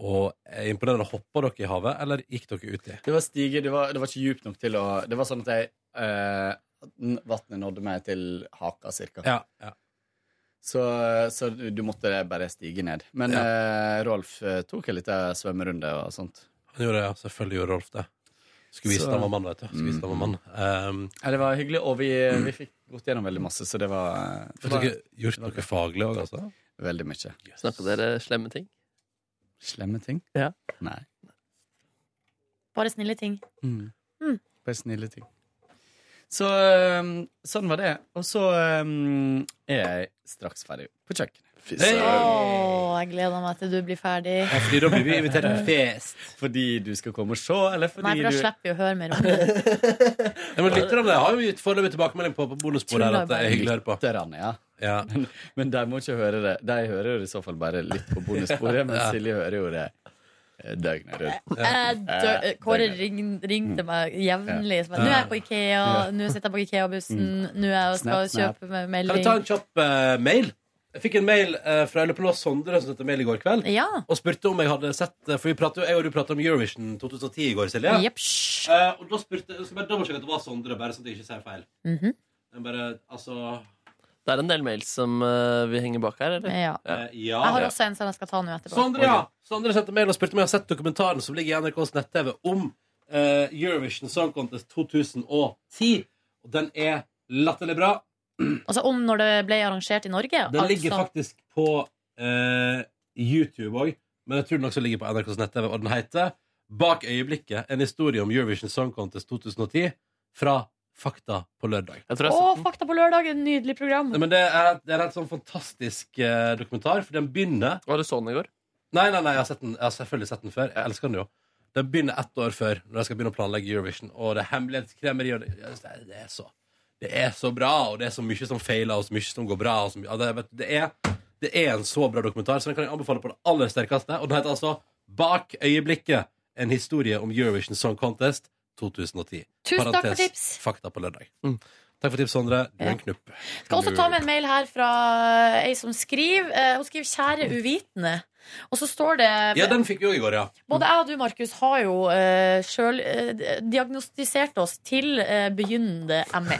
[SPEAKER 2] Og eh, imponerende. Hoppa dere i havet, eller gikk dere uti?
[SPEAKER 7] Det var stiger, det var, det var ikke djupt nok til å Det var sånn at jeg eh, n- Vannet nådde meg til haka, cirka.
[SPEAKER 2] Ja, ja.
[SPEAKER 7] Så, så du måtte bare stige ned. Men eh, Rolf eh, tok en liten svømmerunde og sånt.
[SPEAKER 2] Han gjorde det, ja. Selvfølgelig gjorde Rolf det. Skulle vise
[SPEAKER 7] Så-
[SPEAKER 2] at han var mann, vet du. Skulle vise at han var mann. Um,
[SPEAKER 7] Ja, det var hyggelig, og vi, vi fikk gått gjennom veldig masse, så det var, det
[SPEAKER 2] Fikk
[SPEAKER 7] var
[SPEAKER 2] dere gjort noe faglig òg, altså?
[SPEAKER 7] veldig mye.
[SPEAKER 9] snakka dere slemme ting?
[SPEAKER 7] Slemme ting?
[SPEAKER 9] Ja.
[SPEAKER 7] Nei.
[SPEAKER 3] bare snille ting.
[SPEAKER 7] Mm.
[SPEAKER 3] Mm.
[SPEAKER 7] Bare snille ting. Så øhm, sånn var det. Og så øhm, er jeg straks ferdig på kjøkkenet.
[SPEAKER 2] Hey!
[SPEAKER 3] Å, jeg gleder meg til du blir ferdig.
[SPEAKER 2] Fordi da blir vi invitert på fest.
[SPEAKER 7] Fordi du skal komme og se, eller fordi
[SPEAKER 3] Nei, for da
[SPEAKER 7] du
[SPEAKER 3] slipper vi å høre mer om det.
[SPEAKER 2] Ja, men lytter om det. Har jo gitt foreløpig tilbakemelding på, på bonussporet her at det er hyggelig å høre på.
[SPEAKER 7] Lytterne, ja.
[SPEAKER 2] Ja.
[SPEAKER 7] Men de må ikke høre det. De hører jo i så fall bare litt på bonussporet, men
[SPEAKER 2] Ja.
[SPEAKER 7] Silje hører jo det eh, døgnet rundt.
[SPEAKER 3] Jeg dør-
[SPEAKER 7] Eh,
[SPEAKER 3] Kåre
[SPEAKER 7] det er Mm.
[SPEAKER 3] ring, ringte meg jevnlig. som bare, Nå er jeg på Ikea, nå sitter jeg på Ikea-bussen, nå er jeg og skal
[SPEAKER 7] Mm. Snap, snap.
[SPEAKER 3] kjøpe me-
[SPEAKER 2] Kan jeg ta
[SPEAKER 3] melding.
[SPEAKER 2] en kjapp eh, mail? Jeg fikk en mail eh, fra jeg lurer på om det var Sondre som sendte mail i går kveld.
[SPEAKER 3] Ja.
[SPEAKER 2] Og spurte om jeg hadde sett eh, For vi pratet, jo- jeg og du prata om Eurovision 2010 i går, Silje.
[SPEAKER 3] Jepsj.
[SPEAKER 2] Eh, og da spurte jeg, skal bare dobbeltsjekke at det var Sondre, bare sånn at jeg ikke sier feil.
[SPEAKER 3] Mhm.
[SPEAKER 2] Jeg bare, altså
[SPEAKER 9] Det er en del mails som eh, vi henger bak her, eller?
[SPEAKER 3] Ja.
[SPEAKER 2] eh, Ja.
[SPEAKER 3] Jeg har også en som jeg skal ta nå etterpå.
[SPEAKER 7] Sånn.
[SPEAKER 2] Sondre, ja. Sondre sendte mail og spurte om jeg har sett dokumentaren som ligger i NRKs nett-TV om eh, Eurovision Song Contest 2010. Og den er latterlig bra.
[SPEAKER 3] Altså om når det ble arrangert i Norge.
[SPEAKER 2] Den ligger
[SPEAKER 3] altså.
[SPEAKER 2] faktisk på eh, YouTube òg, men jeg tror den også ligger på NRKs nett-TV. Og den heter Bak øyeblikket en historie om Eurovision Song Contest 2010 fra Fakta på lørdag.
[SPEAKER 9] Jeg tror jeg
[SPEAKER 3] Å,
[SPEAKER 9] har sett den.
[SPEAKER 3] Fakta på lørdag, et nydelig program.
[SPEAKER 2] Nei, men det er, det er en sånn fantastisk eh, dokumentar, for den begynner
[SPEAKER 9] Var det sånn i går?
[SPEAKER 2] Nei, nei, nei, jeg har, sett den, jeg har selvfølgelig sett den før. Jeg elsker den jo. Den begynner ett år før, når de skal begynne å planlegge Eurovision. Og det er hemmelighetskremmeri. og det- jeg synes Det, det er så det er så bra, og det er så mye som feiler, og så mye som går bra. Og så mye, ja, det, vet, du, det, er, det er en så bra dokumentar, så den kan jeg anbefale på det aller sterkeste. Og den heter altså 'Bak øyeblikket en historie om Eurovision Song Contest 2010'.
[SPEAKER 3] Tusen takk for
[SPEAKER 2] Parentes,
[SPEAKER 3] tips.
[SPEAKER 2] Fakta på lørdag. Mm. Takk for tips, Sondre. Du er en knupp.
[SPEAKER 3] Skal også ta med en mail her fra ei som skriver. Eh, Hun skriver 'kjære uvitende'. Og så står det
[SPEAKER 2] Ja, den fikk vi òg i går, ja.
[SPEAKER 3] Både jeg og du, Markus, har jo uh, sjøl eh, diagnostisert oss til eh, begynnende ME.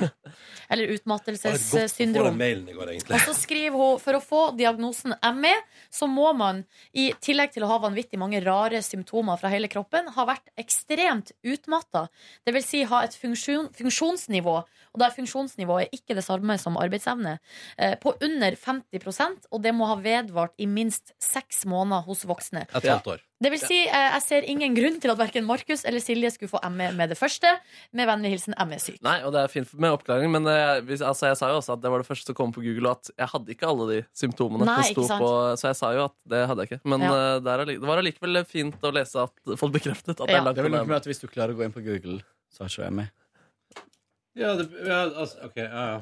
[SPEAKER 3] Eller
[SPEAKER 2] Får
[SPEAKER 3] eh,
[SPEAKER 2] den
[SPEAKER 3] utmattelsessyndrom.
[SPEAKER 2] mailen i går, egentlig.
[SPEAKER 3] Og så skriver hun for å få diagnosen ME, så må man, i tillegg til å ha vanvittig mange rare symptomer fra hele kroppen, ha vært ekstremt utmatta. Det vil si ha et funksjon, funksjonsnivå, og der funksjonsnivået er ikke det samme som arbeidsevne, eh, på under 50 og det må ha vedvart i minst seks måneder hos voksne.
[SPEAKER 2] Et halvt år.
[SPEAKER 3] Det vil si, eh, jeg ser ingen grunn til at verken Markus eller Silje skulle få ME med det første. Med vennlig hilsen E ME-syk.
[SPEAKER 9] Nei, og det er fint med oppklaring, men eh, hvis- altså, jeg sa jo også at det var det første som kom på Google, og at jeg hadde ikke alle de symptomene.
[SPEAKER 3] Nei,
[SPEAKER 9] det sto
[SPEAKER 3] ikke sant.
[SPEAKER 9] på, så jeg sa jo at det hadde jeg ikke. Men
[SPEAKER 3] Ja.
[SPEAKER 9] eh, det, er, alli- det var allikevel fint å lese at folk bekreftet at det
[SPEAKER 12] Ja.
[SPEAKER 9] er langt
[SPEAKER 12] Det er vel
[SPEAKER 9] unna.
[SPEAKER 12] noe med at hvis du klarer å gå inn på Google, så er ikke jeg med.
[SPEAKER 2] Ja, det, ja, altså, ok, ja, ja.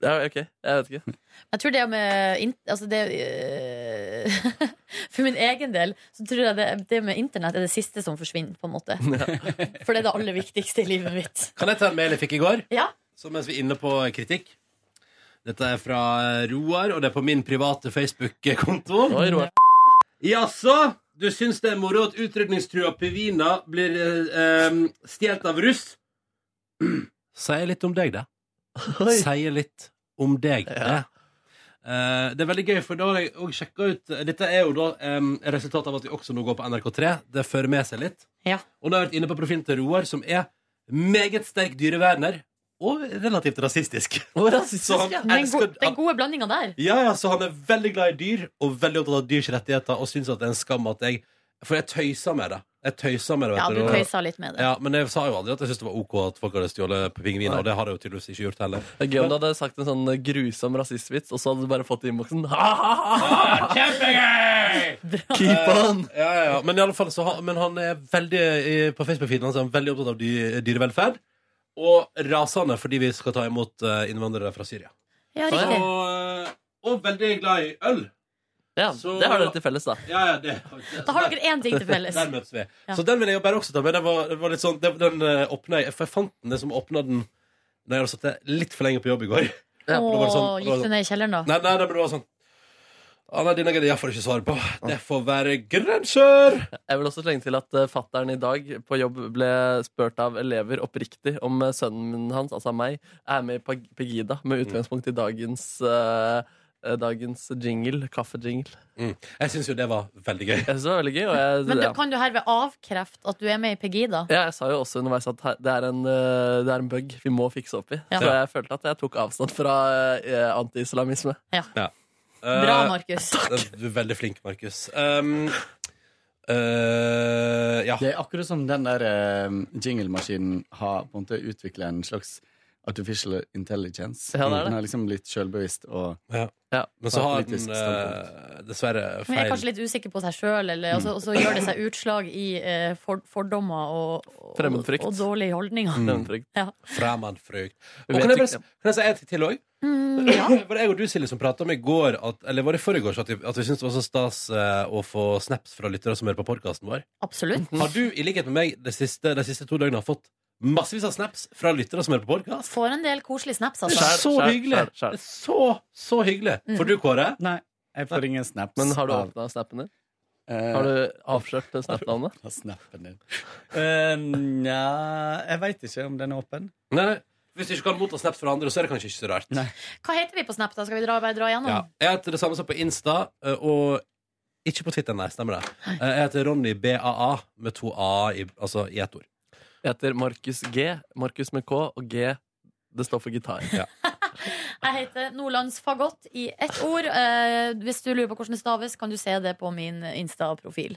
[SPEAKER 9] Ja, ok, jeg vet ikke.
[SPEAKER 3] Jeg tror det med in- altså det, eh, For min egen del så tror jeg det, det med internett er det siste som forsvinner, på en måte. For det er det aller viktigste i livet mitt.
[SPEAKER 2] Kan jeg ta en mail jeg fikk i går?
[SPEAKER 3] Ja.
[SPEAKER 2] Så mens vi er inne på eh, kritikk. Dette er fra eh, Roar, og det er på min private Facebook-konto.
[SPEAKER 9] Oi, Roar.
[SPEAKER 2] Jaså? Du syns det er moro at utrydningstrua pivina blir eh, em, stjålet av russ? Sier litt om deg, det. Sier litt om deg, det. Eh, det er veldig gøy, for da har jeg òg sjekka ut eh, Dette er jo da em, resultatet av at vi også nå går på NRK3. Det fører med seg litt.
[SPEAKER 3] Ja.
[SPEAKER 2] Og nå har jeg vært inne på profilen til Roar, som er meget sterk dyreverner. Og relativt rasistisk. Så han
[SPEAKER 3] Den,
[SPEAKER 2] elsker-
[SPEAKER 3] go den gode blandinga der.
[SPEAKER 2] ja, ja, så han er veldig glad i dyr og veldig opptatt av dyrs rettigheter og syns at det er en skam at jeg For jeg tøysa med det. Jeg tøysa med det, vet
[SPEAKER 3] Ja, du
[SPEAKER 2] og-
[SPEAKER 3] tøysa litt med det.
[SPEAKER 2] Ja, men jeg sa jo aldri at jeg syntes det var OK at folk hadde stjålet pingviner, og det har jeg jo tydeligvis ikke gjort heller.
[SPEAKER 9] Det er gøy om du hadde sagt en sånn grusom rasistvits, og så hadde du bare fått det i innboksen. Ha-ha! Keep on!
[SPEAKER 2] Eh, Ja, ja, ja. Men, i alle fall, så han, men han er veldig i- på Facebook-feeden hans er han veldig opptatt av dy- dyrevelferd. Og rasende fordi vi skal ta imot eh, innvandrere fra Syria.
[SPEAKER 3] Ja,
[SPEAKER 2] riktig.
[SPEAKER 14] og veldig glad i øl.
[SPEAKER 9] Ja, det har dere til felles, da.
[SPEAKER 2] Ja, ja, det,
[SPEAKER 3] Da har dere én ting til felles.
[SPEAKER 2] Der møtes vi.
[SPEAKER 3] Ja.
[SPEAKER 2] Så den vil jeg jo bare også ta med. Den, var, den, var litt sånn, den, den eh, åpnet jeg For jeg fant den det som åpna den da jeg hadde sittet litt for lenge på jobb i går.
[SPEAKER 3] Åh,
[SPEAKER 2] Og da var det sånn- da var
[SPEAKER 3] gikk
[SPEAKER 2] det
[SPEAKER 3] du
[SPEAKER 2] sånn-
[SPEAKER 3] ned i kjelleren, da?
[SPEAKER 2] Nei, nei, nei, men det var sånn ah, Nei, denne kan jeg iallfall ikke svare på. Det får være grenser!
[SPEAKER 9] Jeg vil også slenge til at uh, fatteren i dag på jobb ble spurt av elever oppriktig om eh, sønnen hans, altså meg, er med i Pag- Pegida med utgangspunkt i dagens, eh, eh, dagens jingle, kaffejingle.
[SPEAKER 2] Jeg syns jo det var veldig gøy.
[SPEAKER 9] Jeg synes det var veldig gøy, og jeg,
[SPEAKER 3] Men du,
[SPEAKER 9] ja.
[SPEAKER 3] kan du herved avkrefte at du er med i Pegida?
[SPEAKER 9] Ja, jeg sa jo også underveis at her, det, er en, eh, det er en bug vi må fikse opp i.
[SPEAKER 3] Ja.
[SPEAKER 9] Så jeg følte at jeg tok avstand fra eh, anti-islamisme.
[SPEAKER 3] Ja.
[SPEAKER 2] Eh,
[SPEAKER 3] Bra, Markus.
[SPEAKER 2] Du er veldig flink, Markus. Um, eh, ja.
[SPEAKER 12] Det er akkurat som den der eh, jinglemaskinen har på en måte utvikla en slags artificial intelligence.
[SPEAKER 2] Ja, det er det.
[SPEAKER 12] Den er liksom litt sjølbevisst og
[SPEAKER 2] Ja. Men så har den eh, dessverre
[SPEAKER 3] Men jeg er
[SPEAKER 2] feil
[SPEAKER 3] kanskje litt usikker på seg sjøl, og så og så gjør det seg utslag i eh, for, fordommer og, og,
[SPEAKER 2] Fremmedfrykt.
[SPEAKER 3] og dårlige holdninger.
[SPEAKER 9] Mm.
[SPEAKER 2] Fremmedfrykt.
[SPEAKER 3] Ja.
[SPEAKER 2] Fremmedfrykt.
[SPEAKER 9] Vi
[SPEAKER 2] Og
[SPEAKER 9] vet
[SPEAKER 2] kan jeg, bare,
[SPEAKER 9] ikke.
[SPEAKER 2] kan jeg si en ting til òg?
[SPEAKER 3] Mm, ja.
[SPEAKER 2] Var det jeg og du, Silje, som prata om i går at, Eller var det i forrige at, vi- at vi syntes det var så stas eh, å få snaps fra lyttere som hører på podkasten vår?
[SPEAKER 3] Absolutt.
[SPEAKER 9] Mm.
[SPEAKER 2] Har du, i likhet med meg, de siste, de siste to døgnene fått massevis av snaps fra lyttere som hører på podkast?
[SPEAKER 3] Får en del koselige snaps,
[SPEAKER 2] Det
[SPEAKER 3] altså.
[SPEAKER 2] er så hyggelig! Det er så, så hyggelig. Får du, Kåre?
[SPEAKER 12] Nei, jeg får ingen snaps.
[SPEAKER 9] Men har du
[SPEAKER 12] av- eh,
[SPEAKER 9] åpna snappen din? Har du avslørt snap-navnet?
[SPEAKER 12] Av snappen din. Eh, Nja, jeg veit ikke om den er åpen.
[SPEAKER 2] Nei, nei. Hvis du ikke kan motta snaps fra andre, så er det kanskje ikke så rart.
[SPEAKER 3] Hva heter vi på Snap, da? Skal vi dra, bare dra igjennom?
[SPEAKER 2] Ja. Jeg heter det samme som på Insta, eh, og ikke på Twitter, nei. Stemmer det. Eh, Jeg heter Ronny BAA, med to a i, altså, i ett ord.
[SPEAKER 9] Jeg heter Markus G. Markus med K og G. Det står for gitar.
[SPEAKER 3] Jeg heter Nordlandsfagott i ett ord. Eh, hvis du lurer på hvordan det staves, kan du se det på min Insta-profil.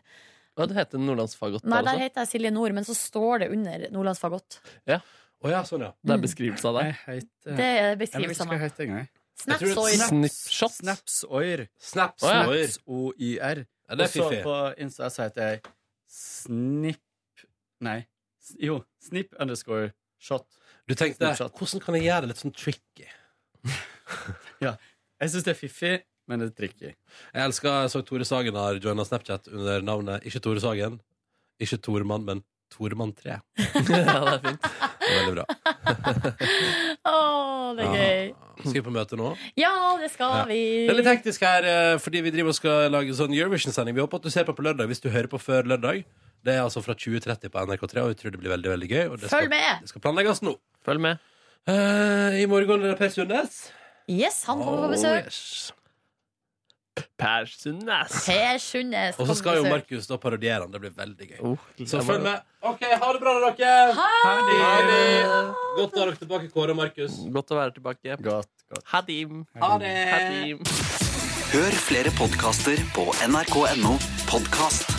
[SPEAKER 9] Hva du heter Nordlandsfagott?
[SPEAKER 3] Nei, der heter jeg Silje Nord, men så står det under Nordlandsfagott.
[SPEAKER 9] Ja.
[SPEAKER 2] Oh, ja, sånn, ja.
[SPEAKER 9] Det er beskrivelse av deg?
[SPEAKER 3] Mm. Det er beskrivelse av meg.
[SPEAKER 12] Jeg tror det
[SPEAKER 3] Snapsoil.
[SPEAKER 12] er
[SPEAKER 9] Snapshot.
[SPEAKER 12] Snapsoir.
[SPEAKER 2] Snapsoir.
[SPEAKER 12] Snaps-o-y-r.
[SPEAKER 2] Ja, det er
[SPEAKER 12] Og så
[SPEAKER 2] fiffig.
[SPEAKER 12] på Insta så heter jeg Snipp...
[SPEAKER 7] Nei. S- Jo. Snip underscore shot.
[SPEAKER 2] Du tenkte, hvordan kan jeg gjøre det litt sånn tricky?
[SPEAKER 7] ja. Jeg syns det er fiffig, men det er tricky.
[SPEAKER 2] Jeg elsker, jeg så Tore Sagen har joina Snapchat under navnet Ikke Tore Sagen, ikke Toremann, men Toremann 3.
[SPEAKER 9] ja, det er fint.
[SPEAKER 2] Veldig bra.
[SPEAKER 3] Å, det er gøy.
[SPEAKER 2] Skal vi på møte nå?
[SPEAKER 3] Ja, det skal
[SPEAKER 2] Ja.
[SPEAKER 3] vi.
[SPEAKER 2] Det er litt hektisk her, eh, fordi vi driver og skal lage en sånn Eurovision-sending. Vi håper at du ser på på lørdag hvis du hører på før lørdag. Det er altså fra 20.30 på NRK3, og vi tror det blir veldig veldig gøy. Og det skal,
[SPEAKER 3] Følg med.
[SPEAKER 2] Det skal planlegges nå. Eh,
[SPEAKER 9] Følg med.
[SPEAKER 2] I morgen er det Per Sundnes.
[SPEAKER 3] Yes, han kommer på besøk.
[SPEAKER 9] Per Sundnes.
[SPEAKER 3] Per Sundnes
[SPEAKER 2] Og så
[SPEAKER 3] kommer
[SPEAKER 2] skal
[SPEAKER 3] på
[SPEAKER 2] jo
[SPEAKER 3] besøk.
[SPEAKER 2] Markus da parodiere han. Det blir veldig gøy. så
[SPEAKER 9] Oh, jeg
[SPEAKER 2] følg
[SPEAKER 9] må-
[SPEAKER 2] med. OK, ha det bra, da, dere.
[SPEAKER 3] Ha
[SPEAKER 9] det.
[SPEAKER 2] Ha det. Godt å ha dere tilbake, Kåre og Markus.
[SPEAKER 9] Godt å være tilbake. Hadim.
[SPEAKER 2] Ha det.
[SPEAKER 9] Hadim.
[SPEAKER 5] Hør flere podkaster på nrk.no podkast.